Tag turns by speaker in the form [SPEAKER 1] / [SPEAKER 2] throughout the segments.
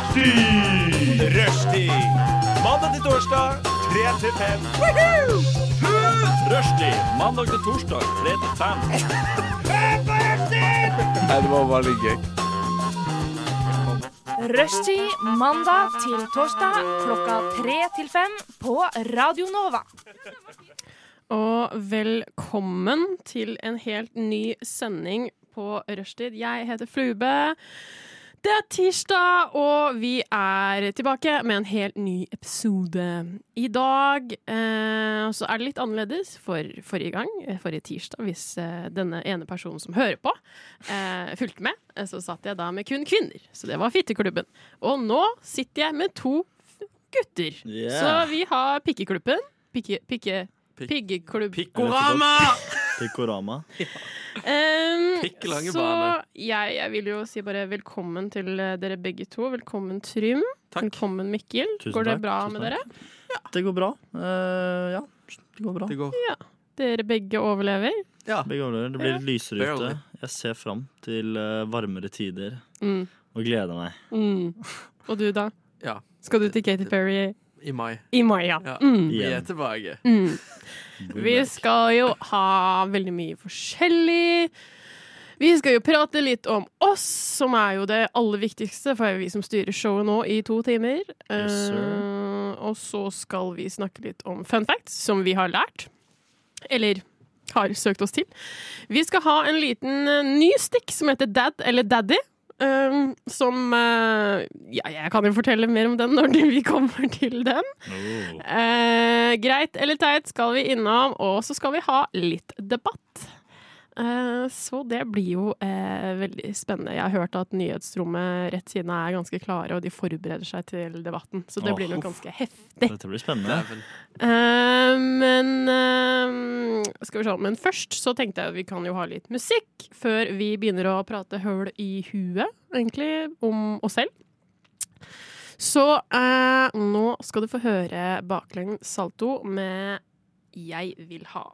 [SPEAKER 1] Rushtid! Rushtid! Mandag til torsdag, 3 til 5. Rushtid! Mandag til torsdag, 3 til 5.
[SPEAKER 2] Nei, det var veldig gøy.
[SPEAKER 3] Rushtid mandag til torsdag klokka tre til fem på Radio Nova.
[SPEAKER 4] Og velkommen til en helt ny sending på Rushtid. Jeg heter Flube. Det er tirsdag, og vi er tilbake med en helt ny episode. I dag eh, så er det litt annerledes for forrige gang, eh, forrige tirsdag, hvis eh, denne ene personen som hører på, eh, fulgte med. eh, Så satt jeg da med kun kvinner, så det var fitteklubben. Og nå sitter jeg med to f- gutter.
[SPEAKER 5] Yeah.
[SPEAKER 4] Så vi har pikkeklubben. Pikke... pikke Piggeklubb.
[SPEAKER 5] Pikkorama! Pikkorama.
[SPEAKER 4] Ehm,
[SPEAKER 6] Pikkelange
[SPEAKER 4] så
[SPEAKER 6] bane.
[SPEAKER 4] jeg, jeg vil jo si bare velkommen til eh, dere begge to. Velkommen Trym.
[SPEAKER 6] Takk.
[SPEAKER 4] Velkommen Mikkel.
[SPEAKER 5] Tusen
[SPEAKER 4] Går det
[SPEAKER 5] takk,
[SPEAKER 4] bra
[SPEAKER 5] tusen
[SPEAKER 4] med dere?
[SPEAKER 5] Det går bra. Eh, ja, det går bra.
[SPEAKER 6] Det går.
[SPEAKER 4] Dere begge overlever.
[SPEAKER 6] Ja.
[SPEAKER 5] Begge overlever. Det blir litt lysere
[SPEAKER 6] Barely.
[SPEAKER 5] ute. Jeg ser fram til eh, varmere tider
[SPEAKER 4] Mm.
[SPEAKER 5] og gleder meg.
[SPEAKER 4] Mm. Og du, da?
[SPEAKER 6] ja.
[SPEAKER 4] Skal du til Katy Perry
[SPEAKER 6] I mai.
[SPEAKER 4] i mai? Ja.
[SPEAKER 6] Ja.
[SPEAKER 4] Mm.
[SPEAKER 6] Vi er
[SPEAKER 5] Igjen.
[SPEAKER 6] tilbake.
[SPEAKER 4] Mm. Vi skal jo ha veldig mye forskjellig. Vi skal jo prate litt om oss, som er jo det aller viktigste, for det er vi som styrer showet nå i to timer.
[SPEAKER 5] Yes, sir.
[SPEAKER 4] Eh, og så skal vi snakke litt om fun facts, som vi har lært. Eller har søkt oss til. Vi skal ha en liten eh, ny stikk som heter Dad eller Daddy. eh, som eh, Ja, jeg kan jo fortelle mer om den når vi kommer til den.
[SPEAKER 5] Oh.
[SPEAKER 4] Eh, greit eller teit skal vi innom, og så skal vi ha litt debatt. Eh, så det blir jo eh, veldig spennende. Jeg har hørt at nyhetsrommet rett siden er ganske klare, og de forbereder seg til debatten. Så det
[SPEAKER 5] Åh,
[SPEAKER 4] blir nok
[SPEAKER 5] uff.
[SPEAKER 4] ganske heftig.
[SPEAKER 5] Dette blir spennende.
[SPEAKER 6] Dæven.
[SPEAKER 4] Eh, men eh, skal vi se. Men først så tenkte jeg at vi kan jo ha litt musikk før vi begynner å prate høl i huet, egentlig, om oss selv. Så eh, nå skal du få høre baklengs salto med 'Jeg vil ha'.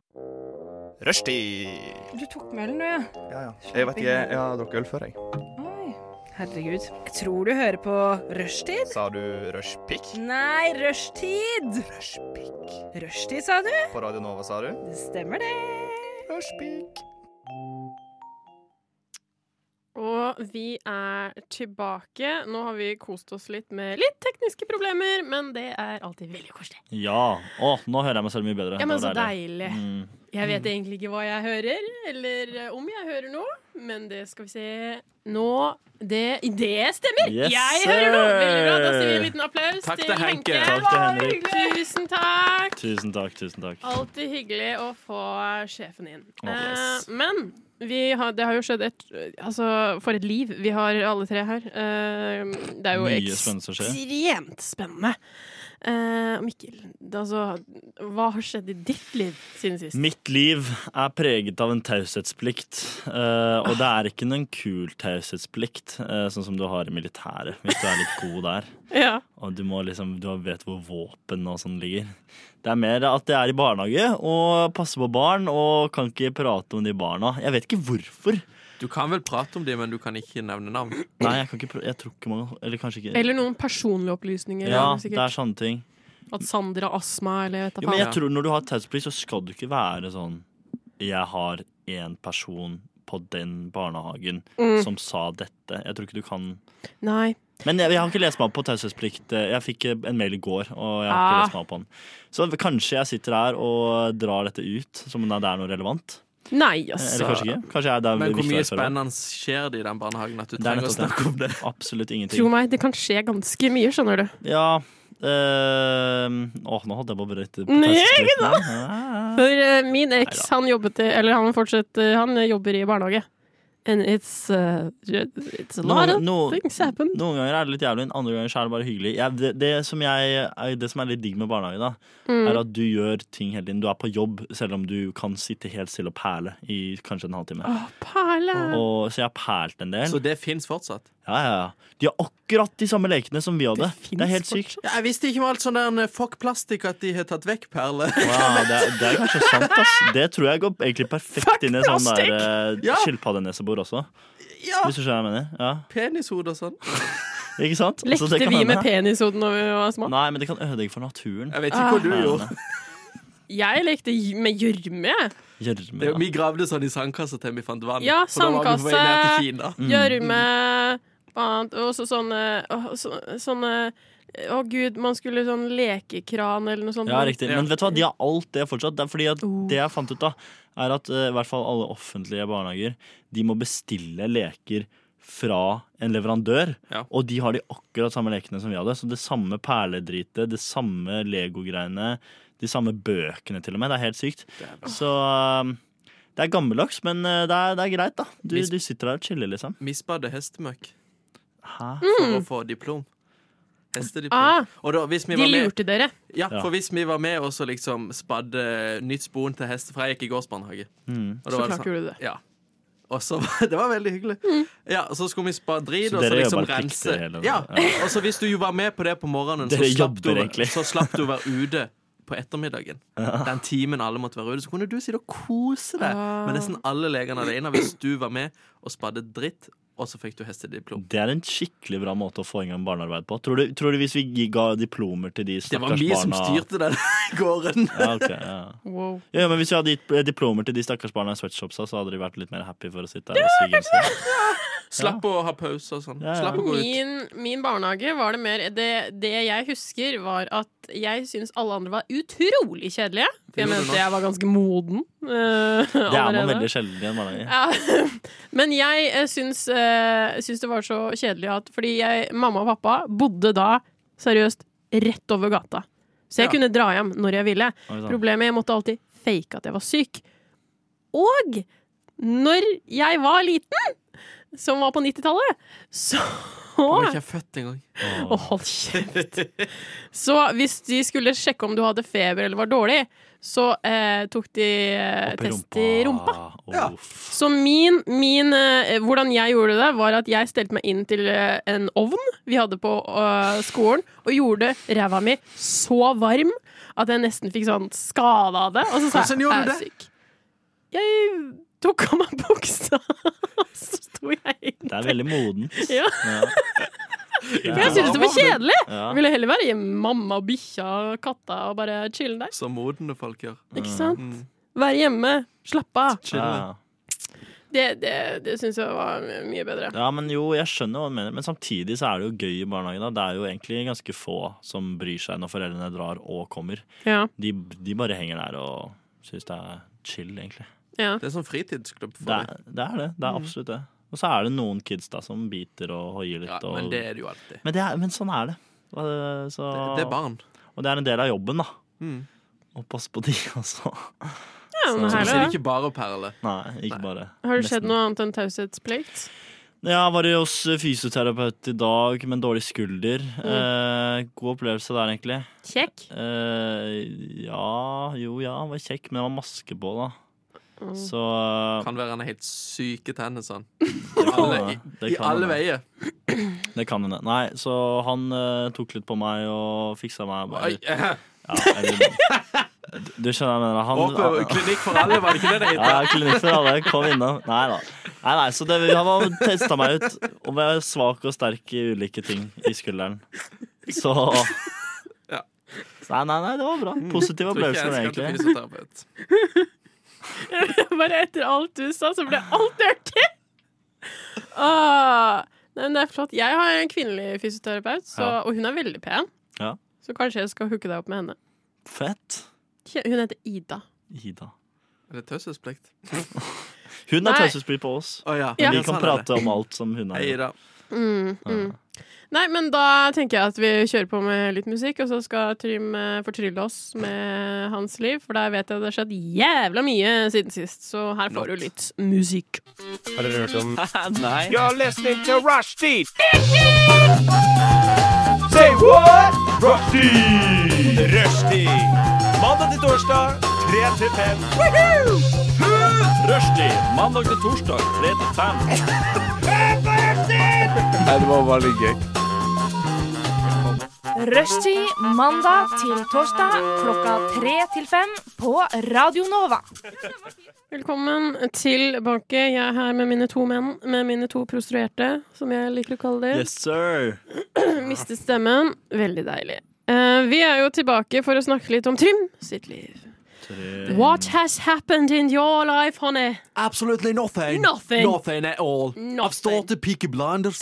[SPEAKER 7] Rushtid!
[SPEAKER 8] Du tok med ølen, du, ja.
[SPEAKER 7] Ja, ja. Jeg vet ikke, jeg, jeg har drukket øl før, jeg.
[SPEAKER 8] Oi. Herregud. Jeg tror du hører på rushtid.
[SPEAKER 7] Sa du rushpick?
[SPEAKER 8] Nei, rushtid!
[SPEAKER 7] Rushpick.
[SPEAKER 8] Rushtid, sa du?
[SPEAKER 7] På Radio Nova, sa du?
[SPEAKER 8] Det stemmer, det.
[SPEAKER 7] Rushpick.
[SPEAKER 4] Og vi er tilbake. Nå har vi kost oss litt med litt tekniske problemer, men det er alltid veldig koselig.
[SPEAKER 5] Ja. Å, nå hører jeg meg selv mye bedre.
[SPEAKER 4] Ja, men
[SPEAKER 5] Det
[SPEAKER 4] så
[SPEAKER 5] var
[SPEAKER 4] deilig.
[SPEAKER 5] Mm.
[SPEAKER 4] Jeg vet egentlig ikke hva jeg hører, eller eh, om jeg hører noe, men det skal vi se nå. Det, det stemmer!
[SPEAKER 5] Yes,
[SPEAKER 4] jeg hører noe! Veldig bra. Da sier vi en
[SPEAKER 5] sir.
[SPEAKER 4] liten applaus
[SPEAKER 6] Takk
[SPEAKER 4] til
[SPEAKER 6] til Henke.
[SPEAKER 4] Henke.
[SPEAKER 5] Takk til Henrik.
[SPEAKER 4] Tusen takk!
[SPEAKER 5] Tusen takk, tusen takk.
[SPEAKER 4] Alltid hyggelig å få sjefen inn.
[SPEAKER 5] Å, yes.
[SPEAKER 4] Eh, men vi har, det har jo skjedd et Altså, for et liv vi har alle tre her. Eh, det er jo
[SPEAKER 5] Mye spennende som skjer.
[SPEAKER 4] ekstremt spennende. Eh, Mikkel, det- altså Hva har skjedd i ditt liv siden sist?
[SPEAKER 5] Mitt liv er preget av en taushetsplikt. eh, og det er ikke noen kul taushetsplikt, eh, sånn som du har i militæret, hvis du er litt god der.
[SPEAKER 4] Ja.
[SPEAKER 5] Og du må liksom, du vet hvor våpen og sånn ligger. Det er mer at jeg er i barnehage og passer på barn og kan ikke prate om de barna. Jeg vet ikke hvorfor.
[SPEAKER 6] Du kan vel prate om det, men du kan ikke nevne navn.
[SPEAKER 5] Nei, jeg, kan ikke, pr- jeg tror ikke man Eller kanskje ikke.
[SPEAKER 4] Eller noen personlige opplysninger.
[SPEAKER 5] Ja,
[SPEAKER 4] er det
[SPEAKER 5] det
[SPEAKER 4] sikkert.
[SPEAKER 5] er sånne ting.
[SPEAKER 4] At Sander har astma, eller vet da
[SPEAKER 5] Jo, men
[SPEAKER 4] faen.
[SPEAKER 5] jeg tror Når du har taushetsplikt, så skal du ikke være sånn Jeg har én person på den barnehagen
[SPEAKER 4] Mm.
[SPEAKER 5] som sa dette. Jeg tror ikke du kan
[SPEAKER 4] Nei.
[SPEAKER 5] Men jeg, jeg har ikke lest meg opp på taushetsplikt. Jeg fikk en mail i går, og jeg har ikke
[SPEAKER 4] Ah.
[SPEAKER 5] lest meg opp på den. Så kanskje jeg sitter her og drar dette ut som om det er noe relevant.
[SPEAKER 4] Nei,
[SPEAKER 5] Eller
[SPEAKER 4] altså.
[SPEAKER 5] kanskje ikke. Kanskje jeg, det er
[SPEAKER 6] Men hvor
[SPEAKER 5] viktig å
[SPEAKER 6] mye
[SPEAKER 5] være forberedt.
[SPEAKER 6] spennende skjer det i den barnehagen at du
[SPEAKER 5] Det er
[SPEAKER 6] trenger å
[SPEAKER 5] nettopp
[SPEAKER 6] snakke om det?
[SPEAKER 5] Absolutt
[SPEAKER 4] Tro
[SPEAKER 5] ingenting.
[SPEAKER 4] meg, det kan skje ganske mye, skjønner du.
[SPEAKER 5] Ja øhm, Åh, nå holdt jeg på å brøyte på
[SPEAKER 4] Nei,
[SPEAKER 5] taushetsplikt. Ah.
[SPEAKER 4] For eh, min eks,
[SPEAKER 5] Neida.
[SPEAKER 4] han jobbet i Eller han fortsetter Han jobber i barnehage. And it's uh, It's a lot
[SPEAKER 5] Noen-
[SPEAKER 4] of
[SPEAKER 5] noen-
[SPEAKER 4] things happen.
[SPEAKER 5] Noen ganger er det litt jævlig, andre ganger så er det bare hyggelig. Jeg, det, det, som jeg, det som er litt digg med barnehage, da,
[SPEAKER 6] Mm.
[SPEAKER 5] er at du gjør ting hele tiden. Du er på jobb, selv om du kan sitte helt stille og perle i kanskje en halvtime.
[SPEAKER 4] Å, perle!
[SPEAKER 5] Og, så jeg har perlt en del.
[SPEAKER 6] Så det fins fortsatt?
[SPEAKER 5] Ja, ja, ja. De har akkurat de samme lekene som vi hadde. Det,
[SPEAKER 4] finnes
[SPEAKER 5] er helt sykt.
[SPEAKER 6] Ja, jeg visste ikke om alt sånn der eh, fuck plastikk at de har tatt vekk perler.
[SPEAKER 5] Wow, det, er, det er kanskje sant, ass. Det tror jeg går egentlig perfekt
[SPEAKER 4] Fuck
[SPEAKER 5] inn i sånn
[SPEAKER 4] plastikk!
[SPEAKER 5] der eh,
[SPEAKER 6] Ja.
[SPEAKER 5] skilpaddenesebor også.
[SPEAKER 6] Ja!
[SPEAKER 5] Hvis du skjønner hva jeg mener. Ja.
[SPEAKER 6] Penishode og sånn.
[SPEAKER 5] Ikke sant? Så
[SPEAKER 4] Lekte
[SPEAKER 5] altså, det kan
[SPEAKER 4] vi med
[SPEAKER 5] hende.
[SPEAKER 4] penishoden da vi var små?
[SPEAKER 5] Nei, men det kan ødelegge for naturen.
[SPEAKER 6] Jeg vet ikke hva du gjorde.
[SPEAKER 4] Jeg lekte gj- med gjørme. jeg.
[SPEAKER 5] Gjørme.
[SPEAKER 6] Det,
[SPEAKER 5] ja.
[SPEAKER 6] vi gravde sånn i sandkassa til vi fant vann.
[SPEAKER 4] Ja,
[SPEAKER 6] og da var vi på vei ned til Kina.
[SPEAKER 5] Mm.
[SPEAKER 4] Gjørme annet, Og så sånne å, så, Sånne Å gud, man skulle sånn lekekran eller noe sånt.
[SPEAKER 5] Ja, riktig. Men vet du hva, de har alt det fortsatt. Det er fordi at
[SPEAKER 4] Oh.
[SPEAKER 5] det jeg fant ut, da, er at eh, i hvert fall alle offentlige barnehager de må bestille leker fra en leverandør.
[SPEAKER 6] Ja.
[SPEAKER 5] Og de har de akkurat samme lekene som vi hadde. Så det samme perledritet, det samme legogreiene, de samme bøkene til og med. Det er helt sykt. Så eh, det er gammeldags, men eh, det er, det er greit, da. Du,
[SPEAKER 6] Mis-
[SPEAKER 5] du sitter der og chiller, liksom.
[SPEAKER 6] Misbadde hestemøkk
[SPEAKER 5] Hæ?
[SPEAKER 6] for å få diplom. Hestediplom.
[SPEAKER 4] Ah.
[SPEAKER 6] Og da, hvis vi
[SPEAKER 4] De
[SPEAKER 6] var med
[SPEAKER 4] lurte dere.
[SPEAKER 6] Ja,
[SPEAKER 5] Ja.
[SPEAKER 6] for hvis vi var med og så liksom spadde nytt spon til hester fra jeg gikk i gårdsbarnehage.
[SPEAKER 5] Mm.
[SPEAKER 6] Og da
[SPEAKER 4] Så
[SPEAKER 6] var det
[SPEAKER 4] klart
[SPEAKER 6] sånn-
[SPEAKER 4] gjorde du det. Mm.
[SPEAKER 6] Ja. Og så, det var veldig hyggelig. Ja, og Så skulle vi spa drit
[SPEAKER 5] Så
[SPEAKER 6] og så
[SPEAKER 5] dere
[SPEAKER 6] liksom
[SPEAKER 5] gjør bare
[SPEAKER 6] rense.
[SPEAKER 5] plikter hele-
[SPEAKER 6] Ja. Og så hvis du jo var med på det på morgenen, så
[SPEAKER 5] Dere
[SPEAKER 6] slapp, du,
[SPEAKER 5] jobber egentlig.
[SPEAKER 6] så slapp du å være ute på ettermiddagen. Den timen alle måtte være ute. Så kunne du sitte og kose deg
[SPEAKER 4] Ah.
[SPEAKER 6] med nesten alle legene alene hvis du var med og spadde dritt, og så fikk du hestediplom.
[SPEAKER 5] Det er en skikkelig bra måte å få i gang barnearbeid på. Tror du, tror du hvis vi gi- ga diplomer til de
[SPEAKER 6] Det var
[SPEAKER 5] stakkars
[SPEAKER 6] vi
[SPEAKER 5] barna
[SPEAKER 6] som styrte den gården.
[SPEAKER 5] Ja, ok, ja.
[SPEAKER 4] Wow.
[SPEAKER 5] Ja, ja, men Hvis vi hadde gitt eh, diplomer til de stakkars barna i sweatshopsa, så hadde de vært litt mer happy for å sitte der og sige en stund.
[SPEAKER 6] Slapp å ha pause og sånn.
[SPEAKER 5] Ja, ja.
[SPEAKER 6] Slapp å gå ut.
[SPEAKER 4] Min, min barnehage var det mer det, det jeg husker, var at jeg syns alle andre var utrolig kjedelige. For jeg
[SPEAKER 6] gjorde du
[SPEAKER 4] mente
[SPEAKER 6] nå.
[SPEAKER 4] jeg var ganske moden. eh,
[SPEAKER 5] Det er man
[SPEAKER 4] allerede.
[SPEAKER 5] veldig sjelden i en barnehage.
[SPEAKER 4] Ja. Men jeg eh, syns, eh, syns det var så kjedelig at Fordi jeg, mamma og pappa bodde da seriøst rett over gata. Så jeg
[SPEAKER 6] Ja.
[SPEAKER 4] kunne dra hjem når jeg ville.
[SPEAKER 5] Oi, sant.
[SPEAKER 4] Problemet jeg måtte alltid fake at jeg var syk. Og når jeg var liten, som var på 90-tallet, så
[SPEAKER 6] Han var ikke født engang.
[SPEAKER 5] Åh.
[SPEAKER 4] Å, hold kjeft! Så hvis de skulle sjekke om du hadde feber eller var dårlig, så eh, tok de eh,
[SPEAKER 5] Opp
[SPEAKER 4] test i rumpa.
[SPEAKER 5] Åh,
[SPEAKER 6] Ja.
[SPEAKER 5] uff.
[SPEAKER 4] Så min, min eh, Hvordan jeg gjorde det, var at jeg stelte meg inn til eh, en ovn vi hadde på eh, skolen, og gjorde ræva mi så varm at jeg nesten fikk sånn skade av det. Og så sa
[SPEAKER 6] Hvordan
[SPEAKER 4] jeg
[SPEAKER 6] gjorde
[SPEAKER 4] jeg
[SPEAKER 6] du
[SPEAKER 4] er syk. Jeg tok av meg buksa, og så sto jeg inn.
[SPEAKER 5] Det er veldig modent.
[SPEAKER 4] Ja.
[SPEAKER 5] Ja.
[SPEAKER 4] Jeg syntes det var kjedelig!
[SPEAKER 5] Ja.
[SPEAKER 4] Jeg ville heller være hjemme med mamma og bikkja og katta og bare chille der.
[SPEAKER 6] Som modne folk gjør.
[SPEAKER 4] Ikke
[SPEAKER 5] Mm.
[SPEAKER 4] sant? Være hjemme, slappe av.
[SPEAKER 5] Ja.
[SPEAKER 6] Chille.
[SPEAKER 4] Det, det, det syns jeg var mye bedre.
[SPEAKER 5] ja, men jo, jeg skjønner hva du mener. Men samtidig så er det jo gøy i barnehagen. Da. Det er jo egentlig ganske få som bryr seg når foreldrene drar og kommer.
[SPEAKER 4] Ja,
[SPEAKER 5] De, de bare henger der og syns det er chill, egentlig.
[SPEAKER 4] ja.
[SPEAKER 6] Det er sånn fritidsklubb for
[SPEAKER 5] Det
[SPEAKER 6] deg.
[SPEAKER 5] er, det er det. Det
[SPEAKER 4] Mm.
[SPEAKER 5] er absolutt det. Og så er det noen kids da som biter og hoier litt.
[SPEAKER 6] Ja,
[SPEAKER 5] og,
[SPEAKER 6] men det er det jo alltid.
[SPEAKER 5] Men, det er, men sånn er det. Og, så,
[SPEAKER 6] Det, det er barn.
[SPEAKER 5] og det er en del av jobben, da.
[SPEAKER 6] Mm.
[SPEAKER 5] Å passe på de, altså.
[SPEAKER 4] ja men
[SPEAKER 5] Så- Herlig,
[SPEAKER 6] Så sier
[SPEAKER 4] herlig,
[SPEAKER 6] de ikke bare perle.
[SPEAKER 5] Nei, ikke
[SPEAKER 6] Nei.
[SPEAKER 5] bare.
[SPEAKER 4] Har det skjedd
[SPEAKER 5] Nesten.
[SPEAKER 4] noe annet enn taushetsplikt?
[SPEAKER 5] Jeg var hos eh, fysioterapeut i dag med en dårlig skulder.
[SPEAKER 4] Mm.
[SPEAKER 5] Eh, god opplevelse der, egentlig.
[SPEAKER 4] Kjekk.
[SPEAKER 5] Eh, ja, jo ja, han var kjekk, men det var maske på, da.
[SPEAKER 4] Mm.
[SPEAKER 5] Så eh,
[SPEAKER 6] Kan være han er helt syke tenner sånn.
[SPEAKER 5] det kan hende.
[SPEAKER 6] alle-
[SPEAKER 5] Det
[SPEAKER 6] I
[SPEAKER 5] kan
[SPEAKER 6] alle
[SPEAKER 5] hende.
[SPEAKER 6] veier.
[SPEAKER 5] eh, Det kan hende. Nei, så han eh, tok litt på meg og fiksa meg.
[SPEAKER 6] Oi,
[SPEAKER 5] Bare, ja, eller, du, du skjønner hva jeg mener.
[SPEAKER 6] Håper klinikk for alle, var det ikke det det het?
[SPEAKER 5] Ja, klinikk for alle. Kom innom. Nei da. Nei, nei, så det, han var testa meg ut om jeg er svak og sterk i ulike ting i skulderen. Så
[SPEAKER 6] Ja. Mm.
[SPEAKER 5] Nei, nei, nei, det var bra. Positive
[SPEAKER 6] Tror ikke jeg
[SPEAKER 5] opplevelser,
[SPEAKER 6] skal til
[SPEAKER 5] egentlig.
[SPEAKER 6] fysioterapeut.
[SPEAKER 4] Bare etter alt du sa, så ble alt dirty! Åh, nei, men det er flott. Jeg har en kvinnelig fysioterapeut, så,
[SPEAKER 5] Ja.
[SPEAKER 4] og hun er veldig pen.
[SPEAKER 5] Ja.
[SPEAKER 4] Så kanskje jeg skal hooke deg opp med henne.
[SPEAKER 5] Fett.
[SPEAKER 4] Kje- Hun heter Ida.
[SPEAKER 5] Ida.
[SPEAKER 6] Er det taushetsplikt?
[SPEAKER 5] Hun
[SPEAKER 4] Nei.
[SPEAKER 5] er taushetsfri på oss.
[SPEAKER 6] Å
[SPEAKER 5] Men
[SPEAKER 6] ja. ja,
[SPEAKER 5] vi kan
[SPEAKER 6] sånn er det.
[SPEAKER 5] prate om alt som hun
[SPEAKER 6] Hei,
[SPEAKER 5] er.
[SPEAKER 6] da.
[SPEAKER 4] Mm, mm. Nei, men da tenker jeg at vi kjører på med litt musikk, og så skal Trym eh, fortrylle oss med hans liv, for der vet jeg det har skjedd jævla mye siden sist. Så her får du litt musikk.
[SPEAKER 7] Har dere hørt om
[SPEAKER 1] You're listening to Rushdie. Say what? Rushdie. Rushdie. Mandag til torsdag, 3 til 5. Rushdie. Mandag til torsdag, 3 til 5.
[SPEAKER 6] Nei, det var veldig gøy.
[SPEAKER 3] Rushtid mandag til torsdag klokka tre til fem på Radio Nova.
[SPEAKER 4] Velkommen tilbake. Jeg er her med mine to menn, med mine to prostituerte, som jeg liker å kalle dem.
[SPEAKER 5] Yes, sir.
[SPEAKER 4] Mistet stemmen. Veldig deilig. Eh, vi er jo tilbake for å snakke litt om Trym sitt liv. What has happened in your life, honey?
[SPEAKER 6] Absolutely nothing.
[SPEAKER 4] Nothing.
[SPEAKER 6] at all.
[SPEAKER 4] Nothing.
[SPEAKER 6] I've started Peaky Blinders.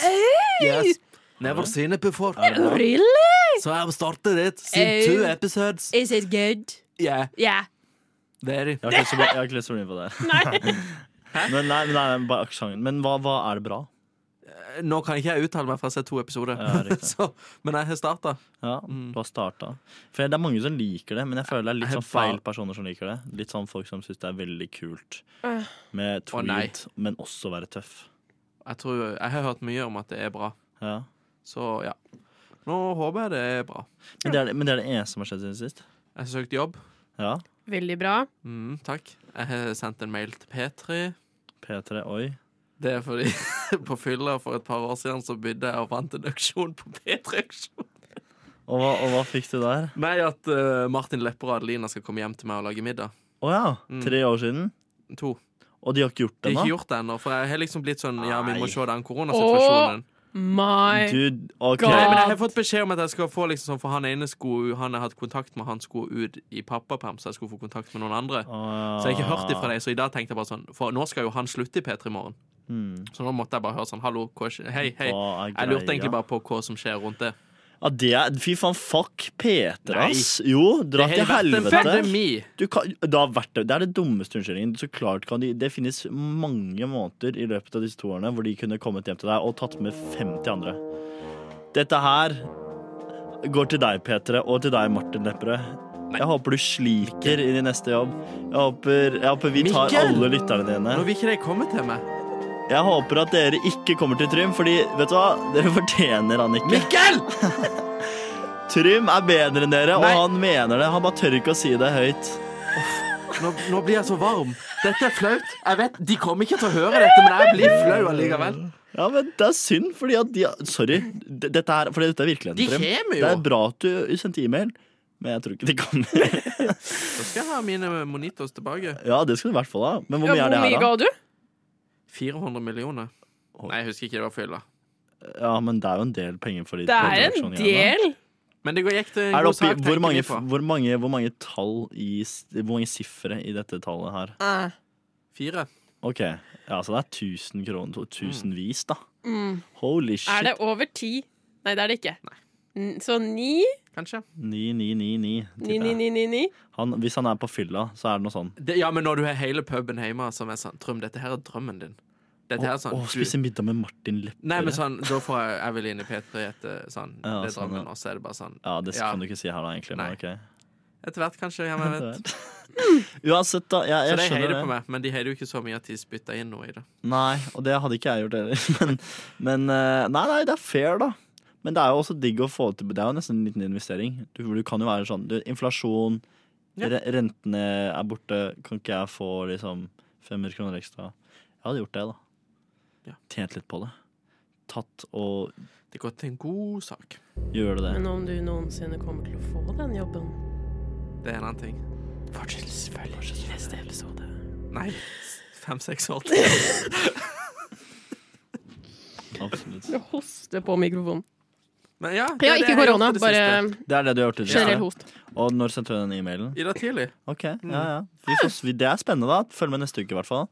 [SPEAKER 6] Yes. Never seen it before.
[SPEAKER 4] Really?
[SPEAKER 6] So I've started it. Seen
[SPEAKER 4] Eh.
[SPEAKER 6] two episodes.
[SPEAKER 4] Is it good?
[SPEAKER 6] Yeah,
[SPEAKER 4] Yeah.
[SPEAKER 6] very.
[SPEAKER 5] Jeg har ikke lyst til å bli- jeg har ikke lyst til å bli med på det. Men, nei, nei, nei, bare aksenten. Men hva, hva er det bra?
[SPEAKER 6] Eh, Nå kan ikke jeg uttale meg fra å se to episoder,
[SPEAKER 5] Ja, riktig.
[SPEAKER 6] så, men jeg har starta.
[SPEAKER 5] Ja, du har startet. For det er mange som liker det, men jeg føler det er litt
[SPEAKER 6] Mm. Jeg
[SPEAKER 5] sånn feil
[SPEAKER 6] bare-
[SPEAKER 5] personer som liker det. Litt sånn folk som syns det er veldig kult
[SPEAKER 4] Øh.
[SPEAKER 5] med
[SPEAKER 6] Å, nei.
[SPEAKER 5] tweed, men også være tøff.
[SPEAKER 6] Jeg, tror- jeg har hørt mye om at det er bra,
[SPEAKER 5] Ja.
[SPEAKER 6] så ja. Nå håper jeg det er bra.
[SPEAKER 5] Men, det er, det- men det er det eneste som har skjedd siden sist.
[SPEAKER 6] Jeg har søkt jobb.
[SPEAKER 5] Ja.
[SPEAKER 4] Veldig bra.
[SPEAKER 6] Mm, takk. Jeg har sendt en mail til P3.
[SPEAKER 5] P3, oi.
[SPEAKER 6] Det er fordi på fylla for et par år siden så begynte jeg og vant en auksjon på P3-auksjon.
[SPEAKER 5] Og hva, og hva fikk du der?
[SPEAKER 6] Nei, at eh, Martin Lepper og Adelina skal komme hjem til meg og lage middag.
[SPEAKER 5] Å ja, tre år siden.
[SPEAKER 6] To.
[SPEAKER 5] Og de har ikke gjort det
[SPEAKER 6] Jeg Mm. har ikke
[SPEAKER 5] ennå?
[SPEAKER 6] gjort det ennå, for jeg har liksom blitt sånn Ja, vi må
[SPEAKER 5] Nei.
[SPEAKER 6] se den koronasituasjonen.
[SPEAKER 4] My
[SPEAKER 5] Du, OK.
[SPEAKER 4] Nei.
[SPEAKER 6] Nei, men
[SPEAKER 4] God.
[SPEAKER 6] jeg har fått beskjed om at jeg skal få liksom sånn, for han ene skulle Han jeg hadde kontakt med, han skulle ut i pappaperm, så jeg skulle få kontakt med noen andre.
[SPEAKER 5] Ah.
[SPEAKER 6] Så jeg har ikke hørt ifra deg, så i dag tenkte jeg bare sånn For nå skal jo han slutte i P3 i morgen.
[SPEAKER 5] Hmm,
[SPEAKER 6] Så nå måtte jeg bare høre sånn Hallo, hva skjer? Hei, hei.
[SPEAKER 5] hva er
[SPEAKER 6] Jeg lurte
[SPEAKER 5] greia?
[SPEAKER 6] egentlig bare på hva som skjer rundt det.
[SPEAKER 5] Ja, det er, Fy faen, fuck Peter, ass. Jo, dra
[SPEAKER 6] Det
[SPEAKER 5] til
[SPEAKER 6] har vært en
[SPEAKER 5] helvete.
[SPEAKER 6] pandemi.
[SPEAKER 5] Du kan, det, har vært, det Det er det dummeste unnskyldningen. Så klart kan de, Det finnes mange måneder i løpet av disse to årene hvor de kunne kommet hjem til deg og tatt med 50 andre. Dette her går til deg, Petre, og til deg, Martin Lepperød. Jeg håper du sliter i din neste jobb. Jeg håper, jeg håper vi tar
[SPEAKER 6] Mikkel!
[SPEAKER 5] alle lytterne dine.
[SPEAKER 6] Nå vil ikke de komme til meg.
[SPEAKER 5] Jeg håper at dere ikke kommer til Trym, fordi vet du hva? Dere fortjener han ikke.
[SPEAKER 6] Mikkel!
[SPEAKER 5] Trym er bedre enn dere,
[SPEAKER 6] Nei.
[SPEAKER 5] og han mener det. Han bare tør ikke å si det høyt.
[SPEAKER 6] Nå, nå blir jeg så varm. Dette er flaut. Jeg vet, De kommer ikke til å høre dette, men jeg blir flau allikevel.
[SPEAKER 5] Ja, men Det er synd, fordi at de Sorry. d- Dette er, fordi dette er virkeligheten,
[SPEAKER 6] De
[SPEAKER 5] Trym.
[SPEAKER 6] kommer jo.
[SPEAKER 5] Det er bra at du sendte e-mail, men jeg tror ikke de kommer.
[SPEAKER 6] Så skal jeg ha mine monitos tilbake.
[SPEAKER 5] Ja, det skal du i hvert fall ha. Men hvor mye
[SPEAKER 4] Ja,
[SPEAKER 5] er det
[SPEAKER 4] hvor mye
[SPEAKER 5] her,
[SPEAKER 4] ga
[SPEAKER 5] da?
[SPEAKER 4] du?
[SPEAKER 6] 400 millioner. Nei, jeg husker ikke det var fylla.
[SPEAKER 5] Ja, men Det er jo en del penger for de
[SPEAKER 4] Det er en
[SPEAKER 5] produksjonene.
[SPEAKER 4] del.
[SPEAKER 6] Men det går- gikk til en
[SPEAKER 5] Er det
[SPEAKER 6] god
[SPEAKER 5] oppi,
[SPEAKER 6] sak.
[SPEAKER 5] hvor,
[SPEAKER 6] tenker
[SPEAKER 5] mange,
[SPEAKER 6] vi på.
[SPEAKER 5] hvor, mange, hvor mange tall i s- Hvor mange sifre i dette tallet her?
[SPEAKER 6] Fire.
[SPEAKER 5] OK. Ja, så det er 1000 kroner. to- Tusenvis, da.
[SPEAKER 4] Mm.
[SPEAKER 5] Holy shit.
[SPEAKER 4] Er det over ti? Nei, det er det ikke. N- Så ni?
[SPEAKER 6] Kanskje.
[SPEAKER 5] 9999.
[SPEAKER 4] Ni,
[SPEAKER 5] tipper
[SPEAKER 4] ni,
[SPEAKER 5] jeg.
[SPEAKER 4] ni, ni, ni.
[SPEAKER 5] Han, hvis han er på fylla, så er det noe sånn.
[SPEAKER 6] Det, ja, men når du har hele puben hjemme som er sånn Trym, dette her er drømmen din. Dette her er
[SPEAKER 5] Å,
[SPEAKER 6] sånn
[SPEAKER 5] å,
[SPEAKER 6] du-
[SPEAKER 5] spise middag med Martin Lepperød.
[SPEAKER 6] Nei, men sånn, da får jeg Jeg vil inn i P3 etter sånn.
[SPEAKER 5] Ja,
[SPEAKER 6] det er
[SPEAKER 5] sånn,
[SPEAKER 6] drømmen,
[SPEAKER 5] ja.
[SPEAKER 6] og så er det bare sånn.
[SPEAKER 5] Ja, det
[SPEAKER 6] Ja.
[SPEAKER 5] kan du ikke si her, da, egentlig. Men,
[SPEAKER 6] Nei.
[SPEAKER 5] ok.
[SPEAKER 6] Etter hvert, kanskje. Ja, men jeg vet.
[SPEAKER 5] Uansett, da. Jeg,
[SPEAKER 6] Så
[SPEAKER 5] jeg
[SPEAKER 6] de heier
[SPEAKER 5] skjønner
[SPEAKER 6] på
[SPEAKER 5] det.
[SPEAKER 6] meg, men de heier jo ikke så mye at de spytter inn noe i det.
[SPEAKER 5] Nei, og det hadde ikke jeg gjort heller. Men, men eh, nei, nei, det er fair, da. Men det er jo også digg å få til Det er jo nesten en liten investering. Du, du kan jo være sånn du, Inflasjon,
[SPEAKER 6] Ja.
[SPEAKER 5] re, rentene er borte, kan ikke jeg få liksom 500 kroner ekstra? Jeg hadde gjort det, da.
[SPEAKER 6] Ja.
[SPEAKER 5] Tjent litt på det. Tatt og
[SPEAKER 6] Det går til en god sak.
[SPEAKER 5] gjør det.
[SPEAKER 4] Men om du noensinne kommer til å få den jobben
[SPEAKER 6] Det er en annen ting.
[SPEAKER 4] Selvfølgelig i neste episode.
[SPEAKER 6] Nei, fem-seks år til.
[SPEAKER 5] Absolutt.
[SPEAKER 4] Du hoster på mikrofonen.
[SPEAKER 6] Men ja, det
[SPEAKER 4] Ja,
[SPEAKER 6] er det
[SPEAKER 4] ikke
[SPEAKER 6] jeg har gjort
[SPEAKER 4] korona,
[SPEAKER 6] i det siste.
[SPEAKER 4] bare
[SPEAKER 5] Det er det du har gjort i det
[SPEAKER 4] generell
[SPEAKER 5] siste.
[SPEAKER 4] host.
[SPEAKER 5] Og når sendte du den e-mailen?
[SPEAKER 6] I dag tidlig.
[SPEAKER 5] Ok,
[SPEAKER 6] Mm.
[SPEAKER 5] ja, ja. Vi får, vi- det er spennende, da. Følg med neste uke, i hvert fall.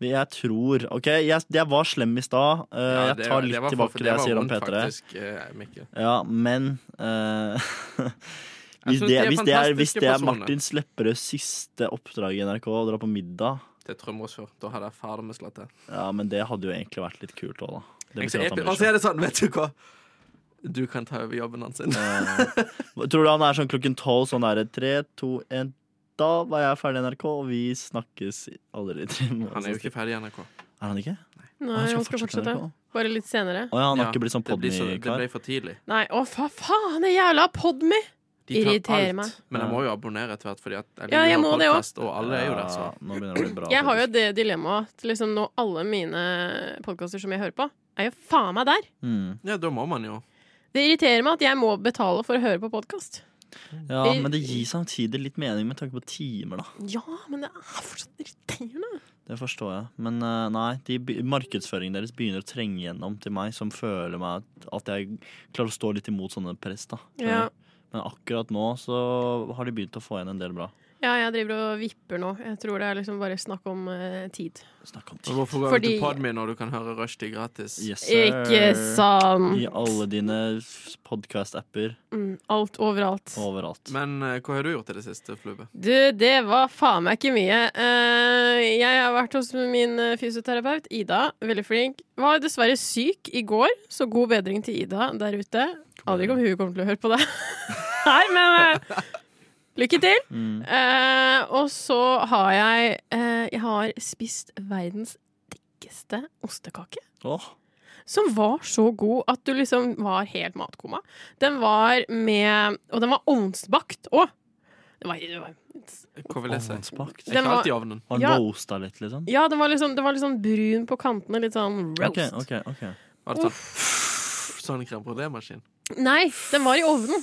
[SPEAKER 5] Vi- Jeg tror OK, jeg, jeg var slem i stad. Eh,
[SPEAKER 6] Ja,
[SPEAKER 5] jeg tar litt
[SPEAKER 6] var
[SPEAKER 5] tilbake
[SPEAKER 6] for-
[SPEAKER 5] det jeg
[SPEAKER 6] var
[SPEAKER 5] sier om
[SPEAKER 6] vondt,
[SPEAKER 5] P3.
[SPEAKER 6] faktisk, eh, Mikkel.
[SPEAKER 5] Ja, men eh,
[SPEAKER 6] Jeg
[SPEAKER 5] hvis,
[SPEAKER 6] synes
[SPEAKER 5] det,
[SPEAKER 6] de er
[SPEAKER 5] hvis, det er,
[SPEAKER 6] fantastiske
[SPEAKER 5] hvis det er
[SPEAKER 6] personer.
[SPEAKER 5] Martin Slepperøds siste oppdrag i NRK, å dra på middag
[SPEAKER 6] Det er Trømmersfjord. Da hadde jeg ferdig med slattet.
[SPEAKER 5] Ja, men det hadde jo egentlig vært litt kult òg, da. Det
[SPEAKER 6] Og
[SPEAKER 5] betyr at han bryr
[SPEAKER 6] så
[SPEAKER 5] seg.
[SPEAKER 6] er det sånn, vet du hva? Du kan ta over jobben hans. sin.
[SPEAKER 5] Tror du han er sånn klokken tolv sånn derre tre, to, én Da var jeg ferdig i NRK, og vi snakkes aldri.
[SPEAKER 6] Han er jo ikke ferdig i NRK.
[SPEAKER 5] Er han ikke?
[SPEAKER 4] Nei, han skal fortsette.
[SPEAKER 5] NRK?
[SPEAKER 4] Bare litt senere.
[SPEAKER 5] Å ja, han har
[SPEAKER 6] Ja,
[SPEAKER 5] ikke blitt sånn
[SPEAKER 6] det blir så- Det
[SPEAKER 5] Podmy-kar?
[SPEAKER 6] ble for tidlig.
[SPEAKER 4] Nei, å fa faen, det jævla Podme!
[SPEAKER 6] De kan
[SPEAKER 4] Irriterer
[SPEAKER 6] alt.
[SPEAKER 4] meg.
[SPEAKER 6] Men jeg må jo abonnere etter hvert, fordi at jeg
[SPEAKER 4] Ja,
[SPEAKER 6] liker
[SPEAKER 4] jeg
[SPEAKER 6] å
[SPEAKER 4] må
[SPEAKER 6] ha
[SPEAKER 4] det
[SPEAKER 6] podcast, Og alle er jo der,
[SPEAKER 5] Ja,
[SPEAKER 6] så.
[SPEAKER 5] nå begynner det å bli bra.
[SPEAKER 4] Jeg har jo
[SPEAKER 5] faktisk.
[SPEAKER 4] det dilemmaet at liksom nå alle mine podkaster som jeg hører på, er jo faen meg der.
[SPEAKER 5] Mm.
[SPEAKER 6] Ja, da må man jo.
[SPEAKER 4] Det irriterer meg at jeg må betale for å høre på podkast.
[SPEAKER 5] Ja, Men det gir samtidig litt mening med tanke på timer, da.
[SPEAKER 4] Ja, men det er fortsatt irriterende.
[SPEAKER 5] Det forstår jeg. Men eh, nei, de, be- markedsføringen deres begynner å trenge gjennom til meg, som føler meg at- at jeg klarer å stå litt imot sånne press, da.
[SPEAKER 4] Ja.
[SPEAKER 5] Men akkurat nå så har de begynt å få igjen en del bra.
[SPEAKER 4] Ja, jeg driver og vipper nå. Jeg tror det er liksom bare snakk om eh, tid.
[SPEAKER 5] Snakk om
[SPEAKER 6] Men
[SPEAKER 5] tid.
[SPEAKER 6] Hvorfor går du
[SPEAKER 4] Fordi-
[SPEAKER 6] til Podme når du kan høre Rushdie gratis?
[SPEAKER 5] Yes, sir.
[SPEAKER 4] Ikke sant?
[SPEAKER 5] I alle dine podkast-apper
[SPEAKER 4] Mm, alt overalt.
[SPEAKER 5] overalt.
[SPEAKER 6] Men eh, hva har du gjort i det siste, Flube?
[SPEAKER 4] Du, det var faen meg ikke mye. Eh, jeg har vært hos min eh, fysioterapeut, Ida. Veldig flink. Var dessverre syk i går, så god bedring til Ida der ute. Aner ikke om hun kommer til å høre på det her, men eh, lykke til.
[SPEAKER 5] Mm.
[SPEAKER 4] Eh, og så har jeg eh, Jeg har spist verdens dikkeste ostekake.
[SPEAKER 5] Åh,
[SPEAKER 4] Som var så god at du liksom var helt matkoma. Den var med Og den var ovnsbakt òg. Det var, det var
[SPEAKER 6] Hva vil jeg si?
[SPEAKER 5] ovnsbakt.
[SPEAKER 6] Jeg
[SPEAKER 4] Den
[SPEAKER 6] er ikke
[SPEAKER 4] var-
[SPEAKER 6] alltid i ovnen.
[SPEAKER 5] Har den
[SPEAKER 4] Ja.
[SPEAKER 5] roasta litt, liksom?
[SPEAKER 4] Ja, den var liksom, den var liksom brun på kantene, litt sånn roast.
[SPEAKER 5] Ok, ok, ok
[SPEAKER 6] Var det sånn Sånn crème brûlée-maskin.
[SPEAKER 4] Nei, den var i ovnen.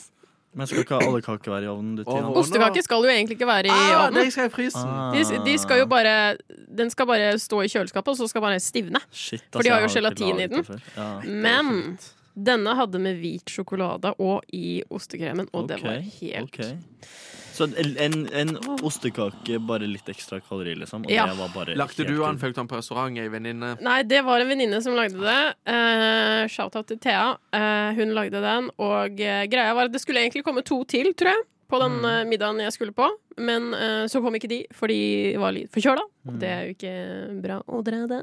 [SPEAKER 5] Men skal ikke alle kaker være i ovnen? Du, Tina?
[SPEAKER 6] Ovnen.
[SPEAKER 4] Ostekaker skal jo egentlig ikke være i
[SPEAKER 6] Ah,
[SPEAKER 4] ovnen.
[SPEAKER 6] nei, skal jeg i frysen!
[SPEAKER 5] Ah.
[SPEAKER 4] De, de skal jo bare, den skal bare stå i kjøleskapet, og så skal bare stivne.
[SPEAKER 5] Shit,
[SPEAKER 4] for de
[SPEAKER 5] altså,
[SPEAKER 4] har jo
[SPEAKER 5] jeg ikke
[SPEAKER 4] gelatin i
[SPEAKER 5] laget
[SPEAKER 4] den. Mm,
[SPEAKER 5] det før. Ja.
[SPEAKER 4] Men denne hadde med hvit sjokolade og i ostekremen, og det
[SPEAKER 5] Ok,
[SPEAKER 4] var helt
[SPEAKER 5] ok. Så en, en- en ostekake, bare litt ekstra kalori, liksom? Og
[SPEAKER 4] Ja.
[SPEAKER 5] det var bare
[SPEAKER 6] Lagde
[SPEAKER 5] helt
[SPEAKER 6] du
[SPEAKER 5] ut.
[SPEAKER 6] han fulgte han på restaurant, ei venninne?
[SPEAKER 4] Nei, det var en venninne som lagde det. Eh, Shout-out til Thea. Eh, hun lagde den, og eh, greia var at det skulle egentlig komme to til, tror jeg, på den
[SPEAKER 6] Mm.
[SPEAKER 4] eh, middagen jeg skulle på. Men eh, så kom ikke de, for de var litt forkjøla.
[SPEAKER 6] Mm.
[SPEAKER 4] Og det er jo ikke bra å dra det.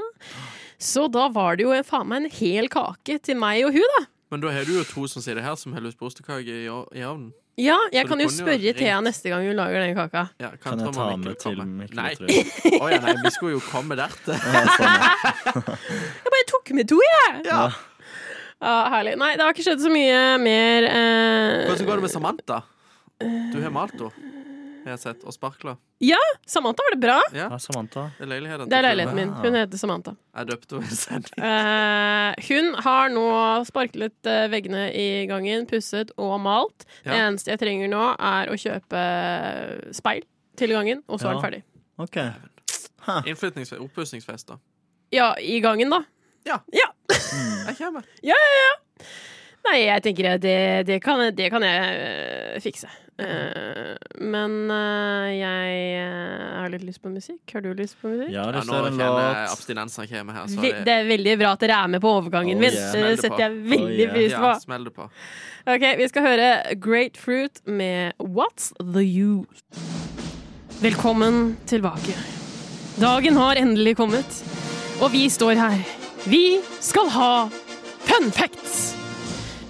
[SPEAKER 4] Så da var det jo eh, faen meg en hel kake til meg og hun, da.
[SPEAKER 6] Men da har du jo to som sier det her, som har lyst på ostekake i, o- i ovnen.
[SPEAKER 4] Ja, jeg
[SPEAKER 6] Så
[SPEAKER 4] kan
[SPEAKER 6] du
[SPEAKER 4] jo
[SPEAKER 6] kunne jo
[SPEAKER 4] spørre
[SPEAKER 6] ringt.
[SPEAKER 4] Thea neste gang hun lager den kaka.
[SPEAKER 6] Ja,
[SPEAKER 5] Kan jeg ta med til
[SPEAKER 6] mikrotrommet? Nei.
[SPEAKER 5] mikrotrøy?
[SPEAKER 6] Å ja, nei, vi skulle jo komme der til.
[SPEAKER 5] Ja, sånn, ja.
[SPEAKER 4] Jeg bare tok med to, jeg!
[SPEAKER 6] Ja.
[SPEAKER 4] Ja, herlig. Nei, det har ikke skjedd så mye mer. eh,
[SPEAKER 6] Hvordan går det med Samantha? Du har malt henne, har jeg sett. Og sparkla.
[SPEAKER 4] Samantha har det bra.
[SPEAKER 6] Ja,
[SPEAKER 5] Ja, Samantha.
[SPEAKER 6] det er leiligheten.
[SPEAKER 4] Det er
[SPEAKER 6] til
[SPEAKER 4] leiligheten min.
[SPEAKER 5] Wow.
[SPEAKER 4] Hun heter Samantha.
[SPEAKER 6] Flube. Jeg døpte henne i sending.
[SPEAKER 4] Eh, hun har nå sparklet eh, veggene i gangen, pusset og malt. Det
[SPEAKER 6] Ja.
[SPEAKER 4] eneste jeg trenger nå, er å kjøpe speil til gangen, og så er
[SPEAKER 5] Ja.
[SPEAKER 4] den ferdig.
[SPEAKER 5] OK.
[SPEAKER 6] Innflytningsfest, oppussingsfest, da.
[SPEAKER 4] Ja, i gangen, da.
[SPEAKER 6] Jeg kommer.
[SPEAKER 4] Nei, jeg tenker at det, det, kan, det kan jeg eh, fikse. Eh, men eh, jeg eh, har litt lyst på musikk. Har du lyst på musikk?
[SPEAKER 5] Jeg har
[SPEAKER 6] Ja,
[SPEAKER 5] lyst
[SPEAKER 6] nå
[SPEAKER 5] til en
[SPEAKER 6] kjenner jeg
[SPEAKER 5] låt.
[SPEAKER 6] abstinensen kommer her. Så
[SPEAKER 4] Vi, det er veldig bra at dere er med på overgangen
[SPEAKER 5] Oh,
[SPEAKER 4] min. Det
[SPEAKER 5] yeah.
[SPEAKER 6] Smeller på.
[SPEAKER 4] setter jeg veldig
[SPEAKER 5] yeah.
[SPEAKER 4] pris på.
[SPEAKER 6] ja, smell det på.
[SPEAKER 4] Ok, vi skal høre Great Fruit med What's the Use? Velkommen tilbake. Dagen har endelig kommet, og vi står her. Vi skal ha fun facts!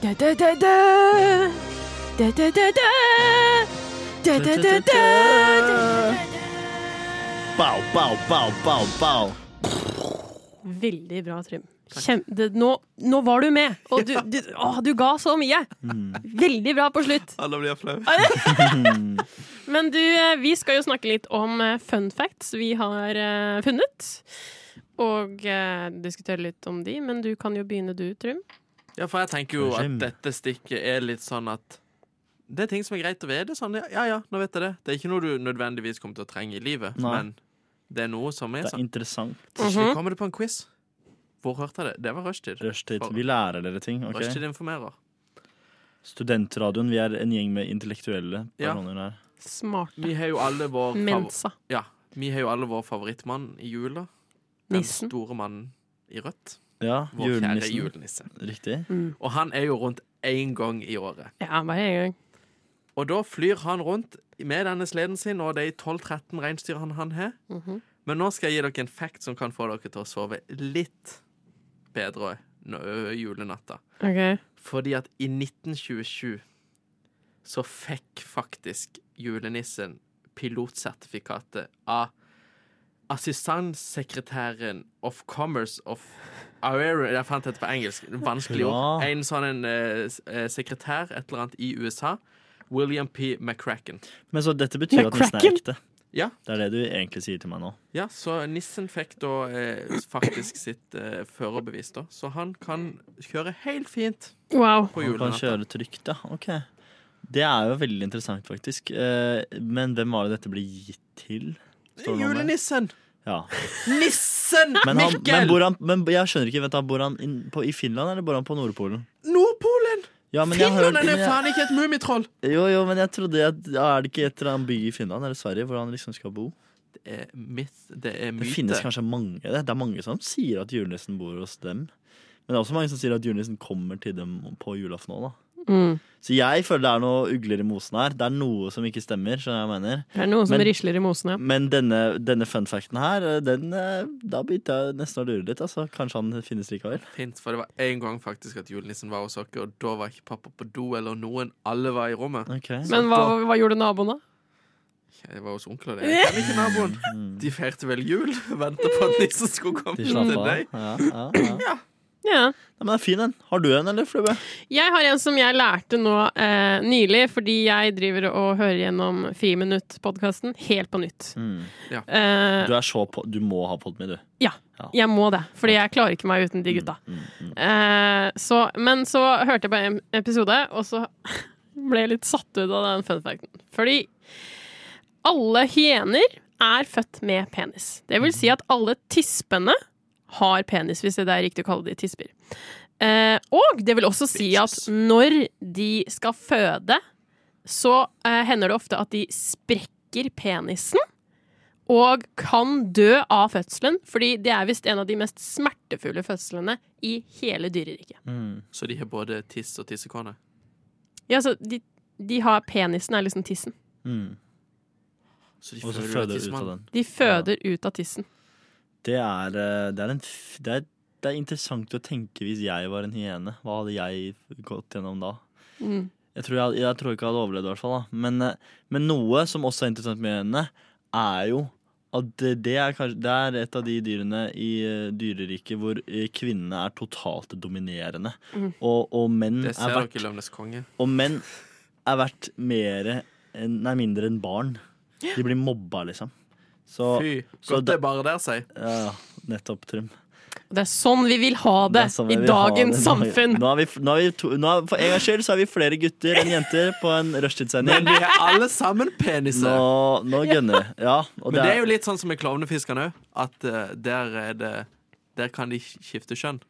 [SPEAKER 4] Da, da, da, da. Da, da, da, da. Da, da, da, da.
[SPEAKER 5] Bow, bow, bow, bow, bow.
[SPEAKER 4] Veldig bra, Trym. Kjem, det, nå, nå var du med, og du, du, å, du ga så mye. Veldig bra på slutt.
[SPEAKER 6] Alle blir flaue.
[SPEAKER 4] Men du, eh, vi skal jo snakke litt om eh, fun facts vi har eh, funnet. Og eh, diskutere litt om de, men du kan jo begynne du, Trym.
[SPEAKER 6] Ja, for jeg tenker jo at
[SPEAKER 5] Skjem.
[SPEAKER 6] dette stikket er litt sånn at det er ting som er greit å vite. Sånn, ja, ja, ja, nå vet jeg det. Det er ikke noe du nødvendigvis kommer til å trenge i livet,
[SPEAKER 5] Nei.
[SPEAKER 6] men det er noe som er
[SPEAKER 5] Det er
[SPEAKER 6] sånn.
[SPEAKER 5] interessant.
[SPEAKER 6] Plutselig kommer det på en quiz. Hvor hørte jeg det? Det var rushtid.
[SPEAKER 5] Rushtid. Vi lærer dere ting. ok?
[SPEAKER 6] Rushtid informerer.
[SPEAKER 5] Studentradioen. Vi er en gjeng med intellektuelle
[SPEAKER 6] Ja.
[SPEAKER 5] personer her.
[SPEAKER 4] Smarte.
[SPEAKER 6] Vi har jo alle vår, favor
[SPEAKER 4] Mensa.
[SPEAKER 6] ja, vi har jo alle vår favorittmann i jula. Den
[SPEAKER 4] Nissen.
[SPEAKER 6] store mannen i rødt.
[SPEAKER 5] Ja,
[SPEAKER 6] Vår kjære
[SPEAKER 5] julenissen.
[SPEAKER 6] julenisse.
[SPEAKER 5] Riktig.
[SPEAKER 6] Og han er jo rundt én gang i året.
[SPEAKER 4] Ja, bare en gang.
[SPEAKER 6] Og da flyr han rundt med denne sleden sin og de 12-13 reinsdyrene han har. Men nå skal jeg gi dere en fact som kan få dere til å sove litt bedre nå- julenatta.
[SPEAKER 4] Ok.
[SPEAKER 6] Fordi at i 1927 så fikk faktisk julenissen pilotsertifikatet av assistantsekretæren of commerce of Aero, jeg fant dette på engelsk. Vanskelig ord.
[SPEAKER 5] Ja.
[SPEAKER 6] En sånn en, eh, s- eh, sekretær, et eller annet, i USA. William P. McCracken.
[SPEAKER 5] Men så dette betyr at nissen er
[SPEAKER 4] McCracken?
[SPEAKER 5] ekte.
[SPEAKER 6] Ja.
[SPEAKER 5] Det er det du egentlig sier til meg nå.
[SPEAKER 6] Ja, så nissen fikk da eh, faktisk sitt eh, førerbevis, da. Så han kan kjøre helt fint
[SPEAKER 4] Wow.
[SPEAKER 6] på
[SPEAKER 5] Man kan
[SPEAKER 6] julenatta.
[SPEAKER 5] kjøre trygt, ja. Ok. Det er jo veldig interessant, faktisk. Eh, Men hvem var det dette ble gitt til? Står det noe om det?
[SPEAKER 6] Julenissen!
[SPEAKER 5] Ja.
[SPEAKER 6] Nissen
[SPEAKER 5] Men, han, men,
[SPEAKER 6] Mikkel!
[SPEAKER 5] bor han, men jeg skjønner ikke, vent da, bor han inn på, i Finland eller bor han på Nordpolen?
[SPEAKER 6] Nordpolen!
[SPEAKER 5] Ja, men jeg har hørt-
[SPEAKER 6] Finland er jo
[SPEAKER 5] men jeg-
[SPEAKER 6] faen ikke et mummitroll!
[SPEAKER 5] Jo, jo, men jeg trodde at, ja, Er det ikke et eller annet by i Finland eller Sverige hvor han liksom skal bo?
[SPEAKER 6] Det er myth, det er
[SPEAKER 5] Det finnes
[SPEAKER 6] myte.
[SPEAKER 5] kanskje mange Det det er mange som sier at julenissen bor hos dem. Men det er også mange som sier at julenissen kommer til dem på julaften òg, da.
[SPEAKER 4] Mm.
[SPEAKER 5] Så jeg føler det er noe ugler i mosen her. Det er noe som ikke stemmer. skjønner du hva jeg mener
[SPEAKER 4] Det er noen som
[SPEAKER 5] Men-
[SPEAKER 4] risler i mosen, ja.
[SPEAKER 5] Men denne, denne funfacten her, den, eh, da begynte jeg nesten å lure litt. Altså. Kanskje han finnes likevel.
[SPEAKER 6] Fint, for det var en gang faktisk at julenissen var hos dere, og da var ikke pappa på do eller noen. Alle var i rommet.
[SPEAKER 5] Ok.
[SPEAKER 4] Men hva, hva gjorde naboen, da?
[SPEAKER 6] Jeg var hos onkler, det. Jeg liker naboen. De feirte vel jul? Venta på at nissen skulle komme
[SPEAKER 5] Mm. De slapp
[SPEAKER 6] til
[SPEAKER 5] av.
[SPEAKER 6] deg?
[SPEAKER 5] Ja, ja, ja.
[SPEAKER 4] Ja.
[SPEAKER 5] Nei, men det er fin en. Har du en, eller, Flube?
[SPEAKER 4] Jeg har en som jeg lærte nå eh, nylig, fordi jeg driver og hører gjennom Friminutt-podkasten helt på nytt. Eh,
[SPEAKER 5] Du er så på Du må ha podmi, du.
[SPEAKER 4] jeg må det, fordi jeg klarer ikke meg uten de gutta. Eh, så, men så hørte jeg på en episode, og så ble jeg litt satt ut av den fun facten. Fordi alle hyener er født med penis. Det vil si at alle tispene har penis, hvis det er riktig å kalle de tisper. Eh, og det vil også si at når de skal føde, så eh, hender det ofte at de sprekker penisen og kan dø av fødselen, fordi det er visst en av de mest smertefulle fødslene i hele dyreriket.
[SPEAKER 6] Så de har både tiss og tissekone?
[SPEAKER 4] Ja, så de, de har penisen er liksom tissen.
[SPEAKER 5] Mm.
[SPEAKER 6] Så de
[SPEAKER 5] Og så føder
[SPEAKER 6] føler jo
[SPEAKER 5] du ut av
[SPEAKER 6] tissemannen.
[SPEAKER 5] den.
[SPEAKER 4] De føder ut av tissen.
[SPEAKER 5] Det er, eh, det, er en, f- det, er, det er interessant å tenke hvis jeg var en hyene. Hva hadde jeg gått gjennom da?
[SPEAKER 4] Mm.
[SPEAKER 5] Jeg tror, jeg, jeg tror ikke jeg hadde overlevd, i hvert fall. Da. Men, eh, men noe som også er interessant med henne, er jo at det, det, er kanskje, det er et av de dyrene i eh, dyreriket hvor eh, kvinnene er totalt dominerende. Og, og menn
[SPEAKER 6] Det
[SPEAKER 5] er
[SPEAKER 6] ser
[SPEAKER 5] verdt
[SPEAKER 6] dere i Løvenes konge.
[SPEAKER 5] Og menn er verdt mere enn, nei, mindre enn barn. De blir mobba, liksom. Så,
[SPEAKER 6] Fy.
[SPEAKER 5] så
[SPEAKER 6] Godt
[SPEAKER 5] da-
[SPEAKER 6] det er bare der, sier
[SPEAKER 5] ja, nettopp, Trym.
[SPEAKER 4] Og det er sånn vi vil ha det,
[SPEAKER 5] Det er sånn vi
[SPEAKER 4] i
[SPEAKER 5] vil ha
[SPEAKER 4] dagens
[SPEAKER 5] det.
[SPEAKER 4] samfunn.
[SPEAKER 5] Nå er vi, nå er vi to, nå er, for en gangs skyld så er vi flere gutter enn jenter på en
[SPEAKER 6] Men
[SPEAKER 5] rushtidssending.
[SPEAKER 6] de har alle sammen peniser.
[SPEAKER 5] Nå, nå gønner det. Ja, og
[SPEAKER 6] Men
[SPEAKER 5] det
[SPEAKER 6] det er
[SPEAKER 5] er,
[SPEAKER 6] jo litt sånn som med klovnefiskerne òg, at eh, der er det der kan de skifte kjønn.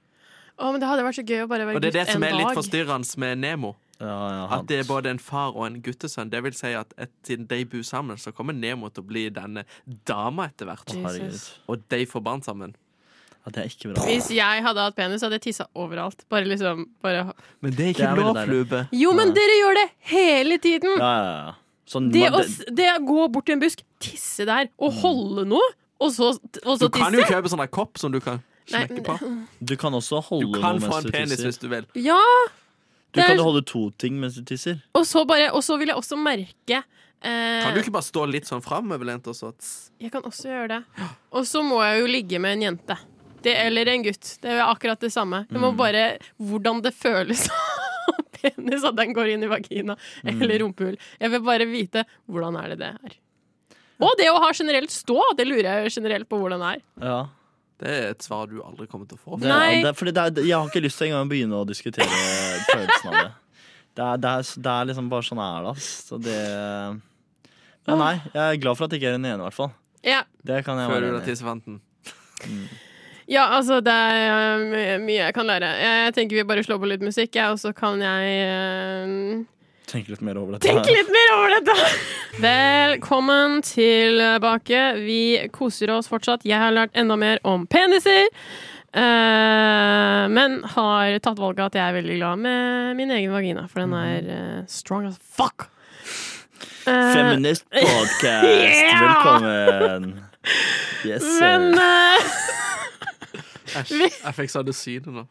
[SPEAKER 4] Å, men det hadde vært så gøy å bare være
[SPEAKER 6] Og det
[SPEAKER 4] gutt
[SPEAKER 6] er det som
[SPEAKER 4] en
[SPEAKER 6] er litt
[SPEAKER 4] dag.
[SPEAKER 6] forstyrrende med Nemo.
[SPEAKER 5] ja, ja,
[SPEAKER 6] At det er
[SPEAKER 5] han-
[SPEAKER 6] både en far og en guttesønn. Det vil si at et, siden de bor sammen, så kommer Nemo til å bli denne dama etter hvert.
[SPEAKER 5] Å, herregud.
[SPEAKER 4] Jesus.
[SPEAKER 6] Og de får barn sammen.
[SPEAKER 5] ja, det er ikke bra.
[SPEAKER 4] Hvis jeg hadde hatt penis, hadde jeg tissa overalt. Bare liksom bare...
[SPEAKER 6] Men det er
[SPEAKER 5] Det
[SPEAKER 6] ikke
[SPEAKER 5] er veldig
[SPEAKER 6] lov,
[SPEAKER 5] deilig.
[SPEAKER 6] Flube.
[SPEAKER 4] Jo, men
[SPEAKER 5] Nei.
[SPEAKER 4] dere gjør det hele tiden!
[SPEAKER 5] Ja, ja, ja. Sånn,
[SPEAKER 4] Det
[SPEAKER 5] man-
[SPEAKER 4] å,
[SPEAKER 5] det-
[SPEAKER 4] s- det å gå bort til en busk, tisse der, og holde noe, og så, og
[SPEAKER 6] Du
[SPEAKER 4] så
[SPEAKER 6] kan jo
[SPEAKER 4] tisse.
[SPEAKER 6] kjøpe sånn der kopp som du kan
[SPEAKER 4] Nei,
[SPEAKER 6] smekke
[SPEAKER 4] men-
[SPEAKER 6] på.
[SPEAKER 5] du kan også
[SPEAKER 6] Du
[SPEAKER 5] holde
[SPEAKER 6] kan
[SPEAKER 5] noe mens
[SPEAKER 6] få en
[SPEAKER 5] du
[SPEAKER 6] penis
[SPEAKER 5] tisser.
[SPEAKER 6] hvis du vil.
[SPEAKER 4] Ja,
[SPEAKER 5] Du
[SPEAKER 4] Det
[SPEAKER 5] kan
[SPEAKER 4] er-
[SPEAKER 5] holde to ting mens du tisser.
[SPEAKER 4] og så bare Og så vil jeg også merke eh,
[SPEAKER 6] Kan du ikke bare stå litt sånn framoverlent og så tss?
[SPEAKER 4] Jeg kan også gjøre det. Og så må jeg jo ligge med en jente. Det, eller en gutt. Det er akkurat det samme. Jeg
[SPEAKER 6] Mm.
[SPEAKER 4] må bare Hvordan det føles å ha penis, at den går inn i vagina eller
[SPEAKER 6] Mm.
[SPEAKER 4] rumpehull. Jeg vil bare vite hvordan er det det er. Og det å ha generelt stå, det lurer jeg generelt på hvordan det er.
[SPEAKER 5] Ja.
[SPEAKER 6] Det er et svar du aldri kommer til å få.
[SPEAKER 5] Det,
[SPEAKER 4] Nei.
[SPEAKER 5] Det, er- fordi det er, jeg har ikke lyst til engang å begynne å diskutere følelsen av det. Det er, det, er, det er liksom bare sånn er det, ass. Så det Men nei, jeg er glad for at jeg ikke er den ene, i hvert fall.
[SPEAKER 4] Ja,
[SPEAKER 5] Det kan jeg
[SPEAKER 6] Føler
[SPEAKER 5] være
[SPEAKER 6] du
[SPEAKER 5] enig
[SPEAKER 6] deg
[SPEAKER 5] i.
[SPEAKER 6] tissefanten?
[SPEAKER 4] ja altså det er øh, my- mye jeg kan lære. Jeg tenker vi bare slår på litt musikk, jeg, og så kan jeg øh,
[SPEAKER 5] Tenke litt mer over dette.
[SPEAKER 4] Tenk
[SPEAKER 5] her.
[SPEAKER 4] litt mer over dette! Velkommen tilbake. Vi koser oss fortsatt. Jeg har lært enda mer om peniser. eh, men har tatt valget at jeg er veldig glad med min egen vagina, for den er eh, strong as fuck. Eh,
[SPEAKER 5] Feminist podcast,
[SPEAKER 4] Yeah!
[SPEAKER 5] velkommen! Yes.
[SPEAKER 4] men
[SPEAKER 5] sir.
[SPEAKER 4] eh,
[SPEAKER 6] Æsj. Jeg fikk sånne syne nå.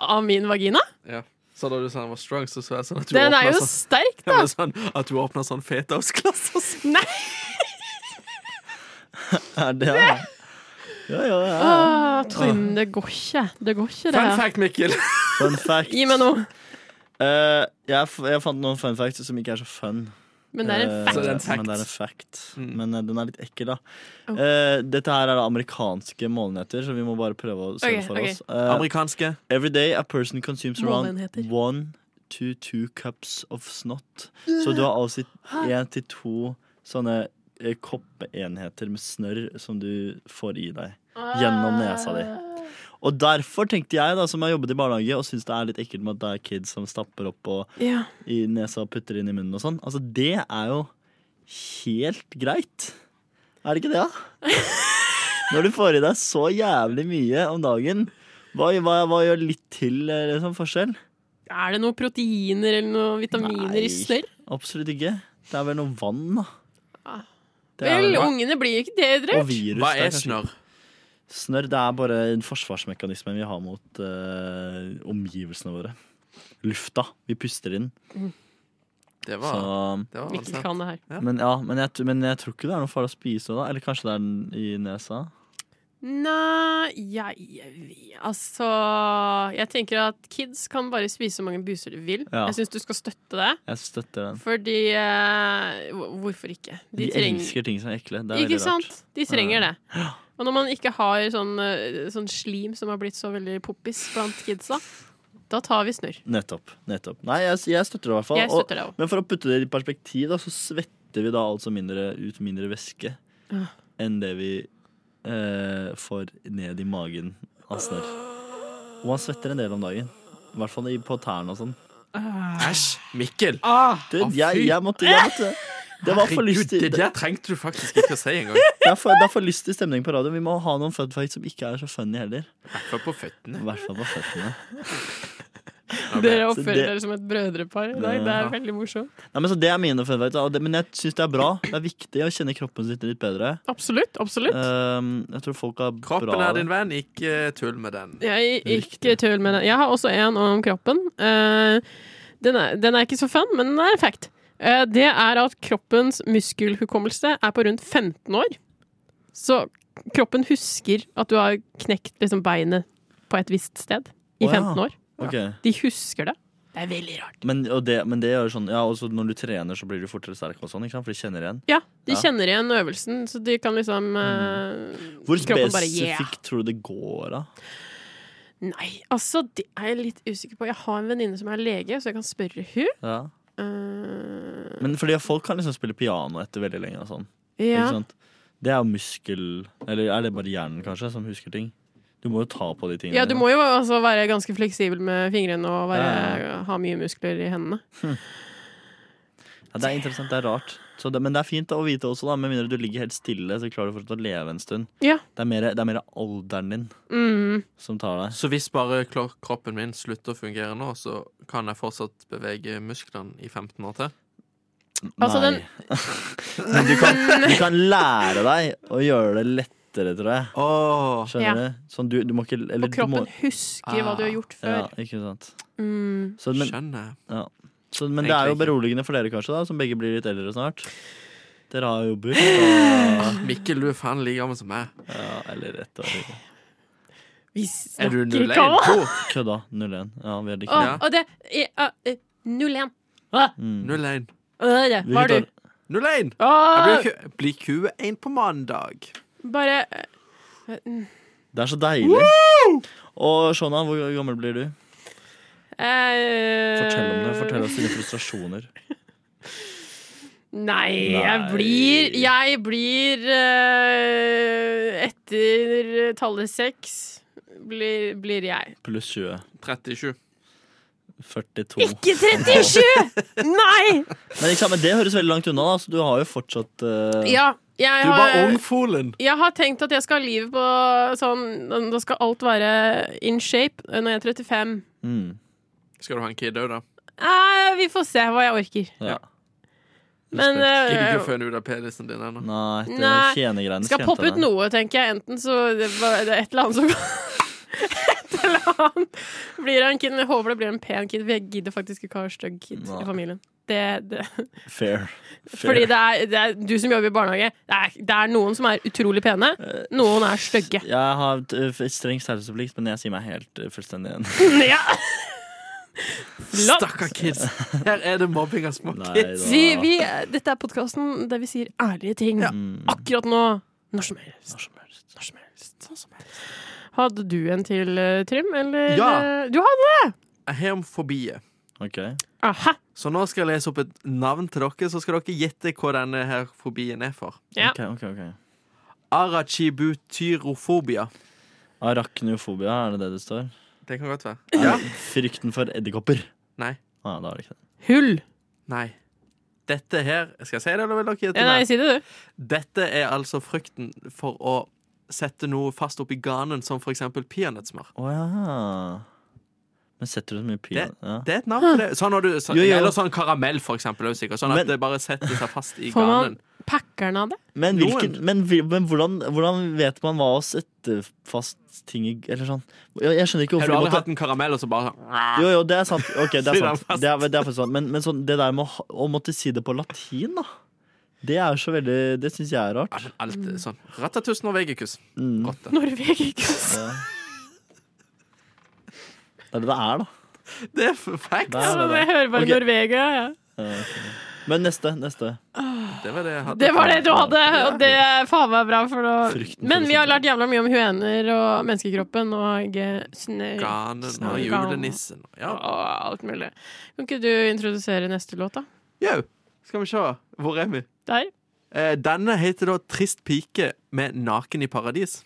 [SPEAKER 4] Av min vagina?
[SPEAKER 6] Ja. Så da du sa den var strong, så så jeg sånn at du
[SPEAKER 4] Den er
[SPEAKER 6] åpna
[SPEAKER 4] jo
[SPEAKER 5] altså.
[SPEAKER 6] sånn,
[SPEAKER 4] sterk,
[SPEAKER 6] Det
[SPEAKER 4] da.
[SPEAKER 6] var sånn, at du åpna sånn fetaostglass og sånn.
[SPEAKER 4] Nei!
[SPEAKER 5] Er det ja. Ja, ja, ja.
[SPEAKER 4] Åh, Trym, det går ikke. Det går ikke, det.
[SPEAKER 6] Fun
[SPEAKER 4] her.
[SPEAKER 6] fact, Mikkel.
[SPEAKER 5] Fun fact.
[SPEAKER 4] Gi meg noe.
[SPEAKER 5] Eh, jeg, f jeg fant noen fun facts som ikke er så fun.
[SPEAKER 4] Men det er en
[SPEAKER 5] Eh,
[SPEAKER 6] Så
[SPEAKER 4] fact.
[SPEAKER 5] Men
[SPEAKER 6] det er en
[SPEAKER 5] det er en fact.
[SPEAKER 6] Mm.
[SPEAKER 5] Men eh, den er litt ekkel, da.
[SPEAKER 4] Oh.
[SPEAKER 5] Eh, dette her er da amerikanske målenheter, så vi må bare prøve å se
[SPEAKER 4] Ok,
[SPEAKER 5] for
[SPEAKER 4] ok.
[SPEAKER 5] oss. Eh,
[SPEAKER 6] Amerikanske.
[SPEAKER 5] every day a person consumes around
[SPEAKER 4] Målenheter.
[SPEAKER 5] one to two cups of snot. Så du har altså én til to sånne eh, koppenheter med snørr som du får i deg gjennom nesa di. Og derfor tenkte jeg, da, som har jobbet i barnehage og syns det er litt ekkelt med at det er kids som stapper opp og
[SPEAKER 4] Ja.
[SPEAKER 5] i nesa og putter inn i munnen og sånn. Altså, det er jo helt greit. Er det ikke det, da? Når du får i deg så jævlig mye om dagen, hva, hva, hva gjør litt til eh, liksom, forskjell?
[SPEAKER 4] Er det noen proteiner eller noen vitaminer
[SPEAKER 5] Nei.
[SPEAKER 4] i snørr?
[SPEAKER 5] Absolutt ikke. Det er vel noe vann, da.
[SPEAKER 4] Ah.
[SPEAKER 5] Det er vel-
[SPEAKER 4] Vel, ungene blir ikke
[SPEAKER 5] og
[SPEAKER 4] dehydrert.
[SPEAKER 5] virus.
[SPEAKER 6] Hva
[SPEAKER 5] det
[SPEAKER 6] er
[SPEAKER 5] kanskje-
[SPEAKER 6] snørr?
[SPEAKER 5] Snørr det er bare en forsvarsmekanisme vi har mot eh, omgivelsene våre. Lufta. Vi puster inn.
[SPEAKER 6] Det
[SPEAKER 5] Så,
[SPEAKER 6] var, det var altså-
[SPEAKER 5] altså.
[SPEAKER 4] Mikkel
[SPEAKER 6] sant.
[SPEAKER 4] kan det her.
[SPEAKER 6] Ja.
[SPEAKER 5] Men, ja, men, jeg, men jeg tror ikke det er noe farlig å spise det. da Eller kanskje det er den i nesa?
[SPEAKER 4] Nei, jeg, jeg vet- Altså Jeg tenker at kids kan bare spise så mange buser de vil.
[SPEAKER 5] Ja.
[SPEAKER 4] Jeg syns du skal støtte det.
[SPEAKER 5] Jeg støtter den.
[SPEAKER 4] Fordi eh, hvor- Hvorfor ikke?
[SPEAKER 5] De,
[SPEAKER 4] trenger-
[SPEAKER 5] elsker ting som er ekle. Det er
[SPEAKER 4] Ikke
[SPEAKER 5] veldig rart.
[SPEAKER 4] sant? De trenger det. Og når man ikke har sånn, eh, sånn slim som har blitt så veldig poppis blant kidsa, da tar vi snørr.
[SPEAKER 5] Nettopp. nettopp Nei, jeg, jeg støtter det i hvert fall.
[SPEAKER 4] Jeg støtter det
[SPEAKER 5] og,
[SPEAKER 4] også.
[SPEAKER 5] men for å putte det i perspektiv, da, så svetter vi da altså mindre, ut mindre væske
[SPEAKER 4] Ja.
[SPEAKER 5] enn det vi eh, får ned i magen av snørr. Og man svetter en del om dagen. I hvert fall i- på tærne og sånn.
[SPEAKER 6] Æsj! Mikkel!
[SPEAKER 5] Det,
[SPEAKER 6] Å, fy.
[SPEAKER 5] jeg, jeg måtte, jeg måtte Det var for
[SPEAKER 6] Herregud,
[SPEAKER 5] lystig
[SPEAKER 6] det
[SPEAKER 5] det
[SPEAKER 6] der trengte du faktisk ikke å si engang.
[SPEAKER 5] er for, det er for lystig stemning på radioen. Vi må ha noen fun facts som ikke er så funny heller.
[SPEAKER 6] Derfor på
[SPEAKER 5] I
[SPEAKER 6] føttene.
[SPEAKER 5] hvert fall på føttene.
[SPEAKER 4] Dere
[SPEAKER 5] Så
[SPEAKER 4] oppfører
[SPEAKER 5] det-
[SPEAKER 4] dere som et brødrepar i dag. Det er veldig morsomt.
[SPEAKER 5] Nei, men så Det er mine fun facts. da, og det- Men jeg syns det er bra. Det er viktig å kjenne kroppen sin litt bedre.
[SPEAKER 4] Absolutt. absolutt.
[SPEAKER 5] Ehm, jeg tror folk har
[SPEAKER 6] Kroppen
[SPEAKER 5] bra
[SPEAKER 6] er din venn, ikke eh, tull med den.
[SPEAKER 4] Jeg, ikke tull med det. Jeg har også en om kroppen. Eh, Den er, den er ikke så fun, men den er en fact. Eh, Det er at kroppens muskelhukommelse er på rundt 15 år. Så kroppen husker at du har knekt liksom beinet på et visst sted i
[SPEAKER 5] Å ja.
[SPEAKER 4] 15 år.
[SPEAKER 5] Ok.
[SPEAKER 4] De husker det. Det er veldig rart.
[SPEAKER 5] Men, og det, men det gjør sånn Ja, også når du trener, så blir du fortere sterk og sånn, ikke sant? For de kjenner igjen.
[SPEAKER 4] Ja, de
[SPEAKER 5] Ja.
[SPEAKER 4] kjenner igjen øvelsen, så de kan liksom eh,
[SPEAKER 5] Mm. Hvor
[SPEAKER 4] Kroppen bare, yeah.
[SPEAKER 5] spesifikt tror du det går, da?
[SPEAKER 4] Nei, altså, det er jeg litt usikker på. Jeg har en venninne som er lege, så jeg kan spørre hun.
[SPEAKER 5] Ja.
[SPEAKER 4] Eh,
[SPEAKER 5] Men fordi folk kan liksom spille piano etter veldig lenge og sånn.
[SPEAKER 4] ja.
[SPEAKER 5] Ikke sant? Det er jo muskel Eller er det bare hjernen, kanskje, som husker ting? Du må jo ta på de tingene.
[SPEAKER 4] Ja, du må jo altså være ganske fleksibel med fingrene og være,
[SPEAKER 5] Ja,
[SPEAKER 4] ha mye muskler i hendene.
[SPEAKER 5] Ja, det er interessant, det er rart. Så det, men det er fint å vite også, da. Med mindre du ligger helt stille, så klarer du fortsatt å leve en stund.
[SPEAKER 4] Ja.
[SPEAKER 5] Det er mer, det er mer alderen din
[SPEAKER 4] Mm.
[SPEAKER 5] som tar deg.
[SPEAKER 6] Så hvis bare klo- kroppen min slutter å fungere nå, så kan jeg fortsatt bevege musklene i 15 år til?
[SPEAKER 4] Altså,
[SPEAKER 5] Nei.
[SPEAKER 4] den-
[SPEAKER 5] Men du kan, du kan lære deg å gjøre det lettere, tror jeg.
[SPEAKER 6] Åh,
[SPEAKER 5] Skjønner
[SPEAKER 4] Ja.
[SPEAKER 5] du? Sånn, du, du må ikke eller,
[SPEAKER 4] Og kroppen
[SPEAKER 5] du må, Ah,
[SPEAKER 4] husker hva du har gjort før.
[SPEAKER 5] Ja, ikke sant.
[SPEAKER 4] Mm.
[SPEAKER 5] Så, men
[SPEAKER 6] skjønner.
[SPEAKER 5] så, men det er jo
[SPEAKER 6] Egentlig ikke.
[SPEAKER 5] beroligende for dere, kanskje, da, som begge blir litt eldre snart. Dere har jo buss og
[SPEAKER 6] Mikkel, du er faen like gammel som meg.
[SPEAKER 5] ja, Eller ett år. ikke.
[SPEAKER 4] Vi
[SPEAKER 6] Er du
[SPEAKER 4] snakker
[SPEAKER 6] 01?
[SPEAKER 4] hva?
[SPEAKER 5] Kødda. 01. Ja, vi er like
[SPEAKER 4] Og,
[SPEAKER 6] Ja.
[SPEAKER 4] og det er, uh, uh, 01.
[SPEAKER 5] mm.
[SPEAKER 6] 01.
[SPEAKER 4] Øh, det
[SPEAKER 5] Hvilket
[SPEAKER 4] Var du?
[SPEAKER 5] år?
[SPEAKER 6] 01! Jeg
[SPEAKER 4] Åh,
[SPEAKER 6] blir ku- blir Q1 på mandag.
[SPEAKER 4] bare øh, øh,
[SPEAKER 5] Det er så deilig. Og Shona, hvor gammel blir du?
[SPEAKER 4] eh,
[SPEAKER 5] Fortell om det. Fortell oss dine frustrasjoner.
[SPEAKER 4] Nei, jeg
[SPEAKER 5] Nei.
[SPEAKER 4] blir Jeg blir øh, Etter tallet seks blir, blir jeg.
[SPEAKER 5] Pluss 20.
[SPEAKER 6] 37.
[SPEAKER 5] 42.
[SPEAKER 4] Ikke 37! Nei!
[SPEAKER 5] Men, ikke sant, men det høres veldig langt unna, da, så du har jo fortsatt eh,
[SPEAKER 4] Ja, jeg
[SPEAKER 6] Du var
[SPEAKER 4] har,
[SPEAKER 6] ungfolen.
[SPEAKER 4] jeg har tenkt at jeg skal ha livet på sånn Da skal alt være in shape når jeg er 35.
[SPEAKER 5] mm,
[SPEAKER 6] Skal du ha en kid òg, da?
[SPEAKER 4] Eh, vi får se hva jeg orker.
[SPEAKER 5] ja.
[SPEAKER 4] Men
[SPEAKER 6] Gidder du
[SPEAKER 4] eh,
[SPEAKER 6] ikke å føne ut av penisen din ennå?
[SPEAKER 5] Nei, det
[SPEAKER 4] Nei.
[SPEAKER 5] tjenegreiene
[SPEAKER 4] skal poppe ut noe, tenker jeg. Enten så det var- det er et eller annet som Et eller annet blir en kid. Men jeg håper det blir en pen kid, for jeg gidder faktisk ikke å ha en stygg kid
[SPEAKER 5] Nei.
[SPEAKER 4] i familien. Det, det.
[SPEAKER 5] Fair. Fair.
[SPEAKER 4] Fordi det er, det er du som jobber i barnehage, det er, det er noen som er utrolig pene, noen er stygge.
[SPEAKER 5] Jeg har et, eh, streng størrelsesplikt, men jeg sier meg helt eh, fullstendig igjen.
[SPEAKER 4] Ja. Flott!
[SPEAKER 6] Stakkar kids. Her er det mobbing av små
[SPEAKER 5] Nei,
[SPEAKER 6] kids.
[SPEAKER 5] da-
[SPEAKER 4] Vi, vi, dette er podkasten der vi sier ærlige ting
[SPEAKER 5] Mm,
[SPEAKER 4] akkurat nå. Når som helst.
[SPEAKER 5] Når som helst.
[SPEAKER 4] Når som helst. Hadde du en til, eh, Trym? Eller
[SPEAKER 6] Ja.
[SPEAKER 4] eh, Du hadde
[SPEAKER 6] Jeg har om fobier.
[SPEAKER 5] Ok.
[SPEAKER 4] Aha.
[SPEAKER 6] Så nå skal jeg lese opp et navn til dere, så skal dere gjette hva denne her fobien er for.
[SPEAKER 4] Ja.
[SPEAKER 5] ok, ok, ok.
[SPEAKER 6] Arachibutyrofobia.
[SPEAKER 5] Arachnofobia, er det det det står?
[SPEAKER 6] Det kan godt være.
[SPEAKER 5] Er
[SPEAKER 6] Ja.
[SPEAKER 5] det Frykten for edderkopper.
[SPEAKER 6] Nei.
[SPEAKER 5] Ah, da er det ikke det.
[SPEAKER 4] Hull.
[SPEAKER 6] Nei. Dette her Skal jeg si det, eller vil dere gjette
[SPEAKER 4] Ja, nei,
[SPEAKER 6] mer?
[SPEAKER 4] si det, du.
[SPEAKER 6] Dette er altså frykten for å sette noe fast oppi ganen, som for eksempel peanøttsmør.
[SPEAKER 5] Å ja. Men setter du så mye pil?
[SPEAKER 6] Det-
[SPEAKER 5] Ja.
[SPEAKER 6] Det er et navn for det. Sånn når du, så,
[SPEAKER 5] Jo, jo.
[SPEAKER 6] Eller sånn karamell, for eksempel. er jo sikkert. Sånn at
[SPEAKER 5] Men-
[SPEAKER 6] det bare setter seg fast i
[SPEAKER 4] Får man
[SPEAKER 6] ganen.
[SPEAKER 4] packeren av det?
[SPEAKER 5] Men,
[SPEAKER 6] Noen.
[SPEAKER 5] hvilken, men, hvil- men hvordan, hvordan vet man hva å sette fast ting i Eller sånn. Jeg, jeg skjønner ikke
[SPEAKER 6] Har
[SPEAKER 5] hvorfor
[SPEAKER 6] du
[SPEAKER 5] du
[SPEAKER 6] aldri
[SPEAKER 5] måtte
[SPEAKER 6] hatt en karamell, og så bare sånn
[SPEAKER 5] Jo, jo, det er sant. Ok, det er
[SPEAKER 6] Syr han
[SPEAKER 5] sant.
[SPEAKER 6] fast.
[SPEAKER 5] Det er, det er faktisk sant. Men, men sånn, det der med å, ha- å måtte si det på latin, da. Det er jo så veldig Det syns jeg er rart.
[SPEAKER 6] Ja, men alt
[SPEAKER 4] Mm.
[SPEAKER 6] er sånn. Ratatus norvegicus.
[SPEAKER 5] Mm.
[SPEAKER 6] Rotte.
[SPEAKER 4] Norvegikus.
[SPEAKER 5] Ja. Det er det det er, da.
[SPEAKER 6] Det er fact.
[SPEAKER 5] Det er
[SPEAKER 4] Altså,
[SPEAKER 5] det det
[SPEAKER 4] jeg
[SPEAKER 5] er.
[SPEAKER 4] hører bare
[SPEAKER 5] Ok.
[SPEAKER 4] Norvegia. Ja.
[SPEAKER 5] Men neste. neste
[SPEAKER 6] Det var det jeg hadde.
[SPEAKER 4] Det var det du hadde, og det er faen meg bra. For nå.
[SPEAKER 5] Frykten for
[SPEAKER 4] Men vi har
[SPEAKER 5] eksempel.
[SPEAKER 4] lært jævla mye om huener og menneskekroppen og eh, snø
[SPEAKER 6] Ganen og
[SPEAKER 4] Organ.
[SPEAKER 6] julenissen. Ja.
[SPEAKER 4] og alt mulig. Kan ikke du introdusere neste låt, da?
[SPEAKER 6] Jau, skal vi se. Hvor er vi?
[SPEAKER 4] Der.
[SPEAKER 6] Eh, Denne heter da Trist pike med naken i paradis.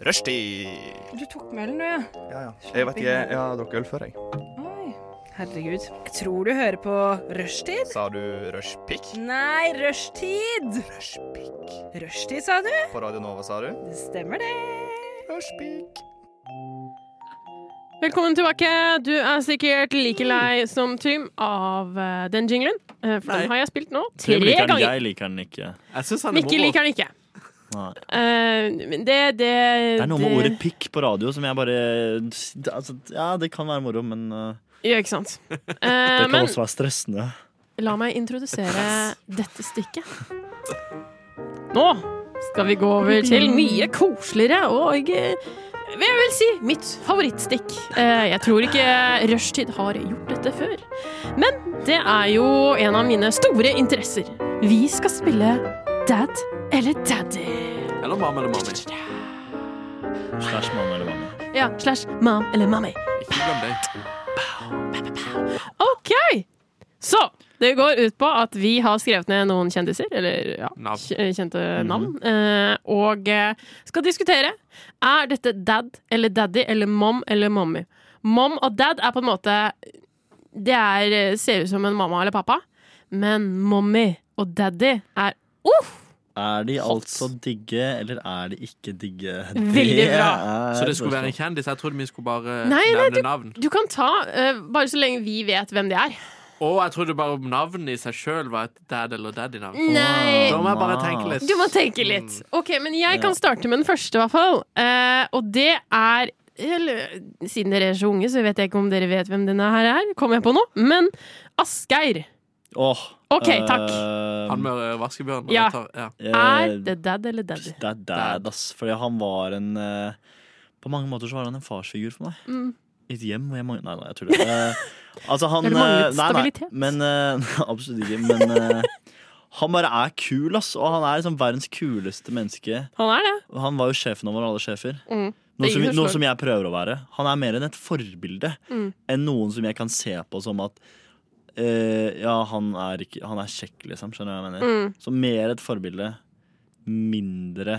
[SPEAKER 7] Rushtid.
[SPEAKER 8] Du tok med ølen, du, ja.
[SPEAKER 7] Ja, ja. Jeg vet ikke, jeg har drukket øl før, jeg.
[SPEAKER 8] Oi. Herregud. Jeg tror du hører på rushtid.
[SPEAKER 7] Sa du rushpick?
[SPEAKER 8] Nei, rushtid!
[SPEAKER 7] Rushpick.
[SPEAKER 8] Rushtid, sa du?
[SPEAKER 7] På Radio Nova, sa du?
[SPEAKER 8] Det stemmer, det.
[SPEAKER 7] Rushpick.
[SPEAKER 4] Velkommen tilbake. Du er sikkert like lei som Trym av eh, den jinglen. eh, For
[SPEAKER 6] Nei.
[SPEAKER 4] den har jeg spilt nå tre
[SPEAKER 5] Trym liker den,
[SPEAKER 4] ganger.
[SPEAKER 5] jeg liker den ikke.
[SPEAKER 6] Jeg syns han er
[SPEAKER 4] Mikkel
[SPEAKER 6] moro.
[SPEAKER 4] liker den ikke.
[SPEAKER 5] Nei.
[SPEAKER 4] Eh, men det, det
[SPEAKER 5] Det er noe med ordet 'pikk' på radio som jeg bare det- altså, Ja, det kan være moro, men uh,
[SPEAKER 4] Ja, ikke sant. Eh,
[SPEAKER 5] det kan
[SPEAKER 4] men
[SPEAKER 5] også være stressende.
[SPEAKER 4] la meg introdusere dette stykket. Nå skal vi gå over til mye koseligere og eh, jeg vil si mitt favorittstikk. Eh, Jeg tror ikke Rushtid har gjort dette før. Men det er jo en av mine store interesser. Vi skal spille Dad eller Daddy.
[SPEAKER 6] Eller mamma eller mammi.
[SPEAKER 5] Slash mamma eller mamma.
[SPEAKER 4] Ja, slash mom eller mommy.
[SPEAKER 6] Ikke glem det.
[SPEAKER 4] OK! Så det går ut på at vi har skrevet ned noen kjendiser, eller ja,
[SPEAKER 6] Navn.
[SPEAKER 4] kj- kjente navn, eh, og eh, skal diskutere. Er dette dad eller daddy eller mom eller mommy? Mom og dad er på en måte Det er, eh, ser ut som en mamma eller pappa, men mommy og daddy er uh, uff!
[SPEAKER 5] Er de altså digge, eller er de ikke digge?
[SPEAKER 4] Veldig bra.
[SPEAKER 6] Så det skulle være en kjendis? Jeg trodde vi skulle bare
[SPEAKER 4] Nei, nei,
[SPEAKER 6] nevne navn.
[SPEAKER 4] Du kan ta, eh, bare så lenge vi vet hvem det er.
[SPEAKER 6] Og jeg trodde bare navnet i seg sjøl var et dad eller daddy-navn.
[SPEAKER 4] Nei!
[SPEAKER 6] Da må jeg bare tenke litt.
[SPEAKER 4] Du må tenke litt. Ok, men jeg kan starte med den første, i hvert fall. Eh, og det er eller, Siden dere er så unge, så vet jeg ikke om dere vet hvem denne her er. Kom jeg på nå? Men Asgeir.
[SPEAKER 5] Åh,
[SPEAKER 4] Ok, takk.
[SPEAKER 5] eh,
[SPEAKER 6] Han med vaskebjørn.
[SPEAKER 4] Ja.
[SPEAKER 6] Tar, ja.
[SPEAKER 5] eh,
[SPEAKER 4] Er det dad eller daddy?
[SPEAKER 5] Det er dad, ass. Fordi han var en eh, På mange måter så var han en farsfigur for meg.
[SPEAKER 4] Mm.
[SPEAKER 5] I et hjem hvor jeg mang- Nei, nei, jeg tuller. Eh, altså, han
[SPEAKER 4] Det manglet
[SPEAKER 5] eh, nei, nei,
[SPEAKER 4] stabilitet.
[SPEAKER 5] Men, eh, absolutt ikke. Men eh, han bare er kul, ass. Og han er liksom verdens kuleste menneske.
[SPEAKER 4] Han er det.
[SPEAKER 5] Og Han var jo sjefen over alle sjefer.
[SPEAKER 4] Mm.
[SPEAKER 5] Noe
[SPEAKER 4] Det er
[SPEAKER 5] som,
[SPEAKER 4] ingen som
[SPEAKER 5] noe
[SPEAKER 4] slår.
[SPEAKER 5] som jeg prøver å være. Han er mer enn et forbilde
[SPEAKER 4] Mm.
[SPEAKER 5] enn noen som jeg kan se på som at eh, Ja, han er, ikke, han er kjekk, liksom. Skjønner du hva jeg mener?
[SPEAKER 4] Mm.
[SPEAKER 5] Så mer et forbilde, mindre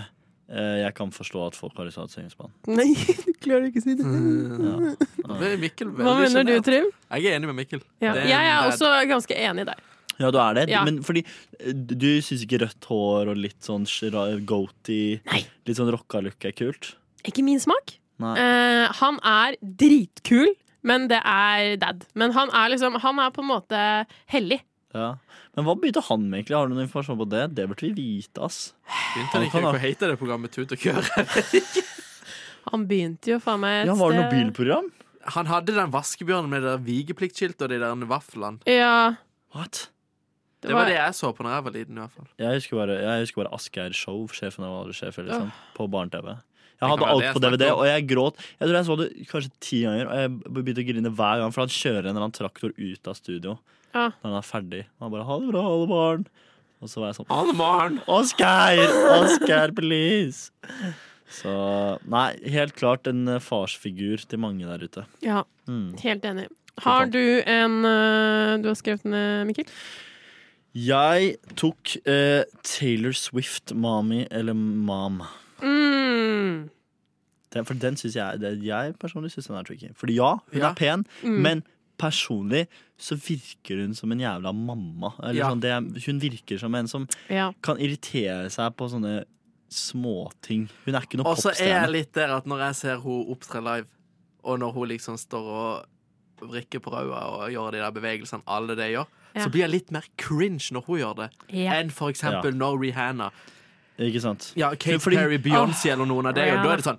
[SPEAKER 5] eh, jeg kan forstå at folk har lyst til å ha et sengespann.
[SPEAKER 4] Nei, du klarer ikke å si det.
[SPEAKER 6] Mm.
[SPEAKER 4] Mm.
[SPEAKER 5] Ja.
[SPEAKER 6] Da ble Mikkel
[SPEAKER 4] Hva
[SPEAKER 6] veldig
[SPEAKER 4] mener du,
[SPEAKER 6] sjenert.
[SPEAKER 4] Trym?
[SPEAKER 6] Jeg er enig med Mikkel.
[SPEAKER 4] Ja.
[SPEAKER 6] Det er en
[SPEAKER 4] Jeg er
[SPEAKER 6] dad.
[SPEAKER 4] også ganske enig der.
[SPEAKER 5] ja, du er det.
[SPEAKER 4] Ja.
[SPEAKER 5] Men fordi eh, du syns ikke rødt hår og litt sånn shra- goatee,
[SPEAKER 4] Nei.
[SPEAKER 5] litt sånn rocka look er kult?
[SPEAKER 4] Ikke min smak.
[SPEAKER 5] Nei.
[SPEAKER 4] Eh, han er dritkul, men det er dad. Men han er liksom Han er på en måte hellig.
[SPEAKER 5] Ja. Men hva begynte han med egentlig? Har du noen informasjon på det? Det burde vi vite, ass.
[SPEAKER 6] Begynte han ikke
[SPEAKER 5] Han kan
[SPEAKER 6] Hva heter det programmet Tut og Kjør?
[SPEAKER 4] Han begynte jo faen meg et eh,
[SPEAKER 5] Ja, var det noe
[SPEAKER 4] sted-
[SPEAKER 5] bilprogram?
[SPEAKER 6] Han hadde den vaskebjørnen med det der vigepliktskiltet og de der vaflene.
[SPEAKER 4] Ja,
[SPEAKER 5] What?
[SPEAKER 4] det,
[SPEAKER 6] Det var det jeg så på når jeg var liten. i hvert fall
[SPEAKER 5] Jeg husker bare, jeg husker bare Asgeir Show, sjefen av alle sjefer, liksom, på barne-TV. Jeg Jeg hadde
[SPEAKER 6] være
[SPEAKER 5] alt
[SPEAKER 6] det jeg
[SPEAKER 5] på DVD,
[SPEAKER 6] snakker om.
[SPEAKER 5] og jeg gråt. Jeg tror jeg så det kanskje ti ganger, og jeg begynte å grine hver gang, for han kjører en eller annen traktor ut av studio
[SPEAKER 4] Ja.
[SPEAKER 5] når han er ferdig. Og han bare 'ha det bra, alle barn'. Og så var jeg sånn
[SPEAKER 6] Han Maren!
[SPEAKER 5] Oscar! Oscar, please! Så Nei, helt klart en eh, farsfigur til mange der ute.
[SPEAKER 4] Ja,
[SPEAKER 5] Mm.
[SPEAKER 4] helt enig. Har du en eh, Du har skrevet ned, Mikkel?
[SPEAKER 5] Jeg tok eh, Taylor Swift, Mami eller Mam.
[SPEAKER 4] Mm.
[SPEAKER 5] Den, for den synes jeg, det, jeg personlig syns den er tricky. Fordi ja, hun
[SPEAKER 6] Ja. Mm.
[SPEAKER 5] er pen, men personlig så virker hun som en jævla mamma. Eller
[SPEAKER 6] Ja.
[SPEAKER 5] sånn, det, er- hun virker som en som
[SPEAKER 4] Ja.
[SPEAKER 5] kan irritere seg på sånne småting. Hun er ikke noe
[SPEAKER 6] Og så er jeg
[SPEAKER 5] popstjerne.
[SPEAKER 6] litt der at når jeg ser hun opptre live, og når hun liksom står og vrikker på ræva og gjør de der bevegelsene alle de gjør,
[SPEAKER 4] Ja.
[SPEAKER 6] så blir jeg litt mer cringe når hun gjør det,
[SPEAKER 4] Ja.
[SPEAKER 6] enn for eksempel når Rihanna
[SPEAKER 5] Ikke sant?
[SPEAKER 6] Ja, Kate
[SPEAKER 5] Fordi-
[SPEAKER 6] Perry, Beyoncé eller noen av de, og da er det sånn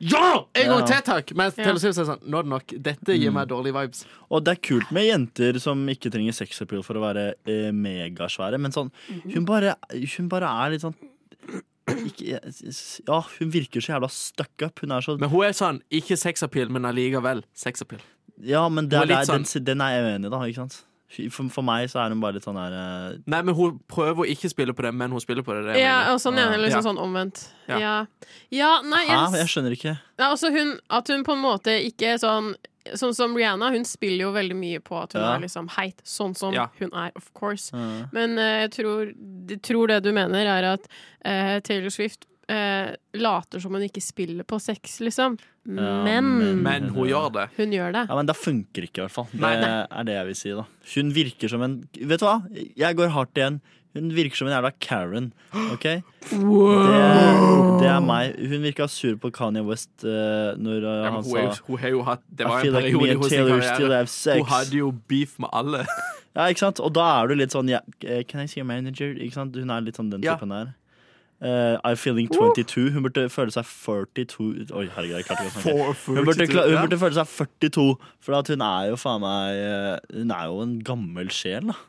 [SPEAKER 6] ja! En gang
[SPEAKER 5] Ja.
[SPEAKER 6] til, takk! Mens
[SPEAKER 4] Ja.
[SPEAKER 6] Taylor Swift er sånn Nå er det nok. Dette gir meg dårlige vibes.
[SPEAKER 5] Og det er kult med jenter som ikke trenger sex appeal for å være eh, megasvære, men sånn
[SPEAKER 6] Mhm.
[SPEAKER 5] hun, bare, hun bare er litt sånn ikke, Ja, hun virker så jævla stuck up. Hun er så
[SPEAKER 6] Men hun er sånn ikke sexappeal, men allikevel sexappeal.
[SPEAKER 5] Ja, men det,
[SPEAKER 6] hun er
[SPEAKER 5] er
[SPEAKER 6] litt sånn-
[SPEAKER 5] den, den er jeg uenig i, da. Ikke sant? For, for meg så er hun bare litt sånn her eh,
[SPEAKER 6] Nei, men hun prøver å ikke spille på det, men hun spiller på det. det er det jeg
[SPEAKER 4] Ja,
[SPEAKER 6] mener.
[SPEAKER 4] og sånn ene, eller
[SPEAKER 6] Ja.
[SPEAKER 4] liksom sånn omvendt.
[SPEAKER 6] Ja.
[SPEAKER 4] Ja, ja nei,
[SPEAKER 5] Hæ?
[SPEAKER 4] jeg,
[SPEAKER 5] Jeg skjønner ikke.
[SPEAKER 4] Nei, altså hun, at hun på en måte ikke er sånn Sånn som Rihanna, hun spiller jo veldig mye på at hun
[SPEAKER 5] Ja.
[SPEAKER 4] er liksom heit, sånn som
[SPEAKER 6] Ja.
[SPEAKER 4] hun er, of course.
[SPEAKER 5] Ja.
[SPEAKER 4] Men eh, jeg tror, jeg tror det du mener, er at eh, Taylor Swift eh, later som hun ikke spiller på sex, liksom.
[SPEAKER 5] Ja,
[SPEAKER 4] men,
[SPEAKER 5] men-
[SPEAKER 6] Men hun gjør det.
[SPEAKER 4] hun gjør det.
[SPEAKER 5] Ja, men det funker ikke, i hvert fall. Det
[SPEAKER 6] Nei,
[SPEAKER 5] er det jeg vil si, da. Hun virker som en Vet du hva? Jeg går hardt igjen. Hun virker som en jævla Karen, OK? Det, det er meg. Hun virka sur på Kanye West eh, når eh,
[SPEAKER 6] Ja, men
[SPEAKER 5] han
[SPEAKER 6] hun, er jo,
[SPEAKER 5] sa
[SPEAKER 6] hun har jo hatt Det var
[SPEAKER 5] I
[SPEAKER 6] en
[SPEAKER 5] feel like me
[SPEAKER 6] periode i
[SPEAKER 5] and
[SPEAKER 6] hennes
[SPEAKER 5] Taylor still
[SPEAKER 6] karriere.
[SPEAKER 5] have sex.
[SPEAKER 6] Hun hadde jo beef med alle.
[SPEAKER 5] Ja, ikke sant? Og da er du litt sånn ja, eh, Can I see your manager? Ikke sant? Hun er litt sånn den
[SPEAKER 6] Ja.
[SPEAKER 5] typen der. Eh, I'm feeling 22. Hun burde føle seg 42 Oi, herregud, jeg klarte ikke å snakke. Hun burde, kla- hun burde føle seg 42, for at hun er jo faen meg eh, Hun er jo en gammel sjel, da.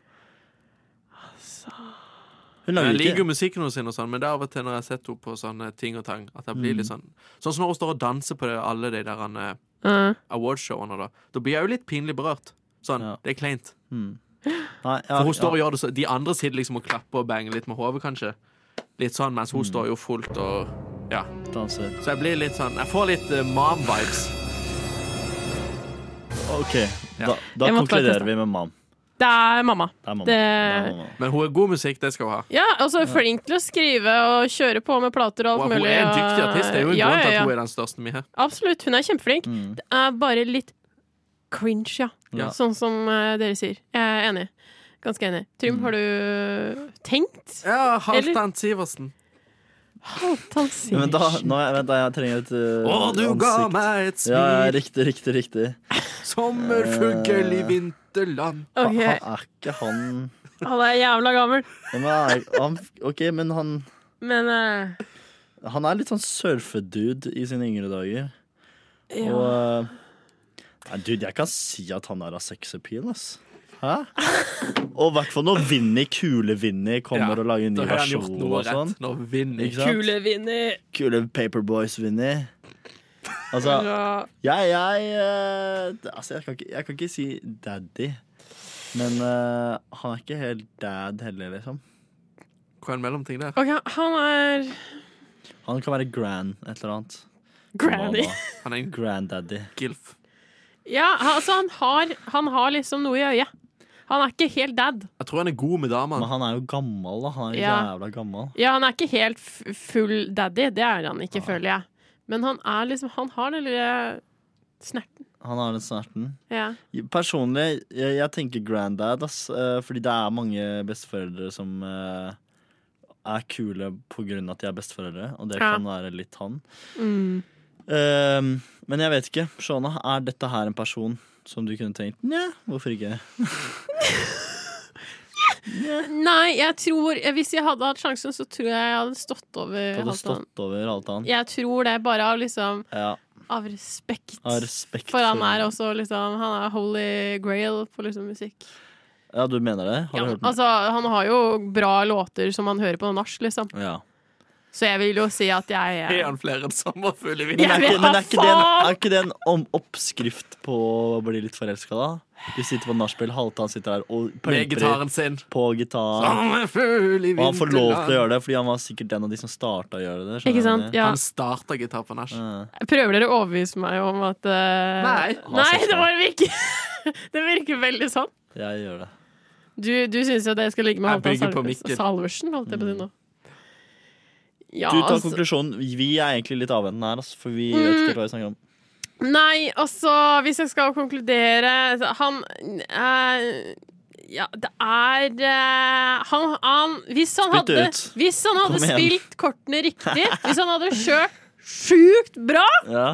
[SPEAKER 5] Hun
[SPEAKER 6] Jeg
[SPEAKER 5] lager
[SPEAKER 6] liker
[SPEAKER 5] ikke
[SPEAKER 6] jo musikken hennes, og sånn, men det er av og til når jeg har sett henne på sånne ting og tang At jeg blir
[SPEAKER 5] Mm.
[SPEAKER 6] litt sånn Sånn som når hun står og danser på det, alle de der eh,
[SPEAKER 4] Eh,
[SPEAKER 6] awardshowene. Da Da blir jeg jo litt pinlig berørt. Sånn,
[SPEAKER 5] Ja.
[SPEAKER 6] Det er kleint.
[SPEAKER 5] Nei, ja,
[SPEAKER 6] For hun står og
[SPEAKER 5] ja.
[SPEAKER 6] gjør det så De andre sitter liksom og klapper og banger litt med hodet, kanskje. Litt sånn, Mens
[SPEAKER 5] Mm.
[SPEAKER 6] hun står jo fullt og Ja.
[SPEAKER 5] danser.
[SPEAKER 6] Så jeg blir litt sånn Jeg får litt eh, mom-vibes.
[SPEAKER 5] OK,
[SPEAKER 6] Ja.
[SPEAKER 5] da, da
[SPEAKER 4] Jeg måtte bare
[SPEAKER 5] konkluderer
[SPEAKER 4] teste.
[SPEAKER 5] vi med mam.
[SPEAKER 4] det er mamma.
[SPEAKER 5] Det er
[SPEAKER 4] Det-
[SPEAKER 5] mamma. Det er mamma.
[SPEAKER 6] Men hun er god musikk, det skal hun ha.
[SPEAKER 4] Ja, altså flink til å skrive og kjøre på med plater og alt
[SPEAKER 6] Og hun
[SPEAKER 4] mulig.
[SPEAKER 6] er en dyktig
[SPEAKER 4] og-
[SPEAKER 6] artist. Det er jo en
[SPEAKER 4] Ja,
[SPEAKER 6] grunn til
[SPEAKER 4] ja,
[SPEAKER 6] at
[SPEAKER 4] ja.
[SPEAKER 6] hun er den største vi har.
[SPEAKER 4] Absolutt, hun er kjempeflink.
[SPEAKER 5] Mm.
[SPEAKER 4] Det er bare litt cringe, ja.
[SPEAKER 6] Ja.
[SPEAKER 4] Sånn som eh, dere sier. Jeg er enig. Ganske enig. Trym,
[SPEAKER 5] Mm.
[SPEAKER 4] har du tenkt?
[SPEAKER 6] Ja,
[SPEAKER 4] Halvdan
[SPEAKER 6] Halvdan Sivertsen.
[SPEAKER 4] Halvdan
[SPEAKER 5] Ja, Men da,
[SPEAKER 4] Sivertsen.
[SPEAKER 5] nå, vent, da, jeg trenger et uh,
[SPEAKER 6] Å, du ga
[SPEAKER 5] ansikt.
[SPEAKER 6] meg et smil,
[SPEAKER 5] Ja, ja, riktig, riktig, riktig.
[SPEAKER 6] sommerfugl i
[SPEAKER 5] Eh.
[SPEAKER 6] vinterland.
[SPEAKER 4] Ok,
[SPEAKER 5] Han er ikke han
[SPEAKER 4] Han er jævla gammel,
[SPEAKER 5] Ja, men han, er- han OK, men han
[SPEAKER 4] men eh,
[SPEAKER 5] Han er litt sånn surfedude i sine yngre dager.
[SPEAKER 4] ja.
[SPEAKER 5] Og eh, Nei, dude, jeg kan si at han er av sex appeal, ass. Hæ? Og i hvert fall når Vinni Kule-Vinni kommer og lager en ny
[SPEAKER 6] da har han gjort
[SPEAKER 5] versjon
[SPEAKER 6] noe
[SPEAKER 5] og sånn.
[SPEAKER 6] rett. Nå vinner
[SPEAKER 5] Ikke
[SPEAKER 6] jeg.
[SPEAKER 5] sant?
[SPEAKER 4] Kule vinner.
[SPEAKER 5] Kule Paperboys-Vinni. Altså,
[SPEAKER 4] Ja.
[SPEAKER 5] jeg jeg, eh, altså jeg, kan ikke, jeg kan ikke si daddy, men eh, han er ikke helt dad heller, liksom.
[SPEAKER 6] Hva er en mellomting der?
[SPEAKER 4] Ok, han er
[SPEAKER 5] Han kan være gran et eller annet.
[SPEAKER 4] granny.
[SPEAKER 5] Mamma.
[SPEAKER 6] Han er en
[SPEAKER 5] Granddaddy.
[SPEAKER 6] gilf.
[SPEAKER 4] Ja, han- altså han har, han har liksom noe i øyet. Han er ikke helt dad.
[SPEAKER 6] Jeg tror han er god
[SPEAKER 5] Men
[SPEAKER 6] med damene.
[SPEAKER 5] han er jo gammel, da. Han er
[SPEAKER 4] Ja.
[SPEAKER 5] jævla gammel.
[SPEAKER 4] Ja, han er ikke helt f full daddy, det er han ikke, føler jeg. Men han er liksom, han har den lille snerten.
[SPEAKER 5] Han har den snerten.
[SPEAKER 4] Ja.
[SPEAKER 5] Personlig, jeg, jeg tenker granddad, ass. eh, Fordi det er mange besteforeldre som eh, er kule på grunn av at de er besteforeldre, og det
[SPEAKER 4] Ja. Mm.
[SPEAKER 5] kan være litt han. Ehm, men jeg vet ikke. Shona, er dette her en person som du kunne tenkt Nja, hvorfor ikke?
[SPEAKER 4] Nei, jeg tror eh, Hvis jeg hadde hatt sjansen, så tror jeg jeg hadde stått over
[SPEAKER 5] Hadde
[SPEAKER 4] Halvdan.
[SPEAKER 5] stått over alt annet.
[SPEAKER 4] Jeg tror det, bare av liksom
[SPEAKER 5] Ja,
[SPEAKER 4] Av respekt.
[SPEAKER 5] av respekt
[SPEAKER 4] For han er også liksom Han er holy grail på liksom musikk.
[SPEAKER 5] Ja, du mener det? Har
[SPEAKER 4] Ja,
[SPEAKER 5] du hørt den?
[SPEAKER 4] altså, han har jo bra låter som han hører på nach, liksom.
[SPEAKER 5] Ja.
[SPEAKER 4] Så jeg vil jo si at jeg
[SPEAKER 6] Er
[SPEAKER 4] eh,
[SPEAKER 6] han flere enn sommerfugl i
[SPEAKER 4] Jeg
[SPEAKER 5] Men
[SPEAKER 6] vinduet?
[SPEAKER 5] er
[SPEAKER 4] vet
[SPEAKER 5] ikke, men er ikke det en,
[SPEAKER 4] faen!
[SPEAKER 5] er ikke det en om, oppskrift på å bli litt forelska, da? Du sitter på nachspiel, Halvdan sitter der og
[SPEAKER 6] Med
[SPEAKER 5] pumper
[SPEAKER 6] gitaren sin.
[SPEAKER 5] på gitar.
[SPEAKER 6] Sommerfugl i
[SPEAKER 5] Og han får lov til å
[SPEAKER 6] vinterland.
[SPEAKER 5] gjøre det, fordi han var sikkert en av de som starta å gjøre det. skjønner
[SPEAKER 4] Ikke
[SPEAKER 5] du hva
[SPEAKER 4] sant?
[SPEAKER 5] jeg
[SPEAKER 4] Ja.
[SPEAKER 6] Han starter gitar på nach.
[SPEAKER 5] mener?
[SPEAKER 4] Prøver dere å overbevise meg om at eh,
[SPEAKER 6] Nei.
[SPEAKER 4] Nei, det var virker Det virker veldig sånn.
[SPEAKER 5] Ja, jeg gjør det.
[SPEAKER 4] Du, du syns jo at jeg skal ligge med
[SPEAKER 6] Jeg
[SPEAKER 4] Halvdan
[SPEAKER 6] bygger på
[SPEAKER 4] Sal-
[SPEAKER 6] Mikkel.
[SPEAKER 4] Salversen, holdt jeg på å si nå. Ja,
[SPEAKER 5] Mm. Du tar
[SPEAKER 4] altså. Mm.
[SPEAKER 5] konklusjonen. Vi er egentlig litt avventende her, altså, for vi vet ikke helt hva vi snakker om.
[SPEAKER 4] Nei, altså, hvis jeg skal konkludere så Han eh, Ja, det er eh, han, han Hvis han
[SPEAKER 5] Spytt det
[SPEAKER 4] hadde,
[SPEAKER 5] ut.
[SPEAKER 4] hvis han hadde
[SPEAKER 5] Kom igjen.
[SPEAKER 4] spilt kortene riktig, hvis han hadde kjørt sjukt bra,
[SPEAKER 5] Ja,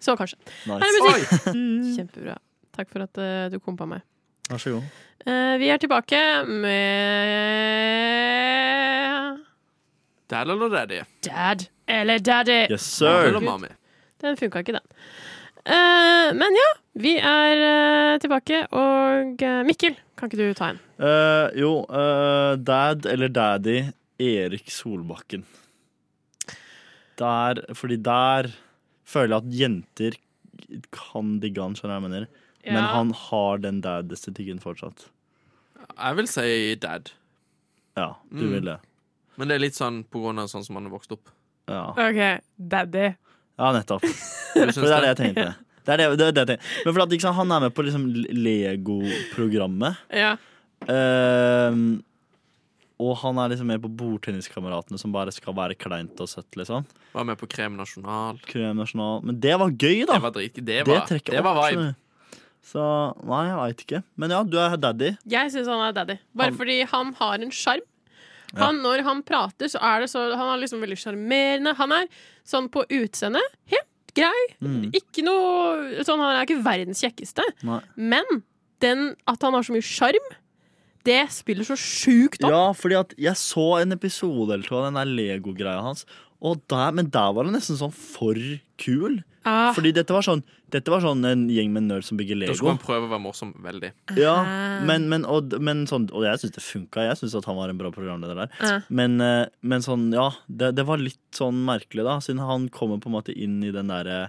[SPEAKER 4] så kanskje. Her er
[SPEAKER 5] nice.
[SPEAKER 4] musikk.
[SPEAKER 6] Oi!
[SPEAKER 4] Kjempebra. Takk for at eh, du kom på meg.
[SPEAKER 5] Vær så god.
[SPEAKER 4] Eh, vi er tilbake med
[SPEAKER 6] Dad eller daddy?
[SPEAKER 4] Dad eller daddy.
[SPEAKER 5] Yes,
[SPEAKER 6] Mom
[SPEAKER 5] sir.
[SPEAKER 6] eller mommy?
[SPEAKER 4] Den funka ikke, den. Eh, men ja, vi er eh, tilbake, og eh, Mikkel, kan ikke du ta en?
[SPEAKER 5] Eh, jo, eh, dad eller daddy Erik Solbakken. Der, fordi der føler jeg at jenter kan digge han, skjønner jeg hva jeg mener. Men han har den dad-estetikken fortsatt.
[SPEAKER 6] Jeg vil si dad.
[SPEAKER 5] Ja, du
[SPEAKER 6] Mm.
[SPEAKER 5] vil det.
[SPEAKER 6] Men det er litt sånn på grunn av sånn som han er vokst opp.
[SPEAKER 5] Ja,
[SPEAKER 4] OK, daddy.
[SPEAKER 5] ja nettopp.
[SPEAKER 6] Du syns
[SPEAKER 5] For det er det jeg tenkte. Det er det, det, er det jeg tenkte. Men for at, ikke sant, han er med på liksom Lego-programmet.
[SPEAKER 4] Ja.
[SPEAKER 5] Ehm, og han er liksom med på bordtenniskameratene som bare skal være kleint og søtt, liksom.
[SPEAKER 6] Var med på Krem Nasjonal.
[SPEAKER 5] Krem nasjonal. Men det var gøy, da!
[SPEAKER 6] Det var drit... Det var, det
[SPEAKER 5] trekker
[SPEAKER 6] var
[SPEAKER 5] opp,
[SPEAKER 6] vibe.
[SPEAKER 5] skjønner du. Så nei, jeg veit ikke. Men ja, du er daddy.
[SPEAKER 4] Jeg syns han er daddy. Bare
[SPEAKER 5] Han-
[SPEAKER 4] fordi han har en sjarm.
[SPEAKER 5] Ja.
[SPEAKER 4] Han, når han prater, så er det så Han er liksom veldig sjarmerende. Han er sånn på utseende helt grei.
[SPEAKER 5] Mm.
[SPEAKER 4] Ikke noe sånn, Han er ikke verdens kjekkeste.
[SPEAKER 5] Nei.
[SPEAKER 4] Men den, at han har så mye sjarm, det spiller så sjukt opp.
[SPEAKER 5] Ja, fordi at jeg så en episode eller to av den der Lego-greia hans, og der, men der var det nesten sånn for kul.
[SPEAKER 4] Ah.
[SPEAKER 5] Fordi dette var sånn Dette var sånn en gjeng med nerds som bygger
[SPEAKER 6] Da
[SPEAKER 5] Lego.
[SPEAKER 6] skulle han prøve å være morsom veldig.
[SPEAKER 5] Ja, men, men, og, men sånn, og jeg syns det funka. Jeg syns at han var en bra programleder der.
[SPEAKER 4] Ja.
[SPEAKER 5] Men, eh, men sånn, ja, det, det var litt sånn merkelig, da. Siden han kommer på en måte inn i den derre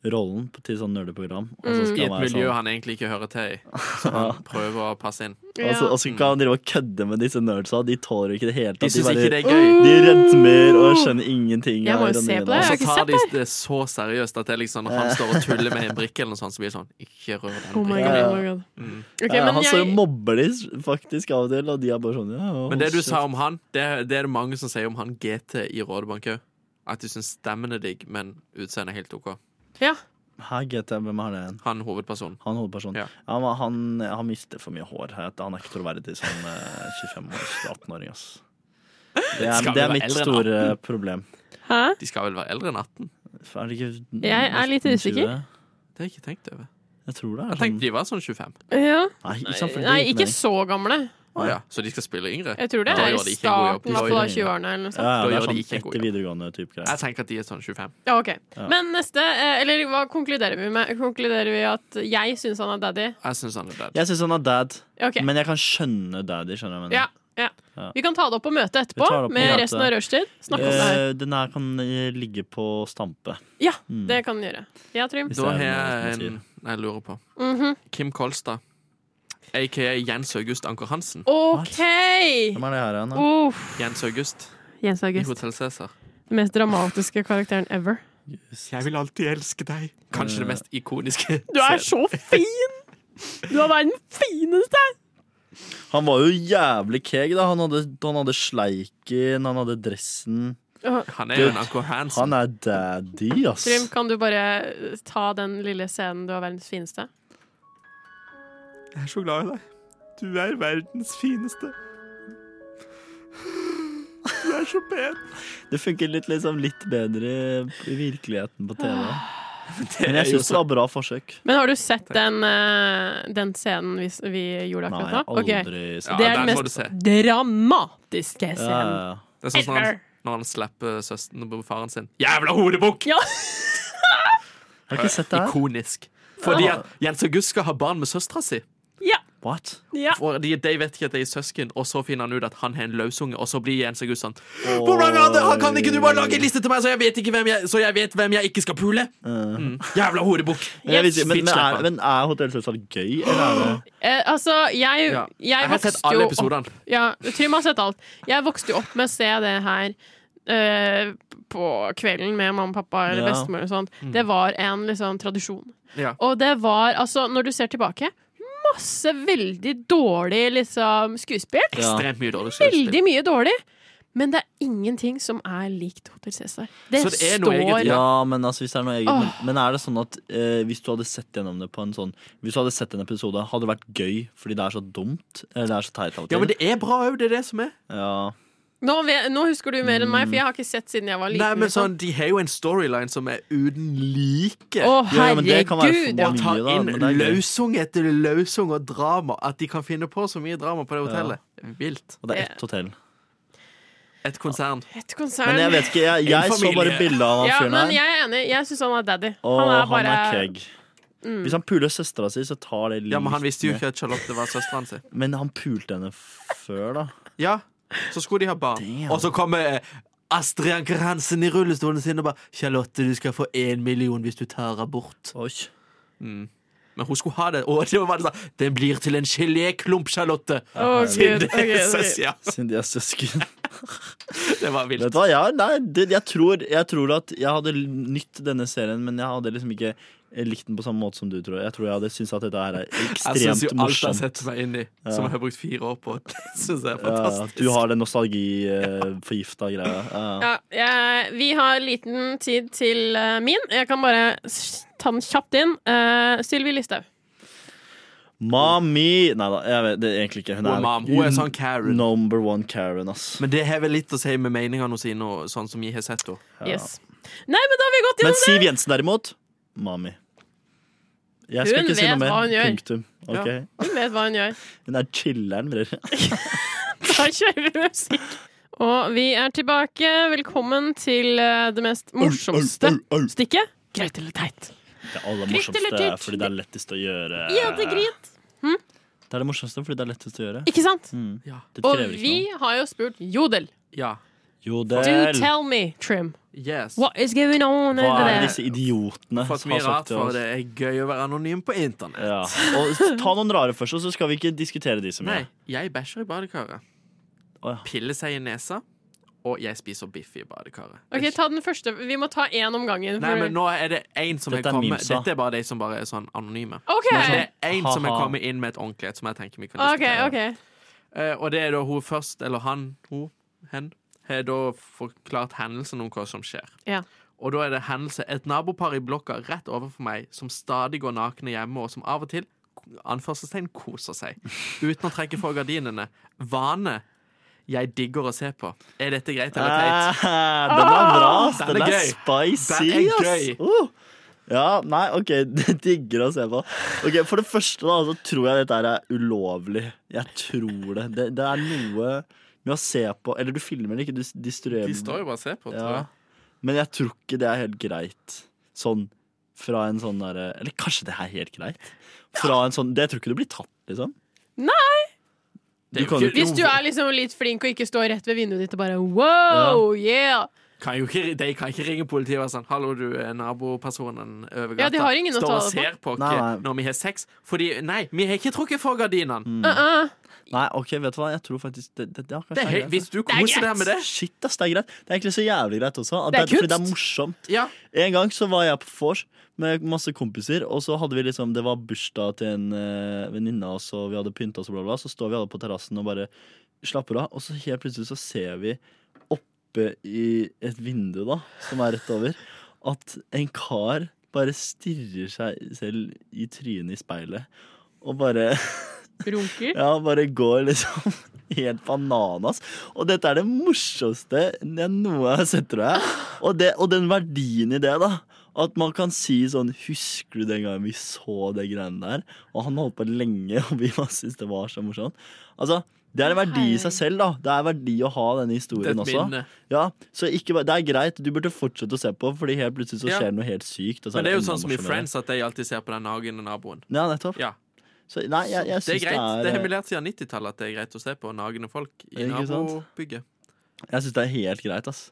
[SPEAKER 5] rollen på- til sånn nerdeprogram. Og så
[SPEAKER 4] Mm.
[SPEAKER 5] skal
[SPEAKER 6] I
[SPEAKER 5] han
[SPEAKER 6] et
[SPEAKER 5] være
[SPEAKER 6] miljø
[SPEAKER 5] sånn
[SPEAKER 6] han egentlig ikke hører til i. Så han prøver å passe inn.
[SPEAKER 5] Og så,
[SPEAKER 4] Ja.
[SPEAKER 5] og så kan han drive og kødde med disse nerdsa. De Uh! tåler ikke det hele tatt.
[SPEAKER 6] De syns ikke det er
[SPEAKER 4] Mm.
[SPEAKER 6] gøy.
[SPEAKER 5] de rødmer og skjønner ingenting.
[SPEAKER 4] Jeg
[SPEAKER 5] av
[SPEAKER 4] må jo se på
[SPEAKER 5] ironien
[SPEAKER 4] det.
[SPEAKER 5] hans.
[SPEAKER 6] Og så
[SPEAKER 4] Jeg har ikke
[SPEAKER 6] tar
[SPEAKER 4] sett
[SPEAKER 6] de det så seriøst at det er liksom når han står og tuller med en brikke, eller noe sånt, så blir det sånn Ikke rør
[SPEAKER 4] Oh
[SPEAKER 6] den
[SPEAKER 4] my
[SPEAKER 6] brikken.
[SPEAKER 4] god.
[SPEAKER 5] Ja.
[SPEAKER 4] Oh my god.
[SPEAKER 6] Mm.
[SPEAKER 4] Ok,
[SPEAKER 5] Ja,
[SPEAKER 4] men
[SPEAKER 5] Eh, han står og
[SPEAKER 4] jeg-
[SPEAKER 5] mobber de faktisk av og til, og de er bare sånn ja, hold
[SPEAKER 6] Men det du
[SPEAKER 5] kjeft.
[SPEAKER 6] sa om han, det, det er det mange som sier om han GT i Rådebank òg. At de syns stemmen er digg, men utseendet er helt OK.
[SPEAKER 4] ja.
[SPEAKER 5] Hæ, GT, hvem er det igjen?
[SPEAKER 6] Han hovedpersonen.
[SPEAKER 5] Han hovedpersonen.
[SPEAKER 6] Ja.
[SPEAKER 5] Ja, men han, han mister for mye hår. Jeg vet det. Han er ikke troverdig som eh, 25-18-åring, ass. Det er,
[SPEAKER 6] Skal vi
[SPEAKER 5] det er
[SPEAKER 6] være
[SPEAKER 5] mitt
[SPEAKER 6] eldre enn
[SPEAKER 5] store problem.
[SPEAKER 4] Hæ?
[SPEAKER 6] De skal vel være eldre enn 18?
[SPEAKER 5] Er det ikke
[SPEAKER 4] Jeg er litt
[SPEAKER 5] nesten
[SPEAKER 4] usikker.
[SPEAKER 5] 20?
[SPEAKER 6] Det har jeg ikke tenkt over.
[SPEAKER 5] Jeg tror det
[SPEAKER 6] Jeg
[SPEAKER 5] er sånn.
[SPEAKER 6] tenkte de var sånn 25.
[SPEAKER 4] Ja.
[SPEAKER 5] Nei, ikke, sant, for det
[SPEAKER 4] Nei,
[SPEAKER 5] gir
[SPEAKER 4] ikke
[SPEAKER 5] mening.
[SPEAKER 4] så gamle.
[SPEAKER 6] Å ja. Så de skal spille yngre?
[SPEAKER 4] Jeg tror det
[SPEAKER 6] Da
[SPEAKER 4] er
[SPEAKER 6] gjør de
[SPEAKER 4] i
[SPEAKER 6] ikke en god jobb.
[SPEAKER 4] starten av
[SPEAKER 5] Da gjør de-
[SPEAKER 4] 20-årene eller noe
[SPEAKER 5] ja,
[SPEAKER 4] sånt.
[SPEAKER 5] ja, det
[SPEAKER 6] Da
[SPEAKER 5] er
[SPEAKER 6] gjør de
[SPEAKER 5] sånn
[SPEAKER 6] ikke en god
[SPEAKER 5] etter videregående type greier.
[SPEAKER 6] Jeg tenker at de er sånn 25.
[SPEAKER 4] Ja, ok.
[SPEAKER 5] Ja.
[SPEAKER 4] Men neste, eh, eller hva konkluderer vi med? Konkluderer vi at jeg syns han er daddy?
[SPEAKER 6] Jeg syns han er dad.
[SPEAKER 5] Jeg syns han er dad,
[SPEAKER 4] Ok.
[SPEAKER 5] men jeg kan skjønne daddy. skjønner jeg hva jeg mener.
[SPEAKER 4] Ja, ja.
[SPEAKER 5] Ja.
[SPEAKER 4] Vi kan ta det opp på møtet
[SPEAKER 5] Vi
[SPEAKER 4] etterpå,
[SPEAKER 5] tar det opp på
[SPEAKER 4] med
[SPEAKER 5] møtet.
[SPEAKER 4] resten av rushtid. Snakke om det her.
[SPEAKER 5] Eh, den her kan eh, ligge på stampe.
[SPEAKER 4] Ja, det kan vi gjøre. Ja, Trym.
[SPEAKER 5] Hvis det er
[SPEAKER 6] Da har
[SPEAKER 5] noe
[SPEAKER 6] jeg
[SPEAKER 5] som
[SPEAKER 6] en
[SPEAKER 5] sier.
[SPEAKER 6] jeg lurer på.
[SPEAKER 4] Mhm.
[SPEAKER 6] Kim Kolstad. Aka Jens August Anker Hansen.
[SPEAKER 4] OK!
[SPEAKER 5] Hvem er det her igjen? da?
[SPEAKER 4] Uff.
[SPEAKER 6] Jens August
[SPEAKER 4] Jens
[SPEAKER 6] i
[SPEAKER 4] August.
[SPEAKER 6] Hotell Cæsar.
[SPEAKER 4] Den mest dramatiske karakteren ever.
[SPEAKER 6] Jeg vil alltid elske deg. Kanskje det mest ikoniske.
[SPEAKER 4] Du er så fin! Du er verdens fineste!
[SPEAKER 5] Han var jo jævlig keeg, da. Han hadde, han hadde sleiken, han hadde dressen.
[SPEAKER 6] Han er jo en Anker
[SPEAKER 5] Han
[SPEAKER 6] Hansen.
[SPEAKER 5] er daddy, ass.
[SPEAKER 4] Trym, kan du bare ta den lille scenen du er verdens fineste?
[SPEAKER 6] Jeg er så glad i deg. Du er verdens fineste. Du er så pen.
[SPEAKER 5] Det funker litt, liksom, litt bedre i virkeligheten på TV. Men
[SPEAKER 6] er
[SPEAKER 5] jeg
[SPEAKER 6] jo
[SPEAKER 5] syns det var bra forsøk.
[SPEAKER 4] Men har du sett den, eh, den scenen vi, s- vi gjorde
[SPEAKER 5] Nei,
[SPEAKER 4] akkurat nå?
[SPEAKER 5] jeg har aldri
[SPEAKER 4] Ok.
[SPEAKER 5] sett
[SPEAKER 4] Det
[SPEAKER 6] Ja,
[SPEAKER 4] er den
[SPEAKER 6] den får du
[SPEAKER 4] mest
[SPEAKER 6] se.
[SPEAKER 4] dramatiske
[SPEAKER 5] Ja, ja,
[SPEAKER 4] scenen.
[SPEAKER 5] ja.
[SPEAKER 6] Det er sånn som når han,
[SPEAKER 4] Ever.
[SPEAKER 6] når han slipper søsteren på faren sin. Jævla hodebukk!
[SPEAKER 4] Ja.
[SPEAKER 5] Har du ikke sett det her?
[SPEAKER 6] Ikonisk. Fordi at Jens August skal ha barn med søstera si.
[SPEAKER 4] ja.
[SPEAKER 5] What?
[SPEAKER 4] Ja.
[SPEAKER 6] For de, de vet ikke at de er søsken, og så finner han ut at han har en løsunge, og så blir Jens seg ut sånn
[SPEAKER 5] Oi.
[SPEAKER 6] Hvordan kan det- han kan ikke du bare lage en liste til meg, så jeg vet, ikke hvem jeg, så jeg, vet hvem jeg ikke skal pule?
[SPEAKER 5] Eh.
[SPEAKER 6] Mm. Jævla horebukk.
[SPEAKER 5] Men jeg vil si- men, men,
[SPEAKER 6] Bitch-slapper.
[SPEAKER 5] er, men er Hotell Cæsar gøy, eller er det
[SPEAKER 4] Eh, altså, jeg,
[SPEAKER 6] Ja.
[SPEAKER 4] jeg,
[SPEAKER 6] Jeg har
[SPEAKER 4] vokste
[SPEAKER 6] sett alle
[SPEAKER 4] jo opp
[SPEAKER 6] episodene.
[SPEAKER 4] Ja, Trym har sett alt. Jeg vokste jo opp med å se det her eh, på kvelden med mamma og pappa eller
[SPEAKER 5] Ja.
[SPEAKER 4] bestemor og sånt. Det var en liksom tradisjon.
[SPEAKER 6] Mm. Ja.
[SPEAKER 4] Og det var, altså, når du ser tilbake, masse veldig dårlig liksom skuespill.
[SPEAKER 5] Ja.
[SPEAKER 6] Ekstremt mye dårlig skuespill.
[SPEAKER 4] Veldig mye dårlig. Men det er ingenting som er likt Hotell Cæsar. Det,
[SPEAKER 6] Så det er noe
[SPEAKER 4] står
[SPEAKER 6] eget,
[SPEAKER 4] ja.
[SPEAKER 5] Ja, men altså, hvis det er noe eget men, men er det sånn at eh, hvis du hadde sett gjennom det på en sånn Hvis du hadde sett en episode, hadde det vært gøy fordi det er så dumt? Eller det er så teit av og til?
[SPEAKER 6] Ja, men det er bra òg, det er det som er.
[SPEAKER 5] Ja.
[SPEAKER 4] nå, vet- nå husker du mer enn meg, for jeg har ikke sett siden jeg var liten.
[SPEAKER 6] Nei, men
[SPEAKER 4] liksom.
[SPEAKER 6] sånn, De har jo en storyline som er uten like.
[SPEAKER 4] Å,
[SPEAKER 5] Jo, jo, men det kan være
[SPEAKER 4] herregud!
[SPEAKER 5] for
[SPEAKER 4] Ja.
[SPEAKER 5] mange.
[SPEAKER 6] Ta
[SPEAKER 5] mye, da,
[SPEAKER 6] inn
[SPEAKER 5] men det er gøy.
[SPEAKER 6] løsung etter løsung og drama. At de kan finne på så mye drama på det hotellet. Vilt.
[SPEAKER 5] Og det er ett hotell.
[SPEAKER 6] Et konsern.
[SPEAKER 4] Et konsern.
[SPEAKER 5] Men jeg vet ikke, jeg, jeg så
[SPEAKER 6] familie.
[SPEAKER 5] bare bildet av han
[SPEAKER 4] ja,
[SPEAKER 5] fyren
[SPEAKER 4] men
[SPEAKER 5] her.
[SPEAKER 4] jeg er enig. Jeg syns han er daddy.
[SPEAKER 5] Og
[SPEAKER 4] han er
[SPEAKER 5] han
[SPEAKER 4] bare Mm.
[SPEAKER 5] er keg. Hvis han puler søstera si, så tar det litt
[SPEAKER 6] Ja, Men han visste jo
[SPEAKER 5] ned.
[SPEAKER 6] ikke at Charlotte var søsteren sin.
[SPEAKER 5] Men han pulte henne f- før, da.
[SPEAKER 6] Ja, Så skulle de ha barn.
[SPEAKER 5] Damn.
[SPEAKER 6] Og så kommer eh, Astrid Anker Hansen i rullestolen sin og bare 'Charlotte, du skal få én million hvis du tar abort'.
[SPEAKER 5] Oi.
[SPEAKER 6] Men hun skulle ha det. Og det var det sånn 'Den blir til en geléklump, Charlotte'.
[SPEAKER 4] Å, gud.
[SPEAKER 6] Det,
[SPEAKER 4] ok, ok.
[SPEAKER 6] ja,
[SPEAKER 5] Siden de er søsken.
[SPEAKER 6] det var
[SPEAKER 5] Vet
[SPEAKER 6] vilt.
[SPEAKER 5] du hva, ja, nei, det, jeg, tror, jeg tror at jeg hadde nytt denne serien, men jeg hadde liksom ikke likt den på samme måte som du tror. Jeg tror jeg hadde syntes at dette her er
[SPEAKER 6] Jeg syns
[SPEAKER 5] ekstremt
[SPEAKER 6] jo alt jeg har
[SPEAKER 5] morsomt.
[SPEAKER 6] sett meg inn i, som jeg har brukt fire år på. Det synes jeg
[SPEAKER 5] Ja,
[SPEAKER 6] er
[SPEAKER 5] ja,
[SPEAKER 6] fantastisk.
[SPEAKER 5] du har den nostalgi-forgifta greia. Ja, ja.
[SPEAKER 4] Ja, jeg, vi har liten tid til eh, min. Jeg kan bare s- ta den kjapt inn. Uh, Sylvi Listhaug.
[SPEAKER 5] Mami Nei da, jeg vet det er egentlig ikke. Hun
[SPEAKER 6] Hun er
[SPEAKER 5] er,
[SPEAKER 6] mam. Hun er sånn Karen.
[SPEAKER 5] number one Karen, ass.
[SPEAKER 6] Men det har vel litt å si med meningene sine, og sånn som jeg har sett henne.
[SPEAKER 4] Yes. Nei, men da har vi gått
[SPEAKER 5] Men
[SPEAKER 4] gjennom det!
[SPEAKER 5] Siv Jensen derimot, mami. Jeg skal
[SPEAKER 4] Hun
[SPEAKER 5] ikke si
[SPEAKER 4] vet
[SPEAKER 5] noe mer.
[SPEAKER 4] hva hun gjør.
[SPEAKER 5] Punktum. Ok.
[SPEAKER 4] Hun vet hva hun gjør.
[SPEAKER 5] Hun er chiller'n, bror.
[SPEAKER 4] Da kjører vi musikk. Og vi er tilbake. Velkommen til eh, det mest morsomste stykket. Greit eller teit?
[SPEAKER 5] Det
[SPEAKER 4] Greit
[SPEAKER 5] aller
[SPEAKER 4] eller
[SPEAKER 5] morsomste
[SPEAKER 4] dyrt?
[SPEAKER 5] fordi det er lettest å gjøre.
[SPEAKER 4] Ja, det er greit.
[SPEAKER 5] Det er det morsomste fordi det er lettest å gjøre.
[SPEAKER 4] Ikke sant?
[SPEAKER 6] Ja.
[SPEAKER 5] Det
[SPEAKER 4] Og
[SPEAKER 5] krever
[SPEAKER 4] vi
[SPEAKER 5] ikke noe.
[SPEAKER 4] har jo spurt Jodel.
[SPEAKER 6] ja.
[SPEAKER 4] Do
[SPEAKER 5] Jodel.
[SPEAKER 4] tell me, Trim.
[SPEAKER 6] Yes.
[SPEAKER 4] What is going on
[SPEAKER 5] Hva
[SPEAKER 4] over
[SPEAKER 5] er
[SPEAKER 4] there?
[SPEAKER 5] disse idiotene
[SPEAKER 6] Fått
[SPEAKER 5] som
[SPEAKER 6] mye
[SPEAKER 5] har
[SPEAKER 6] rart,
[SPEAKER 5] sagt til
[SPEAKER 6] for
[SPEAKER 5] oss?
[SPEAKER 6] det er gøy å være anonym på internett.
[SPEAKER 5] Ja. Og ta noen rare først, og så skal vi ikke diskutere de som
[SPEAKER 6] Nei,
[SPEAKER 5] gjør
[SPEAKER 6] jeg bæsjer i badekaret.
[SPEAKER 5] Å, ja.
[SPEAKER 6] Piller seg i nesa. Og jeg spiser biff i badekaret.
[SPEAKER 4] Ok, ta den første. Vi må ta én om gangen.
[SPEAKER 6] Nei,
[SPEAKER 4] for-
[SPEAKER 6] men nå er det én som
[SPEAKER 5] Dette
[SPEAKER 6] har
[SPEAKER 5] er
[SPEAKER 6] kommet.
[SPEAKER 5] memesa.
[SPEAKER 6] Dette er bare de som bare er sånn anonyme.
[SPEAKER 4] OK.
[SPEAKER 6] Men det er én som har
[SPEAKER 5] Ha-ha.
[SPEAKER 6] kommet inn med et ordentlig et, som jeg tenker vi kan
[SPEAKER 4] OK,
[SPEAKER 6] diskutere.
[SPEAKER 4] ok.
[SPEAKER 6] Eh, og det er da hun først, eller han, hun, hen, har da forklart hendelsen om hva som skjer.
[SPEAKER 4] Ja.
[SPEAKER 6] Og da er det hendelse et nabopar i blokka rett overfor meg som stadig går nakne hjemme, og som av og til anførselstegn, koser seg uten å trekke for gardinene. Vane jeg digger å se på. Er dette greit eller teit?
[SPEAKER 5] Eh, Den er bra, ass.
[SPEAKER 6] Ah! Den er
[SPEAKER 5] Den er
[SPEAKER 6] gøy.
[SPEAKER 5] spicy,
[SPEAKER 6] Den er
[SPEAKER 5] ass.
[SPEAKER 6] gøy.
[SPEAKER 5] Oh. Ja, nei, OK. Det digger å se på. Ok, For det første da, så tror jeg dette her er ulovlig. Jeg tror det. Det, det er noe med å se på Eller du filmer det ikke, du s- distribuerer
[SPEAKER 6] De står jo bare og ser på, tror
[SPEAKER 5] Eh. ja.
[SPEAKER 6] jeg.
[SPEAKER 5] Men jeg tror ikke det er helt greit. Sånn fra en sånn derre Eller kanskje det er helt greit? Fra en sånn Det jeg tror ikke du blir tatt, liksom. Nei! Du
[SPEAKER 6] Det er jo
[SPEAKER 5] kan jo
[SPEAKER 6] ikke-
[SPEAKER 5] ikke
[SPEAKER 4] Hvis du er liksom litt flink og ikke står rett ved vinduet ditt og bare wow, yeah!
[SPEAKER 6] Kan jo ikke, de kan ikke ringe politiet og være sånn 'Hallo, du er nabopersonen over gata.'
[SPEAKER 4] Ja, de har ingen å
[SPEAKER 6] Står
[SPEAKER 4] ta det
[SPEAKER 6] og
[SPEAKER 4] på.
[SPEAKER 6] ser på
[SPEAKER 5] Nei,
[SPEAKER 6] oss
[SPEAKER 5] nei.
[SPEAKER 6] når vi har sex. Fordi Nei, vi har ikke trukket for gardinene.
[SPEAKER 5] Mm.
[SPEAKER 4] Uh-uh.
[SPEAKER 5] Nei, OK, vet du hva, jeg tror faktisk det, det, ja, kanskje
[SPEAKER 6] Det er,
[SPEAKER 5] greit, altså.
[SPEAKER 6] helt- hvis du
[SPEAKER 4] er
[SPEAKER 6] koser deg
[SPEAKER 4] greit.
[SPEAKER 6] med det
[SPEAKER 5] Shit, ass, det er greit. Det er egentlig så jævlig greit også. At
[SPEAKER 4] Det
[SPEAKER 5] det
[SPEAKER 4] er
[SPEAKER 5] er fordi det er
[SPEAKER 4] kunst.
[SPEAKER 5] morsomt.
[SPEAKER 6] Ja,
[SPEAKER 5] En gang så var jeg på vors med masse kompiser, og så hadde vi liksom Det var bursdag til en uh, venninne av oss, og vi hadde pynta oss, og bla, bla. Så står vi alle på terrassen og bare slapper av, og så helt plutselig så ser vi oppe i et vindu, da, som er rett over, at en kar bare stirrer seg selv i trynet i speilet, og bare
[SPEAKER 4] Runker.
[SPEAKER 5] ja, han bare går liksom helt bananas. Og dette er det morsomste jeg noe har sett, tror jeg. Og, det, og den verdien i det, da. At man kan si sånn Husker du den gangen vi så det greiene der? Og han holdt på lenge, og vi bare syntes det var så morsomt. Altså, det er en verdi i seg selv, da. Det er verdi å ha denne
[SPEAKER 6] det er eh,
[SPEAKER 5] historien
[SPEAKER 6] et
[SPEAKER 5] også.
[SPEAKER 6] minne.
[SPEAKER 5] Ja, så ikke, bare- det er greit, du burde fortsette å se på, Fordi helt plutselig så
[SPEAKER 6] Ja.
[SPEAKER 5] skjer det noe helt sykt. Og så
[SPEAKER 6] Men det er jo
[SPEAKER 5] enda
[SPEAKER 6] sånn som i
[SPEAKER 5] morsommere.
[SPEAKER 6] Friends at de alltid ser på den nagne naboen.
[SPEAKER 5] Ja, nettopp.
[SPEAKER 6] Ja.
[SPEAKER 5] Så nei, jeg, jeg
[SPEAKER 6] Det er
[SPEAKER 5] syns det,
[SPEAKER 6] greit.
[SPEAKER 5] er,
[SPEAKER 6] Det er
[SPEAKER 5] eh,
[SPEAKER 6] emulert siden 90-tallet at det er greit å se på nagne folk i
[SPEAKER 5] Ikke sant?
[SPEAKER 6] nabobygget.
[SPEAKER 5] jeg synes det er helt greit, ass.